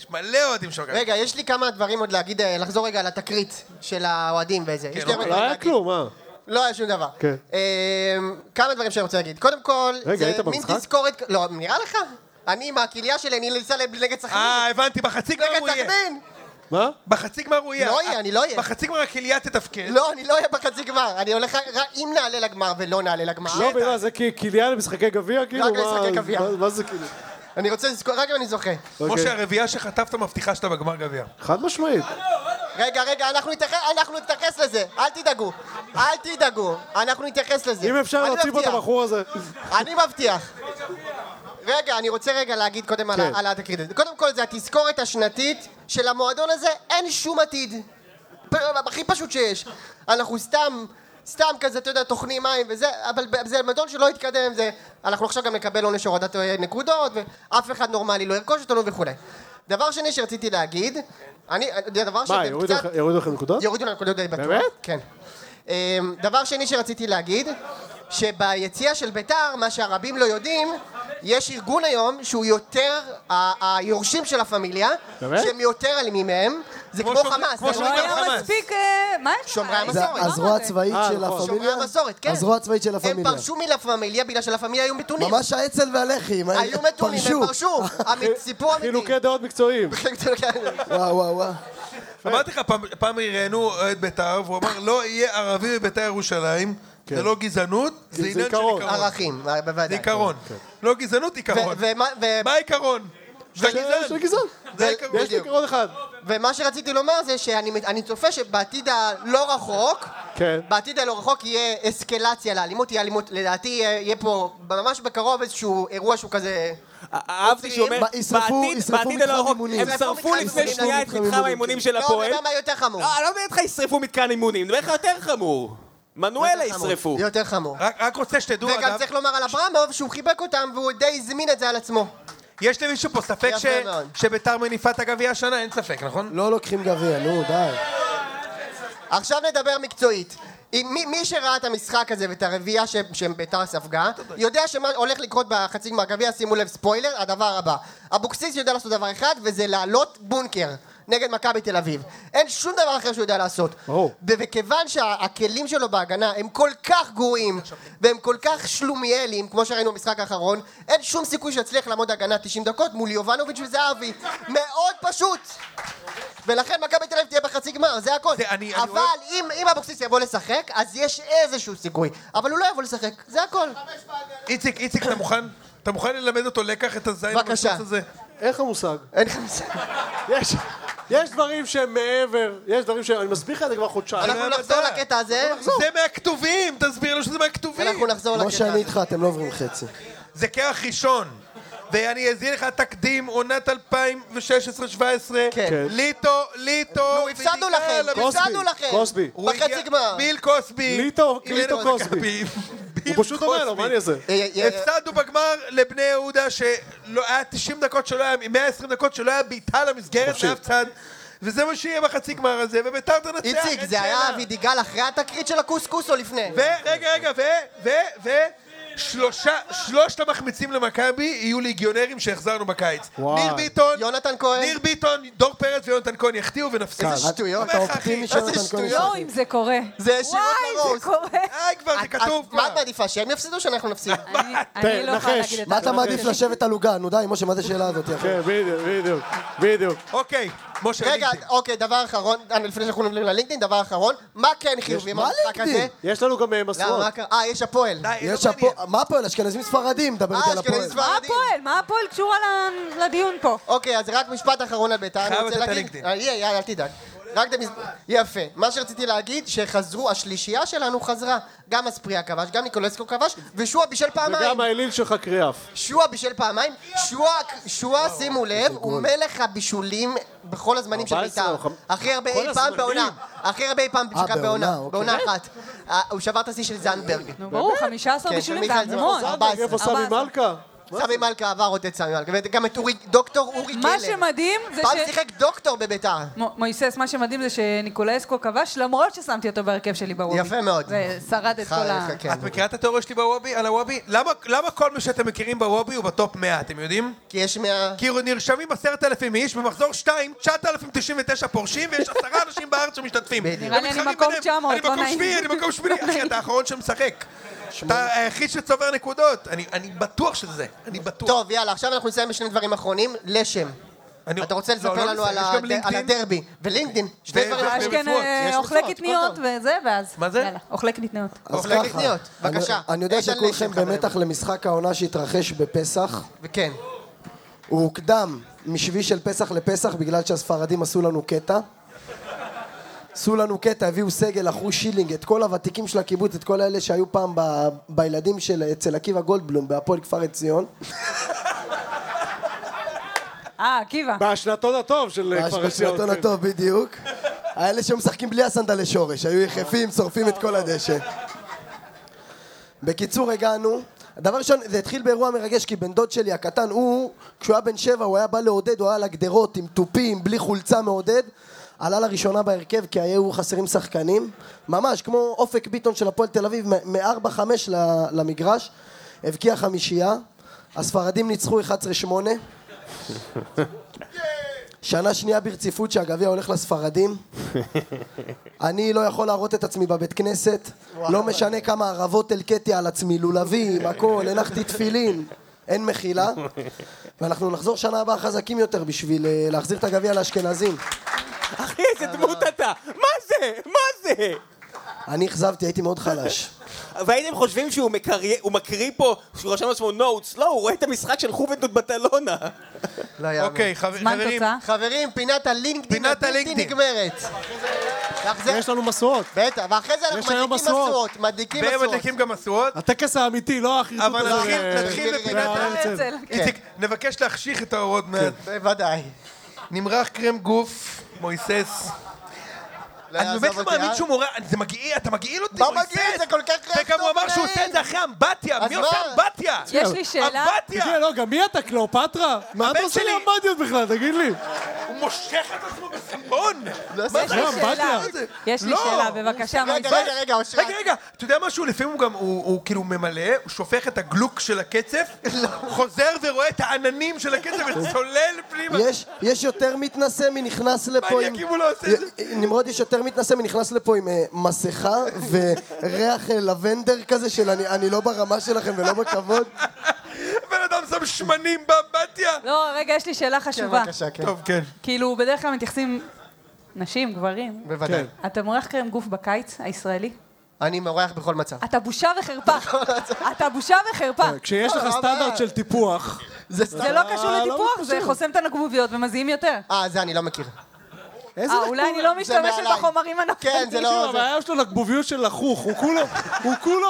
S1: יש מלא אוהדים של מכבי.
S2: רגע, יש לי כמה דברים עוד להגיד, אה, לחזור רגע לתקרית של האוהדים וזה. יש לי הרבה
S3: לא
S2: דברים
S3: היה
S2: להגיד.
S3: כלום, מה?
S2: לא היה שום דבר.
S3: כן.
S2: אמ, כמה דברים שאני רוצה להגיד. קודם כל,
S3: רגע,
S2: זה
S3: היית
S2: מין
S3: במשחק?
S2: תזכורת... לא, נראה לך? אני עם הכליה שלי, אני נלסה נגד סכנין.
S1: אה, הבנתי, בחצי גמר
S2: נגד
S1: הוא יהיה.
S2: סכנין! אה,
S3: מה?
S1: בחצי גמר הוא יהיה.
S2: לא יהיה, אני לא אהיה.
S1: בחצי גמר הכליה תתפקד.
S2: לא, אני לא אהיה בחצי גמר. אני הולך... רק אם נעלה לגמר ולא נעלה לגמר.
S3: לא, במה, זה כי- קניין למשחקי גביע? כאילו,
S2: רק
S3: מה-
S2: למשחקי גביע.
S3: מה- מה זה כאילו?
S2: אני רוצה לזכור, רק אם אני זוכה.
S1: משה,
S3: אוקיי.
S1: הרביעייה שחטפת מבטיחה שאתה בגמר גביע.
S3: חד משמעית.
S2: רגע, רגע, אנחנו נתייחס, אנחנו נתייחס לזה. אל תדאגו. אל תדאגו. אנחנו נתייחס לזה.
S3: אם אפשר
S2: אני
S3: להוציא פה את
S2: מבטיח.
S3: הבחור הזה.
S2: אני מבטיח. רגע, אני רוצה רגע להגיד קודם על ה-
S3: כן.
S2: על התקרית הזאת. קודם כל, זה התזכורת השנתית של המועדון הזה, אין שום עתיד. פ- הכי פשוט שיש. אנחנו סתם, סתם כזה, אתה יודע, טוחנים מים וזה, אבל ב- זה מועדון שלא התקדם, זה... אנחנו עכשיו גם נקבל עונש הורדת אה, נקודות, ואף אחד נורמלי לא ירכוש אותנו וכולי. דבר שני שרציתי להגיד, אני, זה דבר
S3: מה,
S2: שאתם
S3: יורידו
S2: קצת...
S3: לך- יורידו לכם נקודות?
S2: יורידו לנו נקודות די בטוח.
S3: באמת?
S2: כן. אמ, דבר שני שרציתי להגיד, שביציאה של ביתר, מה שהרבים לא יודעים, יש ארגון היום שהוא יותר, ה- היורשים של הפמיליה,
S3: באמת?
S2: שהם יותר אלימים מהם, זה
S1: כמו
S2: כמו
S1: שומרי-
S2: חמאס.
S1: כמו
S2: זה
S6: לא
S1: שומרי
S2: לא-
S1: גם חמאס.
S6: היה מספיק... אה, מה יש לך?
S2: שומרי
S6: אין לך
S2: המסורת.
S6: מה זה.
S9: הזרוע הצבאית
S3: אה,
S9: של
S3: נכון.
S2: שומרי
S9: הפמיליה?
S2: המסורת, כן.
S9: הזרוע הצבאית של
S2: הם
S9: הפמיליה.
S2: פרשו מלפמיליה בגלל שלפמיליה היו מתונים.
S9: ממש אה, האצ"ל והלח"י. מה,
S2: היו מתונים, הם
S3: [LAUGHS]
S2: פרשו. אמית- סיפור אמיתי.
S3: אה,
S2: כן,
S3: חילוקי דעות מקצועיים.
S1: [LAUGHS]
S9: וואו, וואו, וואו.
S1: אמרתי לך, פעם- פעם ראיינו אוהד בית"ר, והוא אמר, לא יהיה ערבי בבית"ר ירושלים,
S2: כן.
S1: זה לא גזענות, זה עניין של
S3: עיקרון.
S1: עיקרון.
S2: אה, ערכים,
S1: זה
S2: בוודאי.
S1: עיקרון. לא גזענות, עיקרון.
S2: כן, ו- ומה- ו-
S1: מה העיקרון? זה
S3: של
S1: גזען.
S3: גזען.
S1: זה העיקרון.
S3: יש לי עיקרון אחד.
S2: ומה שרציתי לומר זה שאני מת- אני צופה שבעתיד הלא רחוק,
S3: כן.
S2: בעתיד הלא רחוק יהיה אסקלציה לאלימות, תהיה אלימות, לדעתי יהיה יהיה פה ממש בקרוב איזשהו אירוע שהוא כזה...
S7: אהבתי שהוא אומר,
S9: מה, ישרפו-
S7: בעתיד-
S9: ישרפו
S7: בעתיד
S9: מתחם
S7: הלא רחוק,
S9: אימונים.
S7: הם
S2: ישרפו
S7: שרפו
S2: מתחם
S7: לפני
S2: אימונים.
S7: שנייה את
S9: מתחם
S7: מתחם
S9: אימונים.
S7: האימונים של
S2: לא, אתה
S7: הפועל.
S2: יודע מה יותר חמור?
S7: לא, אני לא מדבר איתך ישרפו מתקן אימונים, אני מדבר איתך יותר חמור. מנואלה
S2: יותר חמור.
S7: ישרפו.
S2: יותר חמור.
S1: רק רק רוצה שתדעו,
S2: וגם
S1: אגב,
S2: צריך לומר על אברמוב שהוא חיבק אותם והוא די הזמין את זה על עצמו.
S1: יש למישהו פה ספק ש-
S2: יפה מאוד.
S1: שביתר מניפה את הגביע השנה? אין ספק, נכון?
S9: לא לוקחים גביע, נו, די.
S2: עכשיו נדבר מקצועית. אם מי, מי שראה את המשחק הזה ואת הרביעייה ש- שביתר ספגה, יודע שמה הולך לקרות בחצי גמר גביע, שימו לב, ספוילר, הדבר הבא. אבוקסיס יודע לעשות דבר אחד, וזה לעלות בונקר נגד מכבי תל אביב. אין שום דבר אחר שהוא יודע לעשות.
S3: ברור.
S2: ו- וכיוון שהכלים שלו בהגנה הם כל כך גרועים, והם כל כך שלומיאליים, כמו שראינו במשחק האחרון, אין שום סיכוי שיצליח לעמוד הגנה 90 דקות מול יובנוביץ' וזהבי. מאוד פשוט! ולכן מכבי תל אביב תהיה בחצי גמר, זה הכל.
S1: זה- אני- אני
S2: אבל
S1: אוהב-
S2: אם, אם אבוקסיס יבוא לשחק, אז יש איזשהו סיכוי. אבל הוא לא יבוא לשחק, זה הכל.
S1: איציק, איציק, אתה מוכן? אתה מוכן ללמד אותו לקח את הזין
S2: בבקשה.
S1: המפוצץ הזה?
S3: איך המושג?
S2: אין לך מושג.
S1: לא
S3: יש- יש דברים שהם מעבר, יש דברים שהם, אני מסביר לך את זה כבר חודשיים.
S2: אנחנו
S1: לא
S2: נחזור
S1: יודע.
S2: לקטע הזה,
S1: זה מהכתובים, תסביר לו שזה מהכתובים.
S2: אנחנו נחזור
S9: כמו
S2: לקטע
S9: שאני
S2: הזה.
S9: איתך, אתם לא עוברים חצי.
S2: כן.
S1: זה קרח ראשון. ואני אזין לך תקדים, עונת 2016-2017.
S2: כן.
S1: ליטו, ליטו.
S2: נו, הפסדנו
S1: ודיגל,
S2: לכם,
S1: אבל-
S3: קוסבי,
S2: הפסדנו לכם.
S3: קוסבי.
S1: הוא
S2: בחצי
S1: הגיע-
S2: גמר.
S1: ביל קוסבי.
S3: ליטו,
S1: הנה
S3: ליטו
S1: מכבי.
S3: קוסבי.
S1: ביל
S3: הוא פשוט אומר לו,
S1: קוסבי.
S3: מה אני אעשה?
S2: אה, אה, אה,
S1: הפסדנו בגמר לבני יהודה שלא היה 90 דקות שלא היה, 120 דקות שלא היה בעיטה למסגרת
S3: חופשי.
S1: מאף צד. וזה מה שיהיה בחצי גמר הזה, וביתר תנצח.
S2: איציק,
S1: אין
S2: זה היה
S1: שאלה.
S2: אבידיגל אחרי התקרית של הקוסקוס או לפני?
S1: ורגע, רגע, ו... ו... ו... שלושה, שלושת המחמיצים למכבי יהיו ליגיונרים שהחזרנו בקיץ.
S3: וואי.
S1: ניר ביטון,
S2: יונתן כהן.
S1: ניר ביטון, דור פרץ ויונתן כהן יחטיאו ונפסיד.
S2: איזה שטויות.
S1: אומר לך, אחי,
S9: של
S2: איזה
S9: נתן כהן.
S2: שטויות.
S6: לא אם זה קורה.
S2: זה שירות אה,
S6: וואי,
S2: לרוז.
S6: זה קורה.
S1: די כבר, זה
S2: את- את-
S1: כתוב
S2: מה את
S1: כבר.
S2: מעדיפה, שהם יפסידו או שאנחנו
S1: [LAUGHS]
S2: נפסיד?
S6: אני- אני לא יכולה
S3: נחש.
S6: להגיד את
S9: מה אתה
S6: הדבר
S9: מעדיף
S6: הזה.
S9: לשבת על עוגה? נו די, משה, מה זה שאלה הזאת? אחי?
S3: כן, בדיוק, בדיוק, בדיוק.
S1: אוקיי, משה,
S2: רגע,
S1: לינקדאין.
S2: אוקיי, דבר אחרון, אה, לפני שאנחנו נעבור ללינקדאין, דבר אחרון, מה כן חיובי
S9: מה
S2: במשחק הזה?
S9: לינקדאין?
S3: יש לנו גם אה,
S2: למה,
S3: מסורת.
S2: מה קרה? אה, יש הפועל.
S1: די, אין לו
S9: יש
S1: מעניין.
S9: הפועל, מה הפועל? אשכנזים ספרדים, דבר איתי
S2: אה,
S9: על הפועל.
S2: אשכנזים
S6: מה
S2: ספרדים.
S6: הפועל? מה הפועל קשורה ל- לדיון פה?
S2: אוקיי, אז רק משפט אחרון על בית"ר. אני
S1: חייב
S2: רוצה
S1: לתת
S2: להגיד-
S1: ללינקדאין.
S2: אה, יהיה, יאללה, אל תדאג. רק דמיז... יפה. מה שרציתי להגיד, שחזרו, השלישייה שלנו חזרה. גם אספריה כבש, גם ניקולסקו כבש, ושועה בישל פעמיים.
S3: וגם האליל שלך קריאף.
S2: שועה בישל פעמיים. שועה, שועה, שימו לב, הוא מלך הבישולים בכל הזמנים של
S3: 14
S2: בית"ר.
S3: או חמ-
S2: הכי הרבה
S3: כל
S2: אי פעם
S3: הזמנים.
S2: בעונה. הכי הרבה אי פעם שקרה בעונה.
S9: בעונה, אוקיי.
S2: בעונה אחת. אה, הוא שבר את השיא של זנדברג.
S6: נו, ברור, 15
S2: כן,
S6: בישולים זה
S2: ומיכאל
S6: המון.
S2: זוהר.
S3: זנדברג, איפה סמי
S6: 14.
S3: מלכה?
S2: סמי מלכה עבר עוד את סמי מלכה, וגם את אורי, דוקטור אורי קלר.
S6: מה שמדהים זה
S2: פעם
S6: ש...
S2: שיחק דוקטור בבית"ר.
S6: מ- מויסס, מה שמדהים זה שניקולסקו כבש למרות ששמתי אותו בהרכב שלי בוובי.
S2: יפה מאוד.
S6: נכון. זה שרד את כל ה...
S2: כן.
S1: את מכירה את התיאוריה שלי בוובי? על הוובי? למה- למה כל מי שאתם מכירים בוובי הוא בטופ 100, אתם יודעים?
S2: כי יש מה...
S1: כי נרשמים 10,000 איש, במחזור 2, 9,099 פורשים, ויש עשרה אנשים בארץ שמשתתפים.
S2: בדיוק.
S6: נראה לי אני
S1: המתחרים
S6: מקום
S1: ביניהם,
S6: 900,
S1: אני
S6: לא
S1: מקום
S6: נעים.
S1: שביעי, אני מקום שביעי.
S6: לא
S1: אחי,
S6: נעים.
S1: אתה האחרון שמשחק. אתה היחיד שצובר נקודות. אני- אני בטוח שזה זה. אני בטוח.
S2: טוב, יאללה, עכשיו אנחנו נסיים בשני דברים אחרונים. לשם.
S1: אני-
S2: אתה רוצה
S1: לא,
S2: לספר
S1: לא
S2: לנו
S1: נסיים,
S2: על
S1: יש גם
S2: הד- על
S1: לינקדאין.
S2: הדרבי. ולינקדאין, שני
S1: ו-
S2: דברים
S1: ו-
S2: אחרונים.
S1: ו-
S6: אשכן
S1: מצוות,
S6: אה,
S2: יש
S6: אוכלי
S2: מצוות,
S6: קטניות
S2: הכל
S6: וזה, ואז...
S1: מה זה?
S6: יאללה, אוכלי קטניות.
S9: אז
S2: אוכלי
S9: ככה,
S2: קטניות, אוקיי, בבקשה.
S9: אני, אני יודע
S2: איתן
S9: שכולכם
S2: לשם, חברים. כן.
S9: במתח למשחק העונה שהתרחש בפסח.
S2: וכן.
S9: הוא הוקדם משביעי של פסח לפסח בגלל שהספרדים עשו לנו קטע. עשו לנו קטע, הביאו סגל, אחו שילינג, את כל הוותיקים של הקיבוץ, את כל אלה שהיו פעם ב... בילדים של אצל עקיבא גולדבלום בהפועל כפר עציון.
S6: אה, עקיבא.
S3: באשנתון הטוב של אה, כפר עציון.
S9: בשנתון
S3: כן.
S9: הטוב בדיוק. האלה שמשחקים בלי הסנדלי שורש, היו יחפים, שורפים את כל הדשא. בקיצור, הגענו. דבר ראשון, זה התחיל באירוע מרגש, כי בן דוד שלי הקטן, הוא, כשהוא היה בן שבע, הוא היה בא לעודד, הוא היה על הגדרות עם תופים, בלי חולצה מעודד. עלה לראשונה בהרכב, כי היו חסרים שחקנים. ממש, כמו אופק ביטון של הפועל תל אביב, מ- מ-4-5 ל- למגרש. הבקיע חמישייה. הספרדים ניצחו 11-8. שנה שנייה ברציפות שהגביע
S1: [LAUGHS]
S9: הולך לספרדים. אני לא יכול להראות את עצמי בבית כנסת. לא משנה כמה ערבות הלקטתי על
S1: [LAUGHS]
S9: עצמי, לולבים, הכל, הנחתי תפילין. אין מחילה. ואנחנו נחזור שנה הבאה חזקים יותר בשביל אה, להחזיר את הגביע לאשכנזים.
S7: אחי, איזה דמות אתה! מה זה? מה זה?
S9: אני אכזבתי, הייתי מאוד חלש.
S7: והייתם חושבים שהוא מקרי- הוא מקריא פה, שהוא רשם לעצמו נוטס, לא, הוא רואה את המשחק של חובנדוד בטלונה.
S2: לא יאמן.
S1: אוקיי, חבר-
S6: זמן
S1: חברים,
S6: תוצאה?
S2: חברים, פינת הלינקדאין
S1: פינת
S2: הבלתי
S1: הלינקדאין.
S2: נגמרת. ואחרי-
S3: יש לנו מסורות.
S2: בטח, ואחרי זה אנחנו
S3: יש היום
S2: מדליקים
S3: מסורות.
S2: מסורות, מדליקים
S1: והם
S2: מסורות.
S1: מדליקים גם משואות,
S3: הטקס האמיתי, לא החרטוט
S1: אבל
S3: הזה.
S1: נתחיל-
S3: אה,
S1: נתחיל
S2: אה,
S1: בפינת ה...
S3: אה,
S6: הרצל.
S2: כן.
S1: איציק, נבקש להחשיך את האור עוד מעט.
S2: בוודאי.
S1: נמרח קרם גוף, מויסס.
S2: לא
S1: אני
S2: יעזוב
S1: באמת לא
S2: אותי,
S1: מאמין
S2: אה?
S1: שהוא מורה, זה מגעיל, אתה מגעיל אותי,
S2: מה
S1: מויסס.
S2: מגעיל? זה כל כך לא
S1: וגם הוא אמר שהוא עושה את זה אחרי אמבטיה,
S2: אז
S1: מי עושה
S2: מה?
S1: אמבטיה?
S6: יש לי שאלה.
S1: אמבטיה!
S3: תגיד, לא, גם מי אתה, קליאופטרה? מה אתה
S1: הבן
S3: עושה לי
S1: שלי.
S3: אמבטיות בכלל, תגיד לי?
S2: לא.
S1: הוא מושך את עצמו בסמבון!
S2: זה
S6: יש לי
S3: מה,
S6: שאלה,
S3: אמבטיה?
S6: יש לי
S1: לא.
S6: שאלה, בבקשה, מה
S2: רגע,
S6: נשמע?
S2: רגע, רגע, אושרת.
S1: רגע, רגע, אתה יודע משהו? לפעמים הוא גם, הוא הוא כאילו ממלא, הוא שופך את הגלוק של הקצף,
S2: לא.
S1: חוזר ורואה את העננים של הקצף וצולל
S2: [LAUGHS]
S1: פנימה.
S9: יש, יש יותר מתנשא מנכנס לפה עם...
S1: מניאק אם הוא לא עושה את זה.
S9: נמרוד, יש יותר מתנשא מנכנס לפה עם אה,
S1: [LAUGHS]
S9: מסכה וריח אה, לבנדר כזה של אני, אני לא ברמה שלכם ולא בכבוד.
S1: בן אדם שם שמנים באמבטיה.
S6: לא, רגע, יש לי שאלה חשובה.
S2: בבקשה, כן.
S1: טוב, כן.
S6: כאילו, בדרך כלל מתייחסים נשים, גברים.
S2: בוודאי.
S1: כן.
S6: אתה מורח קרם גוף בקיץ הישראלי?
S2: אני מארח בכל מצב.
S6: אתה בושה
S2: [LAUGHS]
S6: וחרפה.
S2: לא,
S6: אתה בושה וחרפה.
S2: כן,
S3: כשיש לך סטנדרט של טיפוח,
S2: זה סתם.
S6: זה לא קשור
S3: לא
S6: לטיפוח, זה
S3: קשור.
S6: חוסם את הנקבוביות ומזיעים יותר.
S2: אה, זה אני לא מכיר.
S3: איזה
S6: אה, אולי אני לא
S2: זה
S6: משתמשת
S2: מעליי.
S6: בחומרים הנפליים.
S2: כן, זה
S3: תקשיב,
S2: לא... זה-
S3: הבעיה שלו נקבוביות של לחוך, הוא כולו, הוא כולו,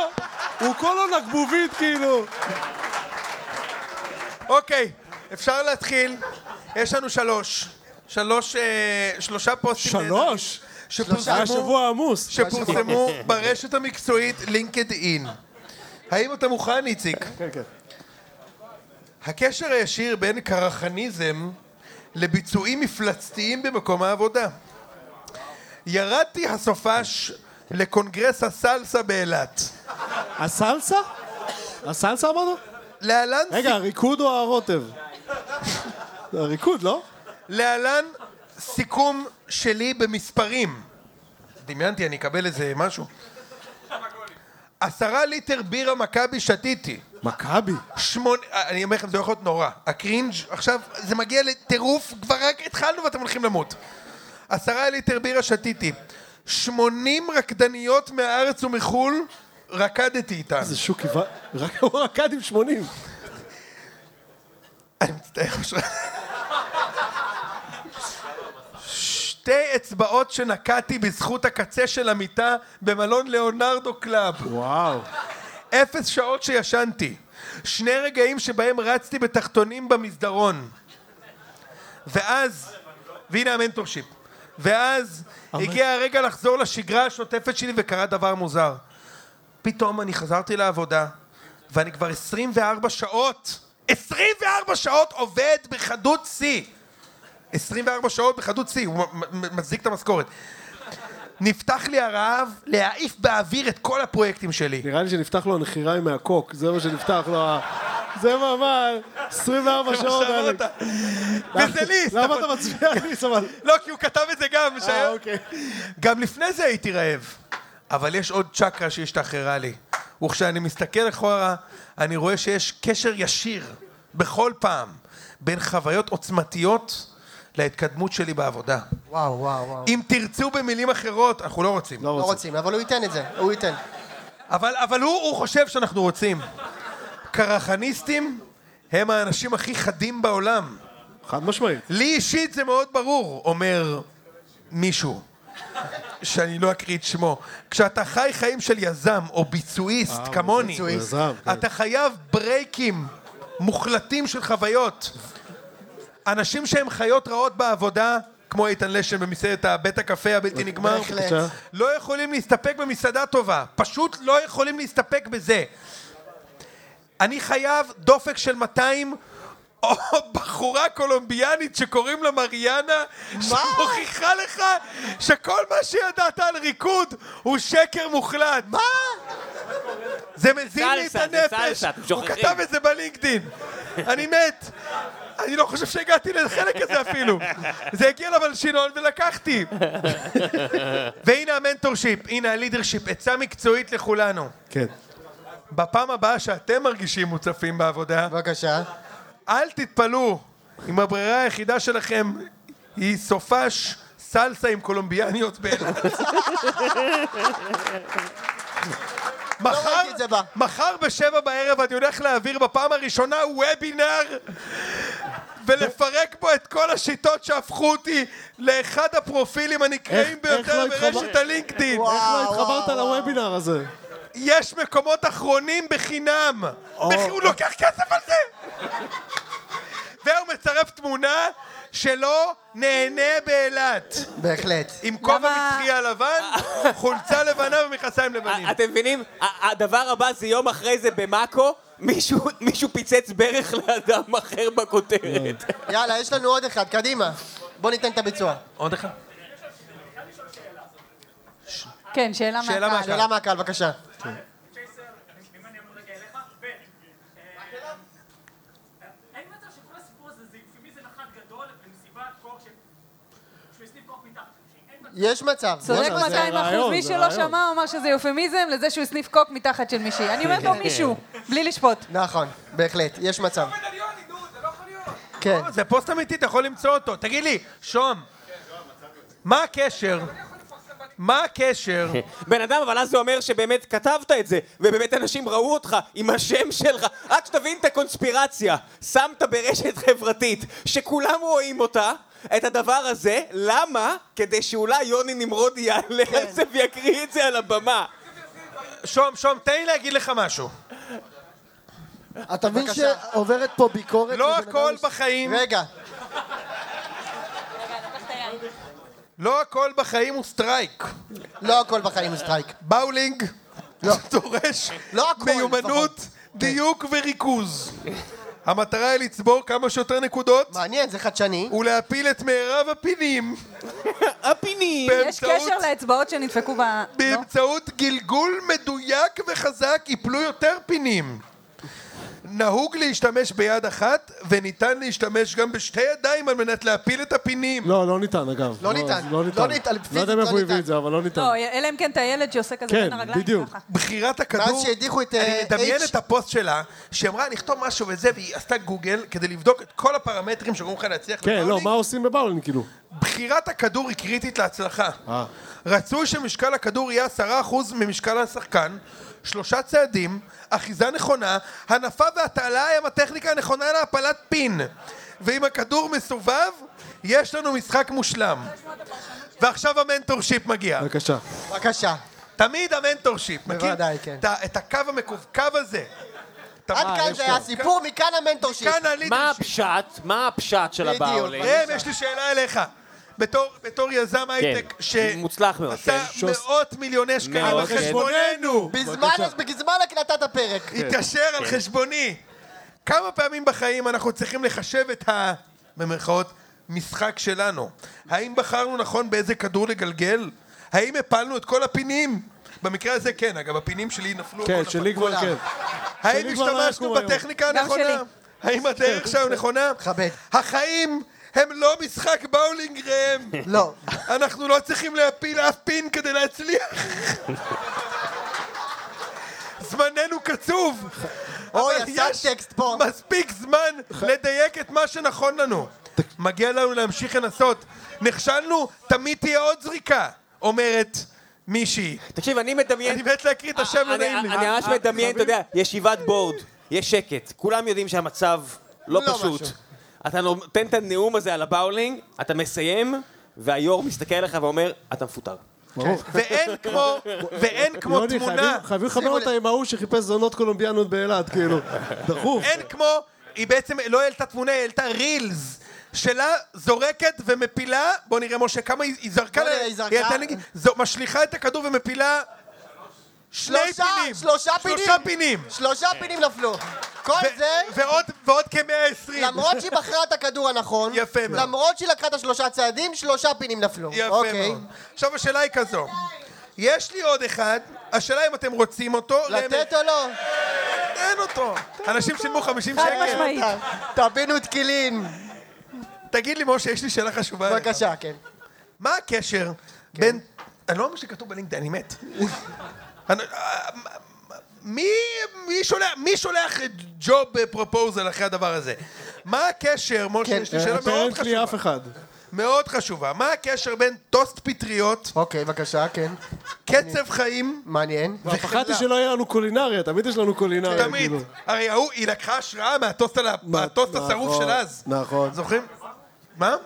S3: הוא כולו נקבובית כאילו.
S1: אוקיי, אפשר להתחיל. יש לנו שלוש. שלוש, אה, שלושה פוסטים.
S3: שלוש? היה
S1: שפורסמו,
S3: שבוע עמוס.
S1: שפורסמו ברשת המקצועית לינקד אין. האם אתה מוכן, איציק?
S3: כן, כן.
S1: הקשר הישיר בין קרחניזם לביצועים מפלצתיים במקום העבודה. ירדתי הסופש לקונגרס הסלסה באילת.
S3: הסלסה? הסלסה אמרנו?
S1: להלן,
S3: רגע, הריקוד או הרוטב? זה הריקוד, לא?
S1: להלן סיכום שלי במספרים. דמיינתי, אני אקבל איזה משהו. עשרה ליטר בירה מכבי שתיתי.
S3: מכבי.
S1: שמונה... אני אומר לכם, זה יכול להיות נורא. הקרינג' עכשיו, זה מגיע לטירוף, כבר רק התחלנו ואתם הולכים למות. עשרה ליטר בירה שתיתי. שמונים רקדניות מהארץ ומחו"ל רקדתי איתן.
S3: זה שוק איבה... רק הוא רקד עם 80.
S1: אני מצטער אשרה. שתי אצבעות שנקעתי בזכות הקצה של המיטה במלון ליאונרדו קלאב.
S3: וואו.
S1: אפס שעות שישנתי. שני רגעים שבהם רצתי בתחתונים במסדרון. ואז, והנה המנטורשיפ. ואז הגיע הרגע לחזור לשגרה השוטפת שלי וקרה דבר מוזר. פתאום אני חזרתי לעבודה, ואני כבר 24 שעות, 24 שעות עובד בחדות שיא. 24 שעות בחדות שיא, הוא מ- מ- מצדיק את המשכורת. נפתח לי הרעב להעיף באוויר את כל הפרויקטים שלי.
S3: נראה לי שנפתח לו הנחיריים מהקוק, זה מה שנפתח לו ה... זה מה, מה, 24 שעות, אלק.
S1: וזה ליסט.
S3: למה אתה מצביע ליס, אבל...
S1: לא, כי הוא כתב את זה גם. שהיה-
S3: אה, אוקיי.
S1: גם לפני זה הייתי רעב. אבל יש עוד צ'קרה שהשתחררה לי. וכשאני מסתכל אחורה, אני רואה שיש קשר ישיר, בכל פעם, בין חוויות עוצמתיות להתקדמות שלי בעבודה.
S2: וואו, וואו, וואו.
S1: אם תרצו במילים אחרות, אנחנו לא רוצים.
S3: לא
S2: לא
S3: רוצה.
S2: רוצים, אבל הוא ייתן את זה, הוא ייתן.
S1: אבל, אבל הוא, הוא חושב שאנחנו רוצים. קרחניסטים הם האנשים הכי חדים בעולם.
S3: חד משמעית.
S1: לי אישית זה מאוד ברור, אומר מישהו, שאני לא אקריא את שמו. כשאתה חי חיים של יזם או ביצועיסט כמוני,
S2: ביצועיסט.
S3: יזם, כן.
S1: אתה חייב ברייקים מוחלטים של חוויות. אנשים שהם חיות רעות בעבודה, כמו איתן לשם במסעדת הבית הקפה הבלתי נגמר,
S2: בהחלט.
S1: לא יכולים להסתפק במסעדה טובה. פשוט לא יכולים להסתפק בזה. אני חייב דופק של 200 או בחורה קולומביאנית שקוראים לה מריאנה, שמוכיחה לך שכל מה שידעת על ריקוד הוא שקר מוחלט. מה? זה מזין לי את
S7: סלסה, זה
S1: הנפש.
S7: סלסה, אתם
S1: הוא
S7: שוכחים.
S1: כתב את זה בלינקדין. אני מת. אני לא חושב שהגעתי לחלק הזה אפילו. זה הגיע לבלשינון ולקחתי. והנה המנטורשיפ, הנה הלידרשיפ, עצה מקצועית לכולנו.
S3: כן.
S1: בפעם הבאה שאתם מרגישים מוצפים בעבודה,
S2: בבקשה.
S1: אל תתפלאו אם הברירה היחידה שלכם היא סופש
S2: [LAUGHS]
S1: סלסה עם קולומביאניות באילת. מחר-
S2: לא ראיתי את זה בא.
S1: מחר בשבע בערב אני הולך להעביר בפעם הראשונה וובינר ולפרק בו את כל השיטות שהפכו אותי לאחד הפרופילים הנקראים
S3: איך- איך
S1: ביותר
S3: לא התחבר-
S1: ברשת הלינקדאין.
S3: איך לא
S2: וואו,
S3: התחברת לוובינר הזה?
S1: יש מקומות אחרונים בחינם. בח- הוא לוקח כסף על זה! והוא מצרף תמונה שלו נהנה באילת.
S2: בהחלט.
S1: עם כובע
S6: למה-
S1: מצחייה לבן, חולצה לבנה ומכסיים לבנים.
S7: אתם מבינים? ה- הדבר הבא זה יום אחרי זה במאקו, מישהו מישהו פיצץ ברך לאדם אחר בכותרת.
S2: יאללה, יש לנו עוד אחד, קדימה. בוא ניתן את הביצוע.
S1: עוד אחד.
S6: כן, שאלה
S1: שאלה
S6: מהקהל.
S1: מהקהל.
S2: שאלה מהקהל, בבקשה. יש מצב.
S6: צודק
S2: יש מצב.
S6: 200 אחוז,
S3: רעיון,
S6: מי
S3: זה
S6: שלא
S3: רעיון.
S6: שמע אמר שזה יופימיזם לזה שהוא הסניף קוק מתחת של מישהי. אני אומרת לו מישהו, בלי לשפוט.
S2: נכון, בהחלט, יש מצב.
S1: לא
S2: כן.
S1: זה פוסט אמיתי, אתה יכול למצוא אותו. תגיד לי, שוהם, מה הקשר? מה הקשר?
S7: בן אדם, אבל אז זה אומר שבאמת כתבת את זה, ובאמת אנשים ראו אותך עם השם שלך. רק שתבין את הקונספירציה, שמת ברשת חברתית, שכולם רואים אותה, את הדבר הזה, למה? כדי שאולי יוני נמרודי יעלה על זה ויקריא את זה על הבמה.
S1: שוהם, שוהם, תן לי להגיד לך משהו.
S9: אתה מבין שעוברת פה ביקורת?
S1: לא
S9: לבן אדם
S1: הכל
S9: ש-
S1: בחיים,
S2: רגע,
S1: לא הכל בחיים הוא סטרייק.
S2: לא הכל בחיים הוא סטרייק.
S1: באולינג [LAUGHS] דורש
S2: לא הכל,
S1: מיומנות,
S2: לפחות. כן.
S1: דיוק וריכוז. המטרה היא לצבור כמה שיותר נקודות
S2: מעניין, זה חדשני.
S1: ולהפיל את מירב הפינים
S2: לא.
S7: הפינים.
S6: יש
S1: באמצעות
S6: קשר לאצבעות שנדפקו ב... לא?
S1: באמצעות גלגול מדויק וחזק יפלו יותר פינים. נהוג להשתמש ביד אחת, וניתן להשתמש גם בשתי ידיים על מנת להפיל את הפינים.
S3: לא, לא ניתן, אגב.
S2: לא ניתן.
S3: לא
S2: לא
S3: ניתן.
S2: ניתן,
S3: לא
S2: פיזית
S3: יודע
S2: לא
S3: מאיפה הוא הביא
S2: ניתן.
S3: את זה, אבל לא ניתן.
S6: לא, אלא אם כן את הילד שעושה כזה
S3: כן,
S6: בין הרגליים
S3: בדיוק.
S6: ככה.
S1: בחירת הכדור,
S2: ואז שהדיחו את,
S1: אני
S2: אה,
S1: מדמיין
S2: H.
S1: את הפוסט שלה, שהיא אמרה נכתוב משהו וזה, והיא עשתה גוגל כדי לבדוק את כל הפרמטרים שגורמים לך להצליח.
S3: כן, לא,
S1: בבאולינג.
S3: מה עושים בבאולינג, כאילו?
S1: בחירת הכדור היא קריטית להצלחה.
S3: אה.
S1: רצוי שמשקל הכדור יהיה 10% ממשקל השחקן, שלושה צעדים, אחיזה נכונה, הנפה והטעלה הם הטכניקה הנכונה להפלת פין. ואם הכדור מסובב, יש לנו משחק מושלם. ועכשיו המנטורשיפ מגיע.
S3: בבקשה.
S2: בבקשה.
S9: אה,
S1: תמיד המנטורשיפ, מכיר?
S2: בוודאי, כן.
S1: את ה- את הקו המקווקו הזה. אתה-
S2: עד
S1: אה,
S2: כאן
S1: יש
S2: זה
S1: לו.
S2: היה הסיפור, מכאן המנטורשיפ.
S1: כאן
S7: מה
S1: הלידרשיפ.
S7: הפשט? מה הפשט של
S2: בדיוק.
S7: הבאולינג?
S1: ראם, יש לי שאלה אליך. בתור, בתור יזם הייטק,
S7: כן, מוצלח מאוד,
S1: שעשה
S7: כן.
S1: מאות מיליוני שקלים על
S7: מאוד, כן.
S1: חשבוננו,
S2: בזמן בזמן הקלטת הפרק.
S1: התקשר על
S7: כן.
S1: חשבוני. כמה פעמים בחיים אנחנו צריכים לחשב את ה... במרכאות, משחק שלנו? האם בחרנו נכון באיזה כדור לגלגל? האם הפלנו את כל הפינים? במקרה הזה כן, אגב, הפינים שלי נפלו. כל
S3: כן,
S1: הפעם.
S3: שלי כבר כן.
S1: האם
S3: שלי כבר לא
S1: השתמשנו
S3: יקום היום.
S1: בטכניקה
S6: גם שלי.
S1: הנכונה? האם הדרך שלנו נכונה?
S2: כבד.
S1: החיים הם לא משחק באולינג ראם.
S2: לא.
S1: אנחנו לא צריכים להפיל אף פין כדי להצליח. זמננו קצוב.
S2: אוי,
S1: אבל
S2: עשה
S1: יש
S2: טקסט פה.
S1: מספיק זמן לדייק את מה שנכון לנו. מגיע לנו להמשיך לנסות. נכשלנו, תמיד תהיה עוד זריקה, אומרת מישהי.
S7: תקשיב, אני מדמיין...
S1: אני מת להקריא את השם, לא
S7: אני-
S1: נעים לי.
S7: אני ממש מדמיין, אתה יודע, ישיבת בורד, יש שקט, כולם יודעים שהמצב לא
S2: לא
S7: פשוט.
S2: משהו.
S7: אתה נותן את הנאום הזה על הבאולינג, אתה מסיים, והיו"ר מסתכל עליך ואומר, אתה מפוטר.
S3: ברור.
S1: ואין כמו, ואין כמו
S3: יוני,
S1: תמונה,
S3: חייבים- חייבים לחבר אותה עם ההוא שחיפש זונות קולומביאנות באילת, כאילו. דחוף.
S1: [LAUGHS] אין כמו, היא בעצם לא העלתה תמונה, היא העלתה רילס. שלה זורקת ומפילה, בוא נראה משה כמה היא, היא זרקה,
S2: בוא נראה,
S1: לה-
S2: היא זרקה.
S1: העלתה נגיד, זו, משליכה את הכדור ומפילה שני
S2: שלושה,
S1: פינים,
S2: שלושה פינים.
S1: שלושה פינים,
S2: שלושה פינים נפלו. כל
S1: ו-
S2: זה,
S1: ועוד, ועוד כמאה עשרים,
S2: למרות שהיא בחרה את הכדור הנכון,
S1: יפה מאוד.
S2: למרות שהיא לקחה את השלושה צעדים, שלושה פינים נפלו.
S1: יפה
S2: אוקיי.
S1: מאוד, עכשיו השאלה היא כזו, יש לי עוד אחד, השאלה אם אתם רוצים אותו,
S2: לתת או לא?
S1: אין אותו, אנשים שילמו 50
S6: חד
S1: שקל,
S6: משמעית.
S2: תבינו את קילין.
S1: תגיד לי משה, יש לי שאלה חשובה, אליך.
S2: בבקשה, כן.
S1: מה הקשר
S3: כן.
S1: בין... אני לא אומר שכתוב בלינקדאין, אני מת. אני- אה, מי, מי, שולח, מי שולח ג'וב פרופוזל אחרי הדבר הזה? מה הקשר, משה,
S2: כן,
S1: יש לי שאלה מאוד
S3: אה, הפרנט לי
S1: חשובה.
S3: אף אחד.
S1: מאוד חשובה. מה הקשר בין טוסט פטריות,
S2: אוקיי, בבקשה, כן.
S1: קצב חיים
S2: מעניין.
S3: פחדתי שלא יהיה לנו קולינריה, תמיד יש לנו קולינריה.
S1: תמיד.
S3: כאילו.
S1: הרי ההוא, היא לקחה השראה מהטוסט על ה- מהטוסט
S3: נכון,
S1: השרוף של אז.
S3: נכון.
S1: זוכרים? מה?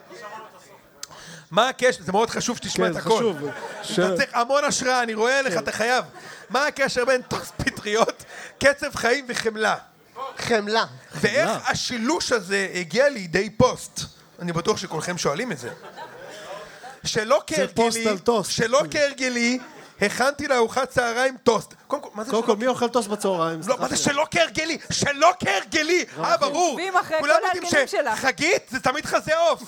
S1: מה הקשר? זה מאוד חשוב שתשמע
S3: כן,
S1: את
S3: זה
S1: הכל.
S3: חשוב. כן.
S1: אתה צריך המון השראה, אני רואה לך, אתה חייב. מה הקשר בין טוסט פטריות, קצב חיים וחמלה?
S2: חמלה.
S1: ואיך השילוש הזה הגיע לידי פוסט? אני בטוח שכולכם שואלים את זה. שלא
S3: פוסט
S1: כהרגלי,
S3: על טוסט.
S1: שלא כהרגלי, הכנתי לארוחת צהריים טוסט. קודם כל, מה זה
S3: קודם כל, מי אוכל טוס בצהריים?
S1: לא, מה זה שלא כהרגלי? שלא כהרגלי! אה, ברור.
S6: עוקבים אחרי
S1: כולם
S6: כל
S1: יודעים
S6: ההרגלים שלך.
S1: שחגית זה תמיד חזה
S3: [LAUGHS]
S1: עוף.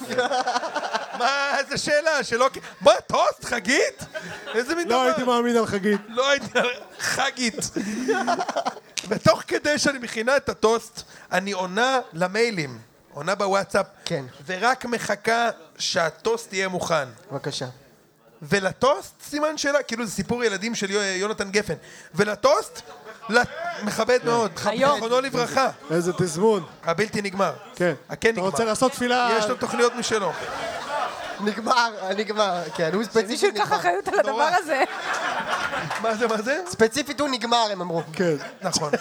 S1: מה, איזה שאלה, שלא כ... מה, טוסט, חגית? איזה מין
S3: לא
S1: דבר?
S3: הייתי מאמין על חגית.
S1: לא הייתי... חגית. ותוך כדי שאני מכינה את הטוסט, אני עונה למיילים. עונה בוואטסאפ.
S2: כן.
S1: ורק מחכה שהטוסט יהיה מוכן.
S2: בבקשה.
S1: ולטוסט, סימן שאלה, כאילו זה סיפור ילדים של יו- יונתן גפן. ולטוסט, לט- מכבד מאוד,
S6: היום.
S1: זכרונו לברכה,
S3: איזה תזמון.
S1: הבלתי נגמר.
S3: כן.
S1: הכן
S3: אתה
S1: נגמר.
S3: רוצה לעשות תפילה...
S1: יש לו תוכניות משלו.
S2: נגמר, נגמר. כן, הוא ספציפית
S6: מישהו ייקח
S2: נגמר.
S6: אחריות על הדבר
S1: נורא.
S6: הזה.
S1: מה זה, מה זה?
S2: ספציפית הוא נגמר, הם אמרו.
S3: כן. [LAUGHS]
S1: נכון.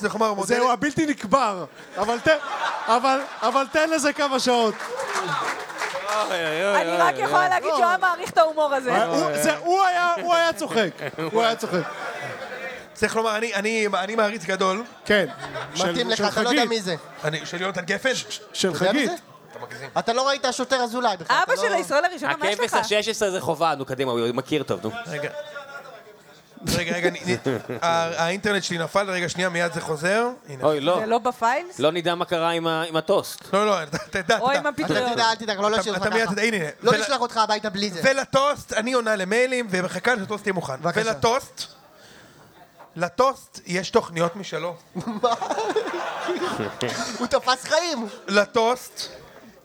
S1: זה חומר מודל.
S3: זהו הבלתי נקבר. אבל תן... אבל... אבל תן לזה כמה שעות.
S1: אה,
S6: אני רק יכולה להגיד שהוא היה מעריך את ההומור הזה.
S3: הוא-
S1: אה.
S3: זה- הוא היה... הוא היה
S1: [LAUGHS]
S3: צוחק. הוא היה צוחק.
S1: צריך לומר, אני- אני אני מעריץ גדול,
S3: כן.
S2: מתאים
S3: של-
S2: לך,
S3: של
S2: אתה לא יודע
S3: חגית.
S2: מי זה.
S1: אני- של יונתן גפן.
S3: של
S2: אתה יודע מי
S3: חגית.
S2: זה? אתה לא ראית השוטר אזולאי בכלל.
S6: אבא
S2: אתה
S6: של
S2: לא-
S6: הישראל הראשונה, מה יש
S7: הכבש
S6: לך?
S7: ה-16 זה חובה, נו קדימה, הוא מכיר טוב, נו.
S1: רגע. רגע, רגע, אני- אני- ה- האינטרנט שלי נפל, רגע, שנייה, מיד זה חוזר. הנה.
S7: אוי, לא.
S6: זה לא בפיילס?
S7: לא נדע מה קרה עם ה- עם הטוסט.
S1: לא, לא, אתה אתה יודע, אתה
S6: או עם
S1: יודע.
S2: אתה
S6: הפטריות?
S2: תדע, אל תדאג, לא להשאיר אותך
S1: אתה מיד
S2: ככה.
S1: תדע, הנה, הנה.
S2: לא
S1: ול-
S2: נשלח אותך הביתה בלי זה.
S1: ולטוסט, אני עונה למיילים ומחכה שהטוסט יהיה מוכן.
S2: בבקשה.
S1: ולטוסט, לטוסט יש תוכניות משלו.
S2: הוא תפס חיים.
S1: לטוסט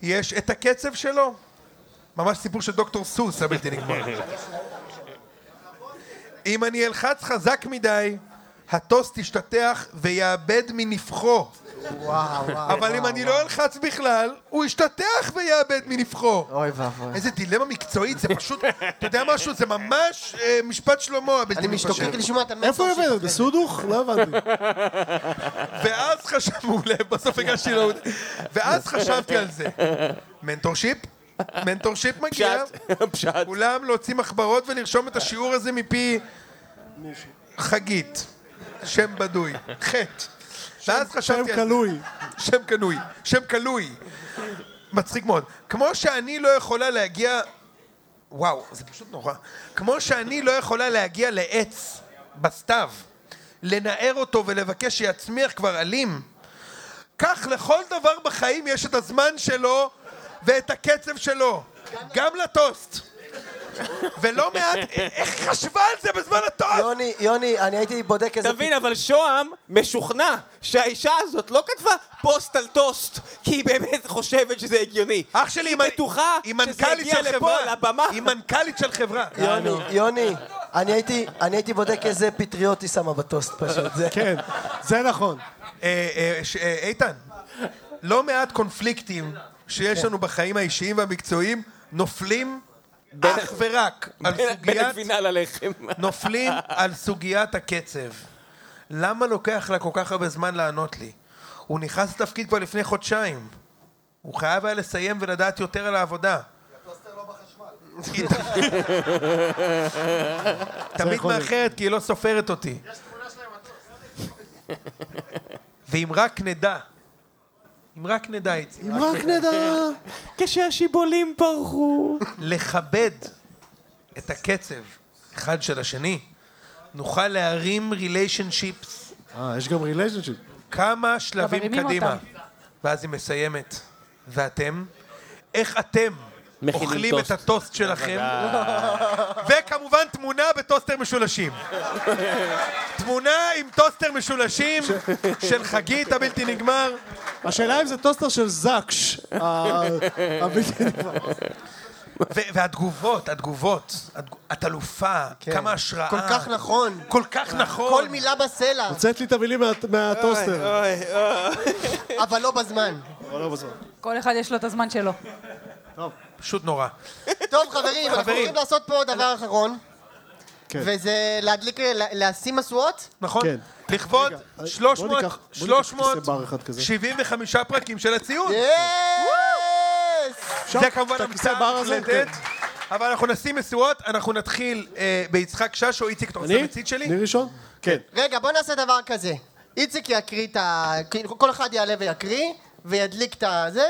S1: יש את הקצב שלו. ממש סיפור של דוקטור סוס הבלתי נגמר. אם אני אלחץ חזק מדי, הטוסט ישתטח ויאבד מנפחו.
S2: וואו, וואו.
S1: אבל אם
S2: וואו,
S1: אני
S2: וואו.
S1: לא אלחץ בכלל, הוא ישתטח ויאבד מנפחו.
S2: אוי ואבוי.
S1: איזה דילמה מקצועית, זה פשוט, אתה יודע משהו? זה ממש אה, משפט שלמה הבלתי
S2: אני משתוקק
S1: מתפשר.
S2: לשמוע את המסר
S3: איפה היא
S2: שלך.
S3: עובדת? בסודוך? לא הבנתי.
S1: ואז חשב... מעולה, בסוף הגשתי לו... ואז חשבתי על זה. מנטורשיפ? מנטורשיפ מגיע.
S7: פשט.
S1: כולם להוציא מחברות ולרשום את השיעור הזה מפי... חגית. שם בדוי. חטא. ואז
S3: שם
S1: חשבתי על זה.
S3: כלוי.
S1: שם קנוי. שם קלוי. מצחיק מאוד. כמו שאני לא יכולה להגיע... וואו, זה פשוט נורא. כמו שאני לא יכולה להגיע לעץ בסתיו, לנער אותו ולבקש שיצמיח כבר עלים, כך לכל דבר בחיים יש את הזמן שלו ואת הקצב שלו. גם לטוסט. ולא מעט, איך היא חשבה על זה בזמן הטוסט?
S9: יוני, יוני, אני הייתי בודק איזה...
S7: תבין, אבל שוהם משוכנע שהאישה הזאת לא כתבה פוסט על טוסט, כי היא באמת חושבת שזה הגיוני.
S1: אח שלי,
S7: היא
S1: היא מנ-
S7: בטוחה
S1: היא
S7: שזה
S1: מנכ"לית
S7: יגיע
S1: של
S7: לפה,
S1: חברה.
S7: לבמה.
S1: היא מנכ"לית של חברה.
S9: יוני, יוני, אני הייתי, אני הייתי בודק איזה פטריות היא שמה בטוסט פשוט. זה...
S3: כן. זה נכון.
S1: אה, אה, ש- אה, איתן, לא מעט קונפליקטים שיש לנו בחיים האישיים והמקצועיים נופלים אך ורק על
S7: בין- בין
S1: סוגיית...
S7: הגבינה ללחם.
S1: נופלים על סוגיית הקצב. למה לוקח לה כל כך הרבה זמן לענות לי? הוא נכנס לתפקיד כבר לפני חודשיים. הוא חייב היה לסיים ולדעת יותר על העבודה. תמיד
S3: יכול להיות.
S1: מאחרת כי היא לא סופרת אותי. ואם רק נדע, אם רק נדע, איציק,
S3: אם
S1: [LAUGHS]
S3: רק נדע...
S7: כשהשיבולים פרחו.
S1: לכבד את הקצב אחד של השני, נוכל להרים ריליישנשיפס
S3: אה, יש גם ריליישנשיפ.
S1: כמה שלבים
S6: מרימים
S1: קדימה.
S6: אותם.
S1: ואז היא מסיימת. ואתם? איך אתם
S7: מכינים
S1: אוכלים את
S7: טוסט.
S1: הטוסט שלכם? וכמובן תמונה בטוסטר משולשים. תמונה עם טוסטר משולשים של חגית הבלתי נגמר.
S3: השאלה אם זה טוסטר של זקש. ה- הבלתי נגמר.
S1: ו- והתגובות, התגובות. התג- את אלופה, כמה השראה.
S2: כן. כל כך נכון.
S1: כל כך נכון.
S2: כל מילה בסלע,
S3: הוצאת לי את המילים מה- מהטוסטר.
S1: אה,
S2: אבל לא בזמן.
S3: אבל לא בזמן.
S6: כל אחד יש לו את הזמן שלו.
S1: פשוט נורא.
S2: טוב, חברים, אנחנו
S1: חברים.
S2: הולכים לעשות פה דבר אחרון.
S3: כן.
S2: וזה להדליק, לה- להשים משואות.
S1: נכון?
S3: כן.
S1: לכבוד
S3: רגע, אה, בוא
S1: 300,
S3: ניקח- בוא ניקח כיסא בר אחד כזה.
S1: 375 פרקים של הציון. כן.
S2: יס!
S1: זה כמובן
S3: את הכיסא
S1: המצאה
S3: בר הזה, כן.
S1: מוקלטת. אבל אנחנו נשים משואות, אנחנו נתחיל אה, ביצחק שש או איציק, אתה רוצה
S3: אני?
S1: מצית שלי?
S3: אני ראשון? כן.
S2: רגע, בוא נעשה דבר כזה. איציק יקריא את ה... כאילו, כל אחד יעלה ויקריא, וידליק את הזה,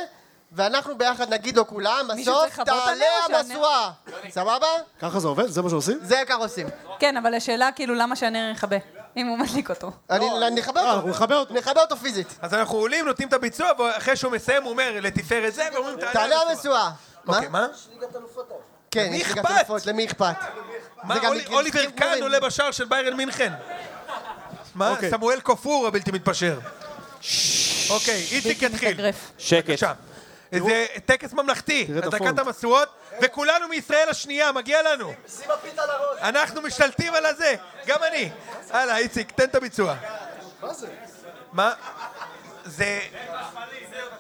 S2: ואנחנו ביחד נגיד לו כולם,
S6: מישהו
S2: בסוף
S6: צריך לכבות
S2: תעלה
S6: עליה או שאני-
S2: המשואה. סבבה?
S3: ככה זה עובד? זה מה שעושים?
S2: זה ככה עושים.
S6: כן, אבל השאלה כאילו למה שהנר יכבה, אם הוא מדליק אותו.
S1: לא,
S2: אני נכבה
S3: אה,
S2: אותו.
S3: אנחנו נכבה אותו.
S2: נכבה אותו פיזית.
S1: אז אנחנו עולים, נותנים את הביצוע, ואחרי שהוא מסיים הוא אומר לתפארת זה, ואומרים
S2: תעלה המשואה.
S1: אוקיי, מה?
S2: כן,
S1: למי
S2: יש לי גם
S1: אכפת?
S2: תרופות, למי אכפת?
S6: אה,
S1: מה,
S2: זה גם
S1: אולי-
S2: מקרים
S3: כאילו
S1: אוליבר
S2: ספורים.
S1: קאן עולה בשער של ביירן מינכן. מה,
S3: אוקיי.
S1: סמואל קופור הבלתי מתפשר. אוקיי, איציק יתחיל.
S6: מתאגרף.
S7: שקט.
S1: בבקשה. זה טקס ממלכתי,
S3: תראה את
S1: הדלקת
S3: הפונט.
S1: המשואות, וכולנו מישראל השנייה, מגיע לנו. אנחנו משתלטים על הזה, גם אני. הלאה, איציק, תן את הביצוע. מה זה? מה? זה...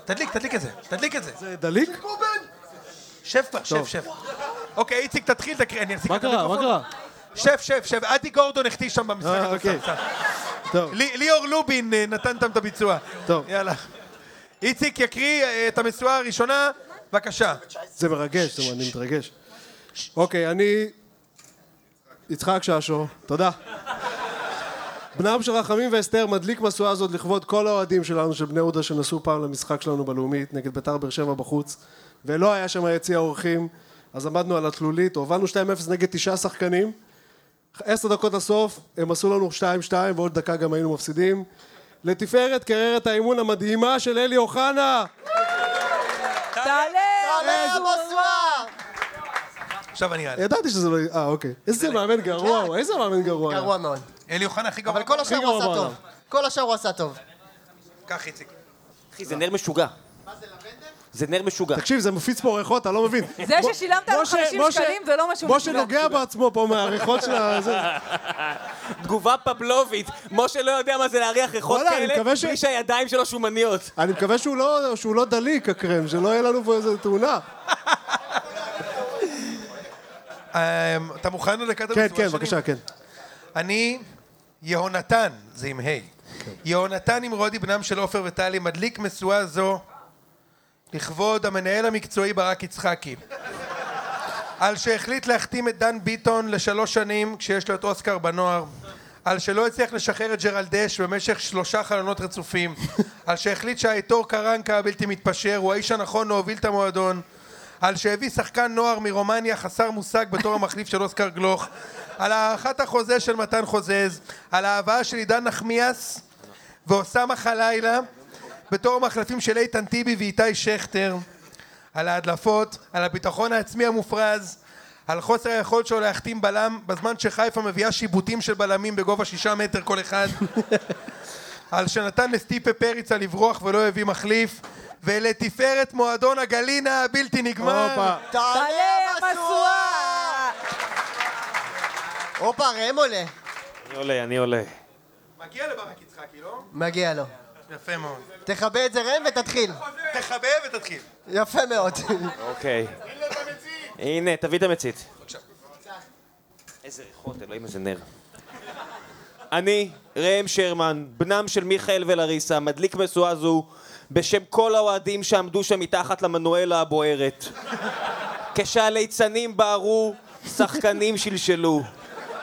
S1: תדליק, תדליק את זה, תדליק את זה.
S3: דליק?
S1: שב כבר, שב, שב. אוקיי, איציק, תתחיל, תקריא, אני אשים
S3: מה
S1: את
S3: קרה? מה
S1: המיקרופון.
S3: קרה?
S1: שב, שב, שב, אדי גורדון החטיא שם במשחק.
S3: אה,
S1: הזה,
S3: אוקיי.
S1: סתם, סתם.
S3: טוב.
S1: לי- ליאור לובין אה, נתן שם את הביצוע.
S3: טוב.
S1: יאללה. איציק יקריא אה, את המשואה הראשונה, בבקשה.
S3: זה מרגש, זאת אומרת, אני מתרגש. אוקיי, אני... יצחק ששו, תודה. בנם של רחמים ואסתר מדליק משואה זאת לכבוד כל האוהדים שלנו של בני יהודה שנסעו פעם למשחק שלנו בלאומית נגד ביתר באר שבע בחוץ ולא היה שם יציע אורחים אז עמדנו על התלולית, הובלנו 2-0 נגד תשעה שחקנים עשר דקות לסוף, הם עשו לנו 2-2 ועוד דקה גם היינו מפסידים לתפארת קריירת האימון המדהימה של אלי אוחנה
S6: תעלה!
S2: תעלה המשואה!
S1: עכשיו אני אעלה.
S3: ידעתי שזה לא... אה, אוקיי. איזה מאמן גרוע הוא, איזה מאמן גרוע. היה.
S2: גרוע מאוד.
S1: אלי אוחנה הכי אה, גרוע.
S2: אבל כל השאר
S3: הכי
S2: הוא
S3: גרוע
S2: עשה טוב.
S3: בעולם.
S2: כל השאר הוא עשה טוב.
S1: קח, איציק.
S7: אחי, זה נר משוגע. זה נר משוגע.
S3: תקשיב, זה מפיץ פה ריחות, אתה לא מבין.
S6: זה ששילמת לו 50 שקלים זה לא משהו
S3: משה נוגע בעצמו פה מהריחות של ה... זה-
S7: תגובה פבלובית. משה לא יודע מה זה להריח ריחות
S3: וואלה, אני
S7: כאלה,
S3: מקווה ש-
S7: בלי שהידיים שלו שומניות.
S3: אני מקווה שהוא לא- שהוא לא דליק, הקרם, שלא יהיה לנו פה איזה תאונה.
S1: אמ, אתה מוכן לדקת
S3: כן,
S1: הביצוע
S3: כן,
S1: שלי?
S3: בבקשה, כן.
S1: אני יהונתן, זה עם ה'. יהונתן נמרודי, בנם של עופר וטלי, מדליק משואה זו לכבוד המנהל המקצועי ברק יצחקי. על שהחליט להחתים את דן ביטון לשלוש שנים כשיש לו את אוסקר בנוער. על שלא הצליח לשחרר את ג'רלדש במשך שלושה חלונות רצופים. על שהחליט שהאיתור קרנקה הבלתי מתפשר הוא האיש הנכון להוביל את המועדון. על שהביא שחקן נוער מרומניה חסר מושג בתור המחליף של אוסקר גלוך. על הארכת החוזה של מתן חוזז. על ההבאה של עידן נחמיאס ואוסאמה חלילה בתור המחלפים של איתן טיבי ואיתי שכטר. על ההדלפות, על הביטחון העצמי המופרז, על חוסר היכולת שלו להחתים בלם בזמן שחיפה מביאה שיבוטים של בלמים בגובה שישה מטר כל אחד, על שנתן לסטיפה פריצה לברוח ולא הביא מחליף, ולתפארת מועדון הגלינה הבלתי נגמר.
S3: הופה.
S2: תעלה
S6: תעלה
S2: המשואה!
S6: המשואה!
S2: הופה, ראם עולה.
S4: אני עולה, אני עולה.
S1: מגיע לברק יצחקי, לא?
S2: מגיע לו.
S1: יפה מאוד.
S2: תכבה את זה ראם ותתחיל.
S1: תכבה ותתחיל.
S2: יפה
S6: [LAUGHS]
S2: מאוד.
S4: אוקיי. הנה, תביא את המצית. איזה ריחות, אלוהים, איזה נר.
S7: אני, ראם שרמן, בנם של מיכאל ולריסה, מדליק משואה זו בשם כל האוהדים שעמדו שם מתחת למנואלה הבוערת. כשהליצנים בערו, שחקנים שלשלו.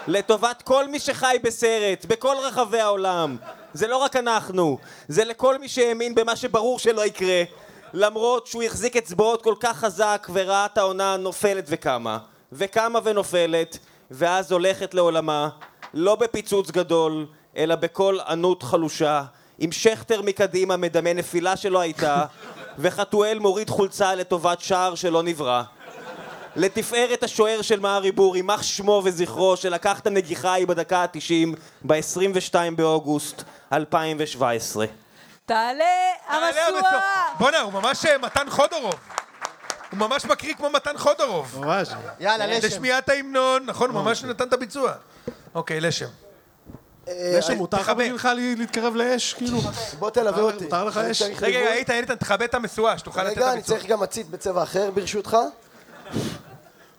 S7: לטובת כל מי שחי בסרט, בכל רחבי העולם. זה לא רק אנחנו, זה לכל מי שהאמין במה שברור שלא יקרה. למרות שהוא החזיק אצבעות כל כך חזק וראה את העונה נופלת וקמה. וקמה ונופלת, ואז הולכת לעולמה, לא בפיצוץ גדול, אלא בקול ענות חלושה, עם שכטר מקדימה מדמה נפילה שלא הייתה, וחתואל מוריד חולצה לטובת שער שלא נברא. לתפארת השוער של מארי בור, יימח שמו וזכרו, שלקח את הנגיחה ההיא בדקה ה-90, ב-22 באוגוסט 2017.
S6: תעלה
S1: תעלה המשואה.
S6: המשואה!
S1: בואנה, הוא ממש אה, מתן חודורוב. הוא ממש מקריא כמו מתן חודורוב.
S3: ממש.
S2: יאללה, לשם. אוקיי.
S1: לשמיעת ההמנון, נכון, הוא ממש נתן את הביצוע. אוקיי, לשם.
S9: אה,
S3: זה שמותר לך
S1: תכבה.
S3: בגילך לי- להתקרב לאש, כאילו?
S9: בוא תלווה אותי.
S3: מותר לך
S9: אני
S3: אש?
S9: צריך
S1: רגע,
S9: ליווי.
S1: רגע, איתן, איתן, תכבה את המשואה, שתוכל לתת את
S9: רגע, אני
S1: הביצוע.
S9: צריך גם מצית בצבע אחר, ברשותך.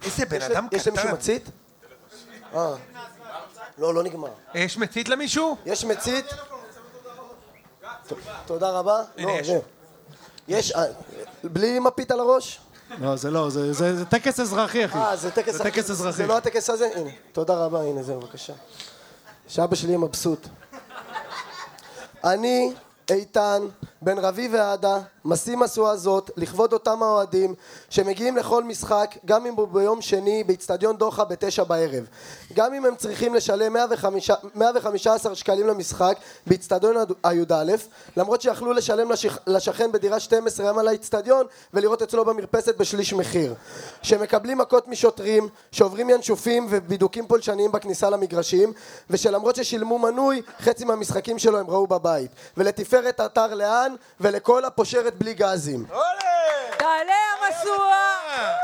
S1: איזה בן
S9: יש ל-
S1: אדם
S9: יש למישהו
S1: קטן.
S9: מצית? אה. לא, לא נגמר.
S1: אה, יש מצית למישהו?
S9: יש מצית? ת- תודה רבה.
S1: הנה,
S9: לא,
S1: יש.
S9: זה. יש, אה, בלי מפית על הראש?
S3: לא, זה לא, זה- זה זה טקס אזרחי, אחי.
S9: אה, זה טקס
S3: זה טקס אזרחי.
S9: זה לא הטקס הזה? הנה, תודה רבה, הנה זהו, בבקשה. שאבא שלי יהיה מבסוט. אני, איתן, בן רביב ועדה, משים משואה זאת לכבוד אותם האוהדים שמגיעים לכל משחק, גם אם הוא ביום שני באיצטדיון דוחה בתשע בערב. גם אם הם צריכים לשלם 105 115 שקלים למשחק באיצטדיון הד- הי"א, למרות שיכלו לשלם לשכ... לשכן בדירה 12 ים על האיצטדיון ולראות אצלו במרפסת בשליש מחיר. שמקבלים מכות משוטרים, שעוברים ינשופים ובידוקים פולשניים בכניסה למגרשים, ושלמרות ששילמו מנוי, חצי מהמשחקים שלו הם ראו בבית. ולתפארת אתר לאן, ולכל הפושרת בלי גזים.
S6: תעלה המשואה!
S1: אה!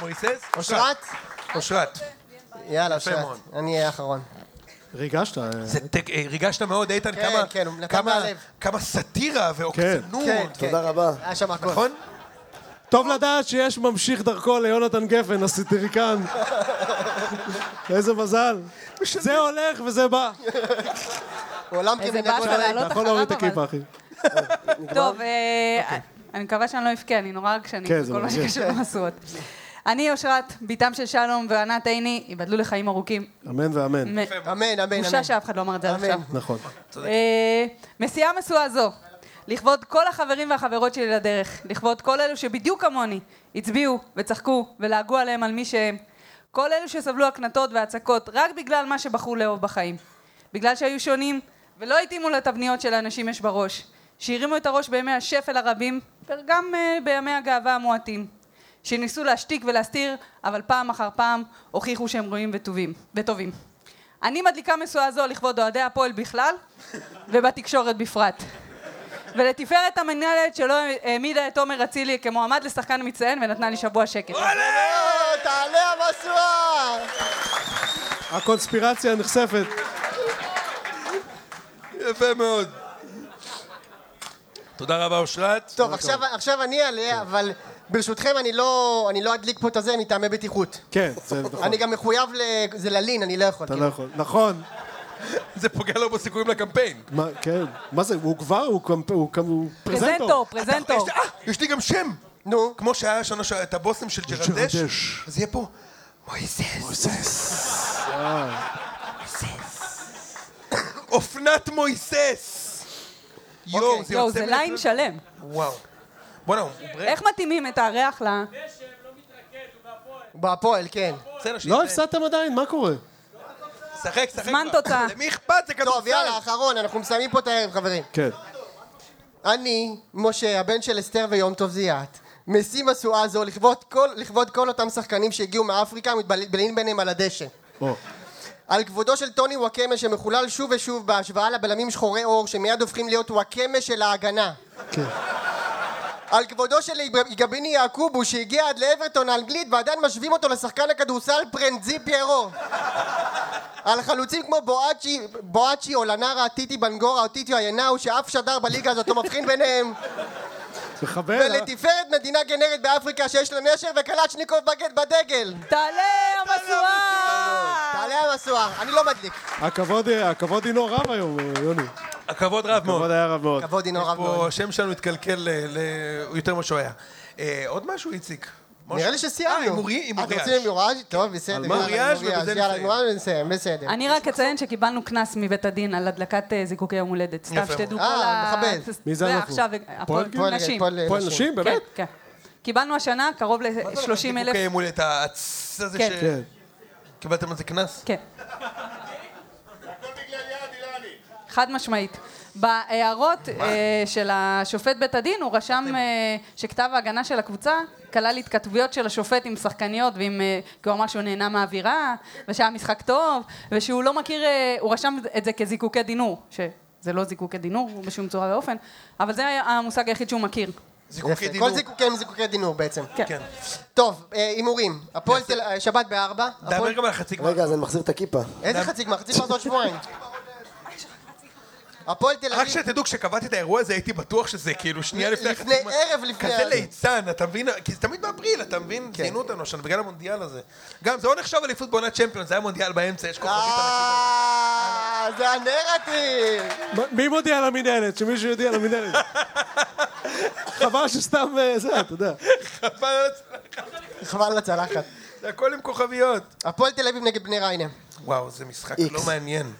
S1: מויסס?
S2: אושרת?
S1: אושרת.
S2: יאללה, אושרת.
S1: מאוד.
S2: אני אהיה האחרון.
S3: ריגשת. אה.
S1: זה טק- אה, ריגשת מאוד, איתן,
S2: כן,
S1: כמה-
S2: כן, הוא נתן
S1: כמה-
S2: מהלב.
S1: כמה סאטירה ועוקצנות.
S2: כן,
S6: אוקיי.
S2: כן.
S9: תודה רבה.
S2: היה שם הכול.
S1: נכון?
S3: טוב לדעת שיש ממשיך דרכו ליונתן גפן, הסטיריקן. איזה מזל. זה הולך וזה בא.
S2: עולם
S6: איזה
S2: קרימינל
S6: באסה
S2: כל
S6: לעלות.
S2: הלילה.
S3: אתה יכול
S6: אחריו,
S3: להוריד את
S6: אבל.
S3: הקליפה, אחי.
S6: טוב, אה, אני מקווה שאני לא אבכה, אני נורא רגשנית,
S3: אוקיי. כן, זה
S6: כל מה
S3: מרגש.
S6: שקשור למשואות. אני אושרת, בתם של שלום וענת עיני, ייבדלו לחיים ארוכים.
S3: אמן ואמן.
S6: מ-
S2: אמן, אמן,
S6: בושה
S2: אמן.
S6: שאף אחד לא אמר את זה עד
S2: אמן.
S6: עכשיו.
S3: נכון.
S6: אה, מסיעה משואה זו, לכבוד כל החברים והחברות שלי לדרך, לכבוד כל אלו שבדיוק כמוני הצביעו וצחקו ולעגו עליהם על מי שהם, כל אלו שסבלו הקנטות והצקות רק בגלל מה שבחרו לאהוב בחיים, בגלל שהיו שונים ולא התאימו לתבניות שלאנשים יש בראש, שהרימו את הראש בימי השפל הרבים וגם אה, בימי הגאווה המועטים, שניסו להשתיק ולהסתיר אבל פעם אחר פעם הוכיחו שהם ראויים וטובים, וטובים. אני מדליקה משואה זו לכבוד אוהדי הפועל בכלל ובתקשורת בפרט. ולתפארת המנהלת שלא העמידה את תומר אצילי כמועמד לשחקן מצטיין ונתנה לי שבוע שקט.
S2: אה, תעלה המשואה!
S3: הקונספירציה נחשפת.
S1: יפה מאוד. תודה רבה, אושרת.
S2: טוב, עכשיו- עכשיו אני אעלה, אבל ברשותכם אני לא אני לא אדליק פה את הזה מטעמי בטיחות.
S3: כן, זה נכון.
S2: אני גם מחויב ל... זה ללין, אני לא יכול.
S3: אתה
S2: כאילו.
S3: לא יכול. נכון.
S1: זה פוגע לו בסיכויים לקמפיין.
S3: מה, כן. מה זה, הוא כבר, הוא קמפ- הוא קמ- הוא פרזנטור.
S6: פרזנטור, פרזנטור.
S1: יש לי- אה, יש לי גם שם.
S2: נו.
S1: כמו שהיה שנה ש... את הבושם של ג'רדש.
S3: ג'רדש.
S1: אז יהיה פה מויסס. [COUGHS] אופנת מויסס. יואו, זה
S6: אוקיי. יואו,
S1: יוצא
S6: זה
S1: מן
S6: ליין
S1: הכלל.
S6: שלם.
S1: וואו. בואנה, הוא ברק.
S6: איך מתאימים את הריח ל...
S2: בהפועל, כן.
S1: בסדר,
S3: לא
S1: שיתנהל.
S3: הפסדתם עדיין, מה קורה?
S1: שחק, שחק.
S6: זמן
S1: כבר.
S6: תוצאה.
S1: למי אכפת? זה
S2: טוב,
S1: כדורסל.
S2: יאללה, אחרון, אנחנו מסיימים פה את הערב, חברים.
S3: כן.
S2: אני, משה, הבן של אסתר ויום טוב זיאת, משיא משואה זו לכבוד כל, לכבוד כל אותם שחקנים שהגיעו מאפריקה ומתבלעים ביניהם על הדשא.
S3: או.
S2: על כבודו של טוני וואקמה שמחולל שוב ושוב בהשוואה לבלמים שחורי עור שמיד הופכים להיות וואקמה של ההגנה.
S3: כן.
S2: על כבודו של גביני יעקובו שהגיע עד לאברטון האנגלית ועדיין משווים אותו לשחקן הכדורסל פרנזי פיירו. על חלוצים כמו בואצ'י, בואצ'י או לנארה, טיטי בנגורה או טיטי איינאו שאף שדר בליגה הזאת לא מבחין ביניהם.
S3: מחבל. אה?
S2: ולתפארת מדינה גנרית באפריקה שיש לה נשר וקלצ'ניקוב בגד בדגל.
S6: תעלה המשואה!
S2: תעלה המשואה, אני לא מדליק.
S3: הכבוד, אה, הכבוד הינו רב היום, אה, יוני.
S1: הכבוד רב מאוד.
S3: הכבוד היה רב מאוד.
S2: כבוד הינו רב
S1: פה
S2: מאוד.
S1: השם שלנו התקלקל ל- ל- הוא יותר ממה שהוא היה. אה, עוד משהו, איציק?
S2: נראה
S1: משהו?
S2: לי שסיימנו.
S1: אה, עם אורי- עם
S2: אתם
S1: אוריאש.
S2: רוצים עם אוריאש? טוב, בסדר. יאללה, עם
S1: אוריאש, ובזה
S2: יאללה,
S1: נסיים.
S2: אוריאש נסיים, בסדר.
S6: אני רק אציין שקיבלנו קנס מבית הדין על הדלקת אה, זיקוקי יום הולדת. סתם
S1: יפה
S6: שתדעו כל
S2: מאוד. אה,
S6: ה...
S2: מכבד.
S3: מי זה אנחנו?
S6: עכשיו, הפועל
S2: פועל-
S6: נשים.
S2: פועל-
S3: פועל נשים,
S6: כן,
S3: באמת?
S6: כן. קיבלנו השנה קרוב ל-30 אלף.
S1: אוקיי, מול את האצ הזה
S6: כן.
S3: כן.
S1: שקיבלתם על זה קנס?
S6: כן. חד משמעית. בהערות אה, של השופט בית הדין הוא רשם אה, שכתב ההגנה של הקבוצה כלל התכתבויות של השופט עם שחקניות ועם... אה, כי הוא אמר שהוא נהנה מהאווירה ושהיה משחק טוב ושהוא לא מכיר... אה, הוא רשם את זה כזיקוקי דינור שזה לא זיקוקי דינור בשום צורה ואופן אבל זה היה המושג היחיד שהוא מכיר.
S1: זיקוקי
S2: יפה.
S1: אוקיי, דינור.
S2: כל זיקוקים הם זיקוקי דינור בעצם.
S1: כן.
S2: טוב, אה, הימורים. הפועל תל אה, שבת בארבע.
S1: דבר
S2: הפועל-
S1: גם על החצי גמר.
S9: רגע, אז אני מחזיר את הכיפה.
S1: [LAUGHS]
S2: איזה חצי גמר? חצי גמר זה עוד שבועיים. הפועל תל
S1: רק
S2: אביב,
S1: שתדעו, כשקבעתי את האירוע הזה הייתי בטוח שזה כאילו שנייה לפני...
S2: לפני-
S1: החתימה.
S2: ערב לפני כן.
S1: כזה
S2: ה-
S1: ליצן, אתה מבין? כי זה תמיד באפריל, אתה מבין? ציינו אותנו שם בגלל המונדיאל הזה. גם זה לא נחשב אליפות בעונת צ'מפיון, זה היה מונדיאל באמצע, יש כוכבית ענקית.
S2: אה, זה הנרטיב.
S3: מה- מי מודיע על המינהלת? שמישהו יודיע על המינהלת. חבל שסתם אה, זה, אתה יודע.
S2: אה.
S1: חבל על הצ-
S2: חבל על הצלחת.
S1: זה הכל עם כוכביות.
S2: הפועל תל אביב נגד בני ריינה.
S1: וואו, זה משחק
S9: איקס.
S1: לא מעניין.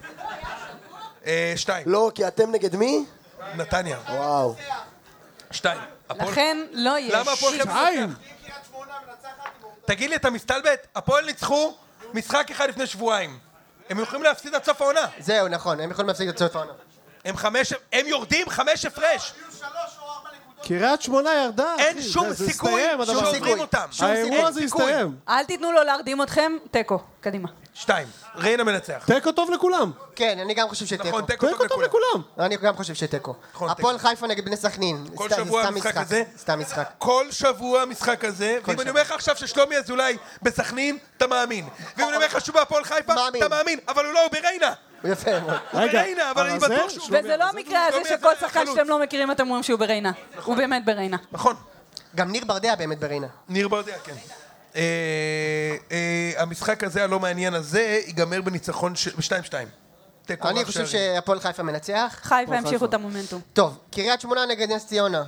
S1: אה, שתיים,
S9: לא, כי אתם נגד מי?
S1: נתניה.
S9: וואו.
S1: שתיים. הפועל-
S6: לכן לא יהיה.
S1: למה הפועל חיפה?
S3: שתיים.
S1: תגיד לי, אתה מסתלבט? הפועל ניצחו משחק אחד לפני שבועיים. הם יכולים להפסיד עד סוף העונה.
S2: זהו, נכון, הם יכולים להפסיק את סוף העונה.
S1: הם חמש... הם יורדים חמש הפרש.
S3: קריית שמונה ירדה, אחי.
S1: אין שום
S3: זה- זה
S1: סיכוי
S3: הסתיים, הדבר הזה.
S1: שעוברים אותם.
S3: האירוע הזה הסתיים.
S6: אל תיתנו לו להרדים אתכם, תיקו. קדימה.
S1: שתיים. ריינה מנצח.
S3: תיקו טוב לכולם.
S2: כן, אני גם חושב שתיקו.
S1: נכון, תיקו
S3: תיקו
S1: טוב
S3: טוב
S1: לכולם.
S3: לכולם.
S2: אני גם חושב שתיקו.
S1: נכון,
S2: הפועל חיפה נגד בני סכנין.
S1: כל
S2: סתם- זה
S1: שבוע
S2: סתם
S1: המשחק הזה?
S2: סתם משחק.
S1: כל שבוע המשחק הזה, ואם אני אומר לך עכשיו ששלומי אזולאי בסכנין, אתה מאמין. ואם אני אומר לך שהוא בהפועל חיפה,
S2: מאמין.
S1: אתה מאמין. אבל הוא לא, הוא בריינה.
S2: יפה מאוד.
S3: רגע,
S1: בריינה, אבל אני
S3: זה-
S1: בטוח שהוא...
S6: וזה לא המקרה הזה
S1: שלומי
S6: שכל
S1: זה
S6: שחקן
S1: חלוץ.
S6: שאתם לא מכירים אתם אומרים שהוא בריינה. הוא באמת בריינה.
S1: נכון.
S2: גם ניר ברדע באמת בריינה.
S1: ניר ברדע, כן. אה, אה, המשחק הזה, הלא מעניין הזה, ייגמר בניצחון ש- ב-2-2. תיקו
S2: אני
S1: רב
S2: חושב
S1: שערים.
S2: שהפועל חיפה מנצח.
S6: חיפה המשיכו את המומנטום.
S2: טוב, קריית שמונה נגד נס ציונה.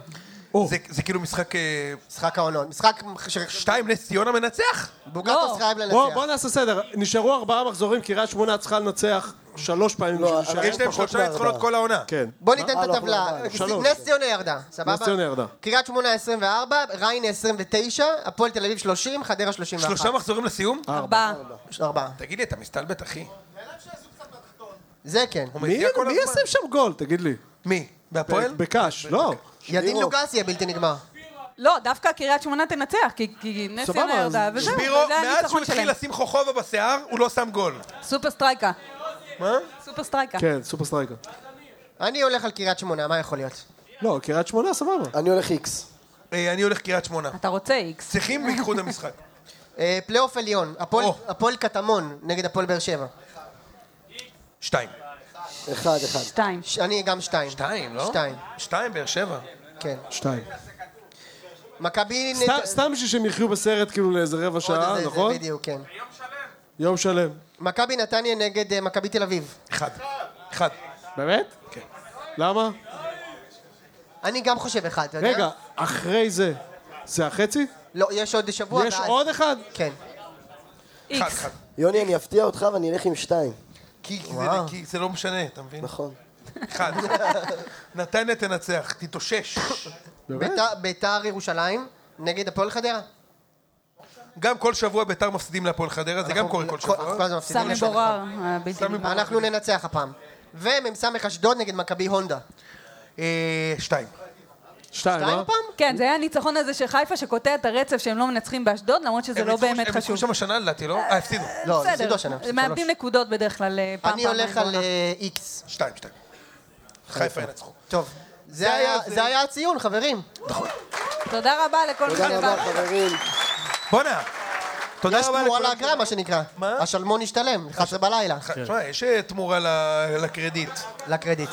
S1: זה- זה כאילו משחק... אה,
S2: משחק העונות. משחק ש...
S1: שתיים נס ציונה מנצח?
S2: בוגטוס
S6: לא.
S2: חייב
S3: בוא,
S2: לנצח.
S3: בוא נעשה סדר. נשארו ארבעה מחזורים, קריית שמונה צריכה לנצח שלוש פעמים. בשביל
S9: אבל-
S3: להישאר.
S1: יש להם
S9: פחות
S1: שלושה
S9: מארבעה.
S1: ניצחונות כל העונה.
S3: כן.
S2: בוא ניתן
S9: אה,
S2: את
S9: לא,
S2: הטבלה.
S9: לא,
S3: שלוש.
S2: נס ציונה ירדה, סבבה?
S3: נס ציונה ירדה.
S2: קריית שמונה 24, ריינה 29, הפועל תל אביב 30, חדרה 31.
S1: שלושה מחזורים לסיום?
S6: ארבעה.
S2: ארבעה.
S1: תגיד לי, אתה מסתלבט, אחי?
S2: זה כן.
S1: הוא
S3: מי
S1: מזיע כל
S3: מי
S1: הזמן.
S3: ישים שם גול, תגיד לי?
S1: מי? בהפועל?
S3: בקאש, לא.
S2: ידין לוגסי יהיה בלתי נגמר.
S6: לא, דווקא קריית שמונה תנצח, כי- כי נס
S3: סבבה,
S6: ציונה
S3: אז-
S6: ירדה, וזהו,
S1: שבירו,
S6: זה
S1: מאז שהוא
S6: הניצחון
S1: התחיל
S6: שלהם.
S1: לשים חוכובה בשיער, הוא לא שם גול.
S6: סופר סטרייקה.
S1: מה?
S6: סופר סטרייקה.
S3: כן, סופר סטרייקר.
S2: אני הולך על קריית שמונה, מה יכול להיות?
S3: לא, קריית שמונה, סבבה.
S9: אני הולך איקס.
S1: אה, אני הולך קריית שמונה.
S6: אתה רוצה איקס.
S1: צריכים ויקחו את המשחק.
S2: אה, פלייאוף עליון, הפועל-
S1: או.
S2: הפועל קטמון נגד הפועל באר שבע.
S1: שתיים.
S9: אחד, אחד.
S6: שתיים.
S2: ש- אני גם שתיים.
S1: שתיים, לא?
S2: שתיים,
S1: שתיים, באר שבע.
S2: כן.
S3: שתיים.
S2: מכבי...
S3: סתם-
S2: נ-
S3: סתם בשביל שהם יחיו בסרט כאילו לאיזה רבע
S2: עוד
S3: שעה,
S2: איזה- זה
S3: נכון?
S2: בדיוק, כן.
S3: יום שלם.
S2: מכבי נתניה נגד אה, מכבי תל אביב.
S1: אחד. אחד.
S3: באמת?
S1: כן.
S3: למה?
S2: אני גם חושב אחד, אתה יודע?
S3: רגע, אחרי זה, זה החצי?
S2: לא, יש עוד שבוע.
S3: יש
S2: ואז-
S3: עוד אחד?
S2: כן.
S1: אחד,
S6: איקס.
S1: אחד.
S9: יוני, אני אפתיע אותך ואני אלך עם שתיים.
S1: כי זה-
S2: וואו.
S1: כי זה לא משנה, אתה מבין?
S9: נכון.
S1: אחד. נתניה תנצח, תתאושש.
S2: ביתר- ביתר ירושלים נגד הפועל חדרה.
S1: גם כל שבוע ביתר מפסידים להפועל חדרה, זה גם קורה כל שבוע.
S2: כל הזמן מפסידים
S6: סמי
S2: לשון
S6: בורר. אה, בלתי
S1: סמי
S6: נגמר.
S1: בורר.
S2: אנחנו ננצח הפעם. ומ"ס אשדוד נגד מכבי הונדה.
S1: אה, שתיים.
S3: שתיים,
S2: שתיים
S1: לא?
S3: אה?
S2: הפעם?
S6: כן, זה היה הניצחון הזה של חיפה שקוטע את הרצף שהם לא מנצחים באשדוד, למרות שזה
S1: הם
S6: לא
S1: ניצחו-
S6: באמת
S1: הם ניצחו
S6: חשוב.
S1: שם השנה לדעתי, לא? אה, הפסידו.
S2: לא,
S6: בסדר.
S2: הפסידו השנה. הפסידו
S6: מאבדים נקודות בדרך כלל אה, פעם
S2: אני
S6: פעמיים.
S2: הולך על
S6: בעונה.
S2: אה, איקס.
S1: שתיים, שתיים. לא. חיפה ינצחו.
S2: טוב. זה היה-
S1: היה-
S2: זה היה הציון, חברים.
S6: תודה רבה לכל מי
S9: תודה רבה,
S6: שבא.
S9: חברים.
S1: בואנה. תודה
S2: יש
S1: רבה
S2: תמורה
S1: לכולם.
S2: לאגרה, מה שנקרא.
S1: מה? כן.
S2: השלמון השתלם, 11 בלילה,
S1: תשמע, יש אה, תמורה ל- לקרדיט.
S2: לקרדיט.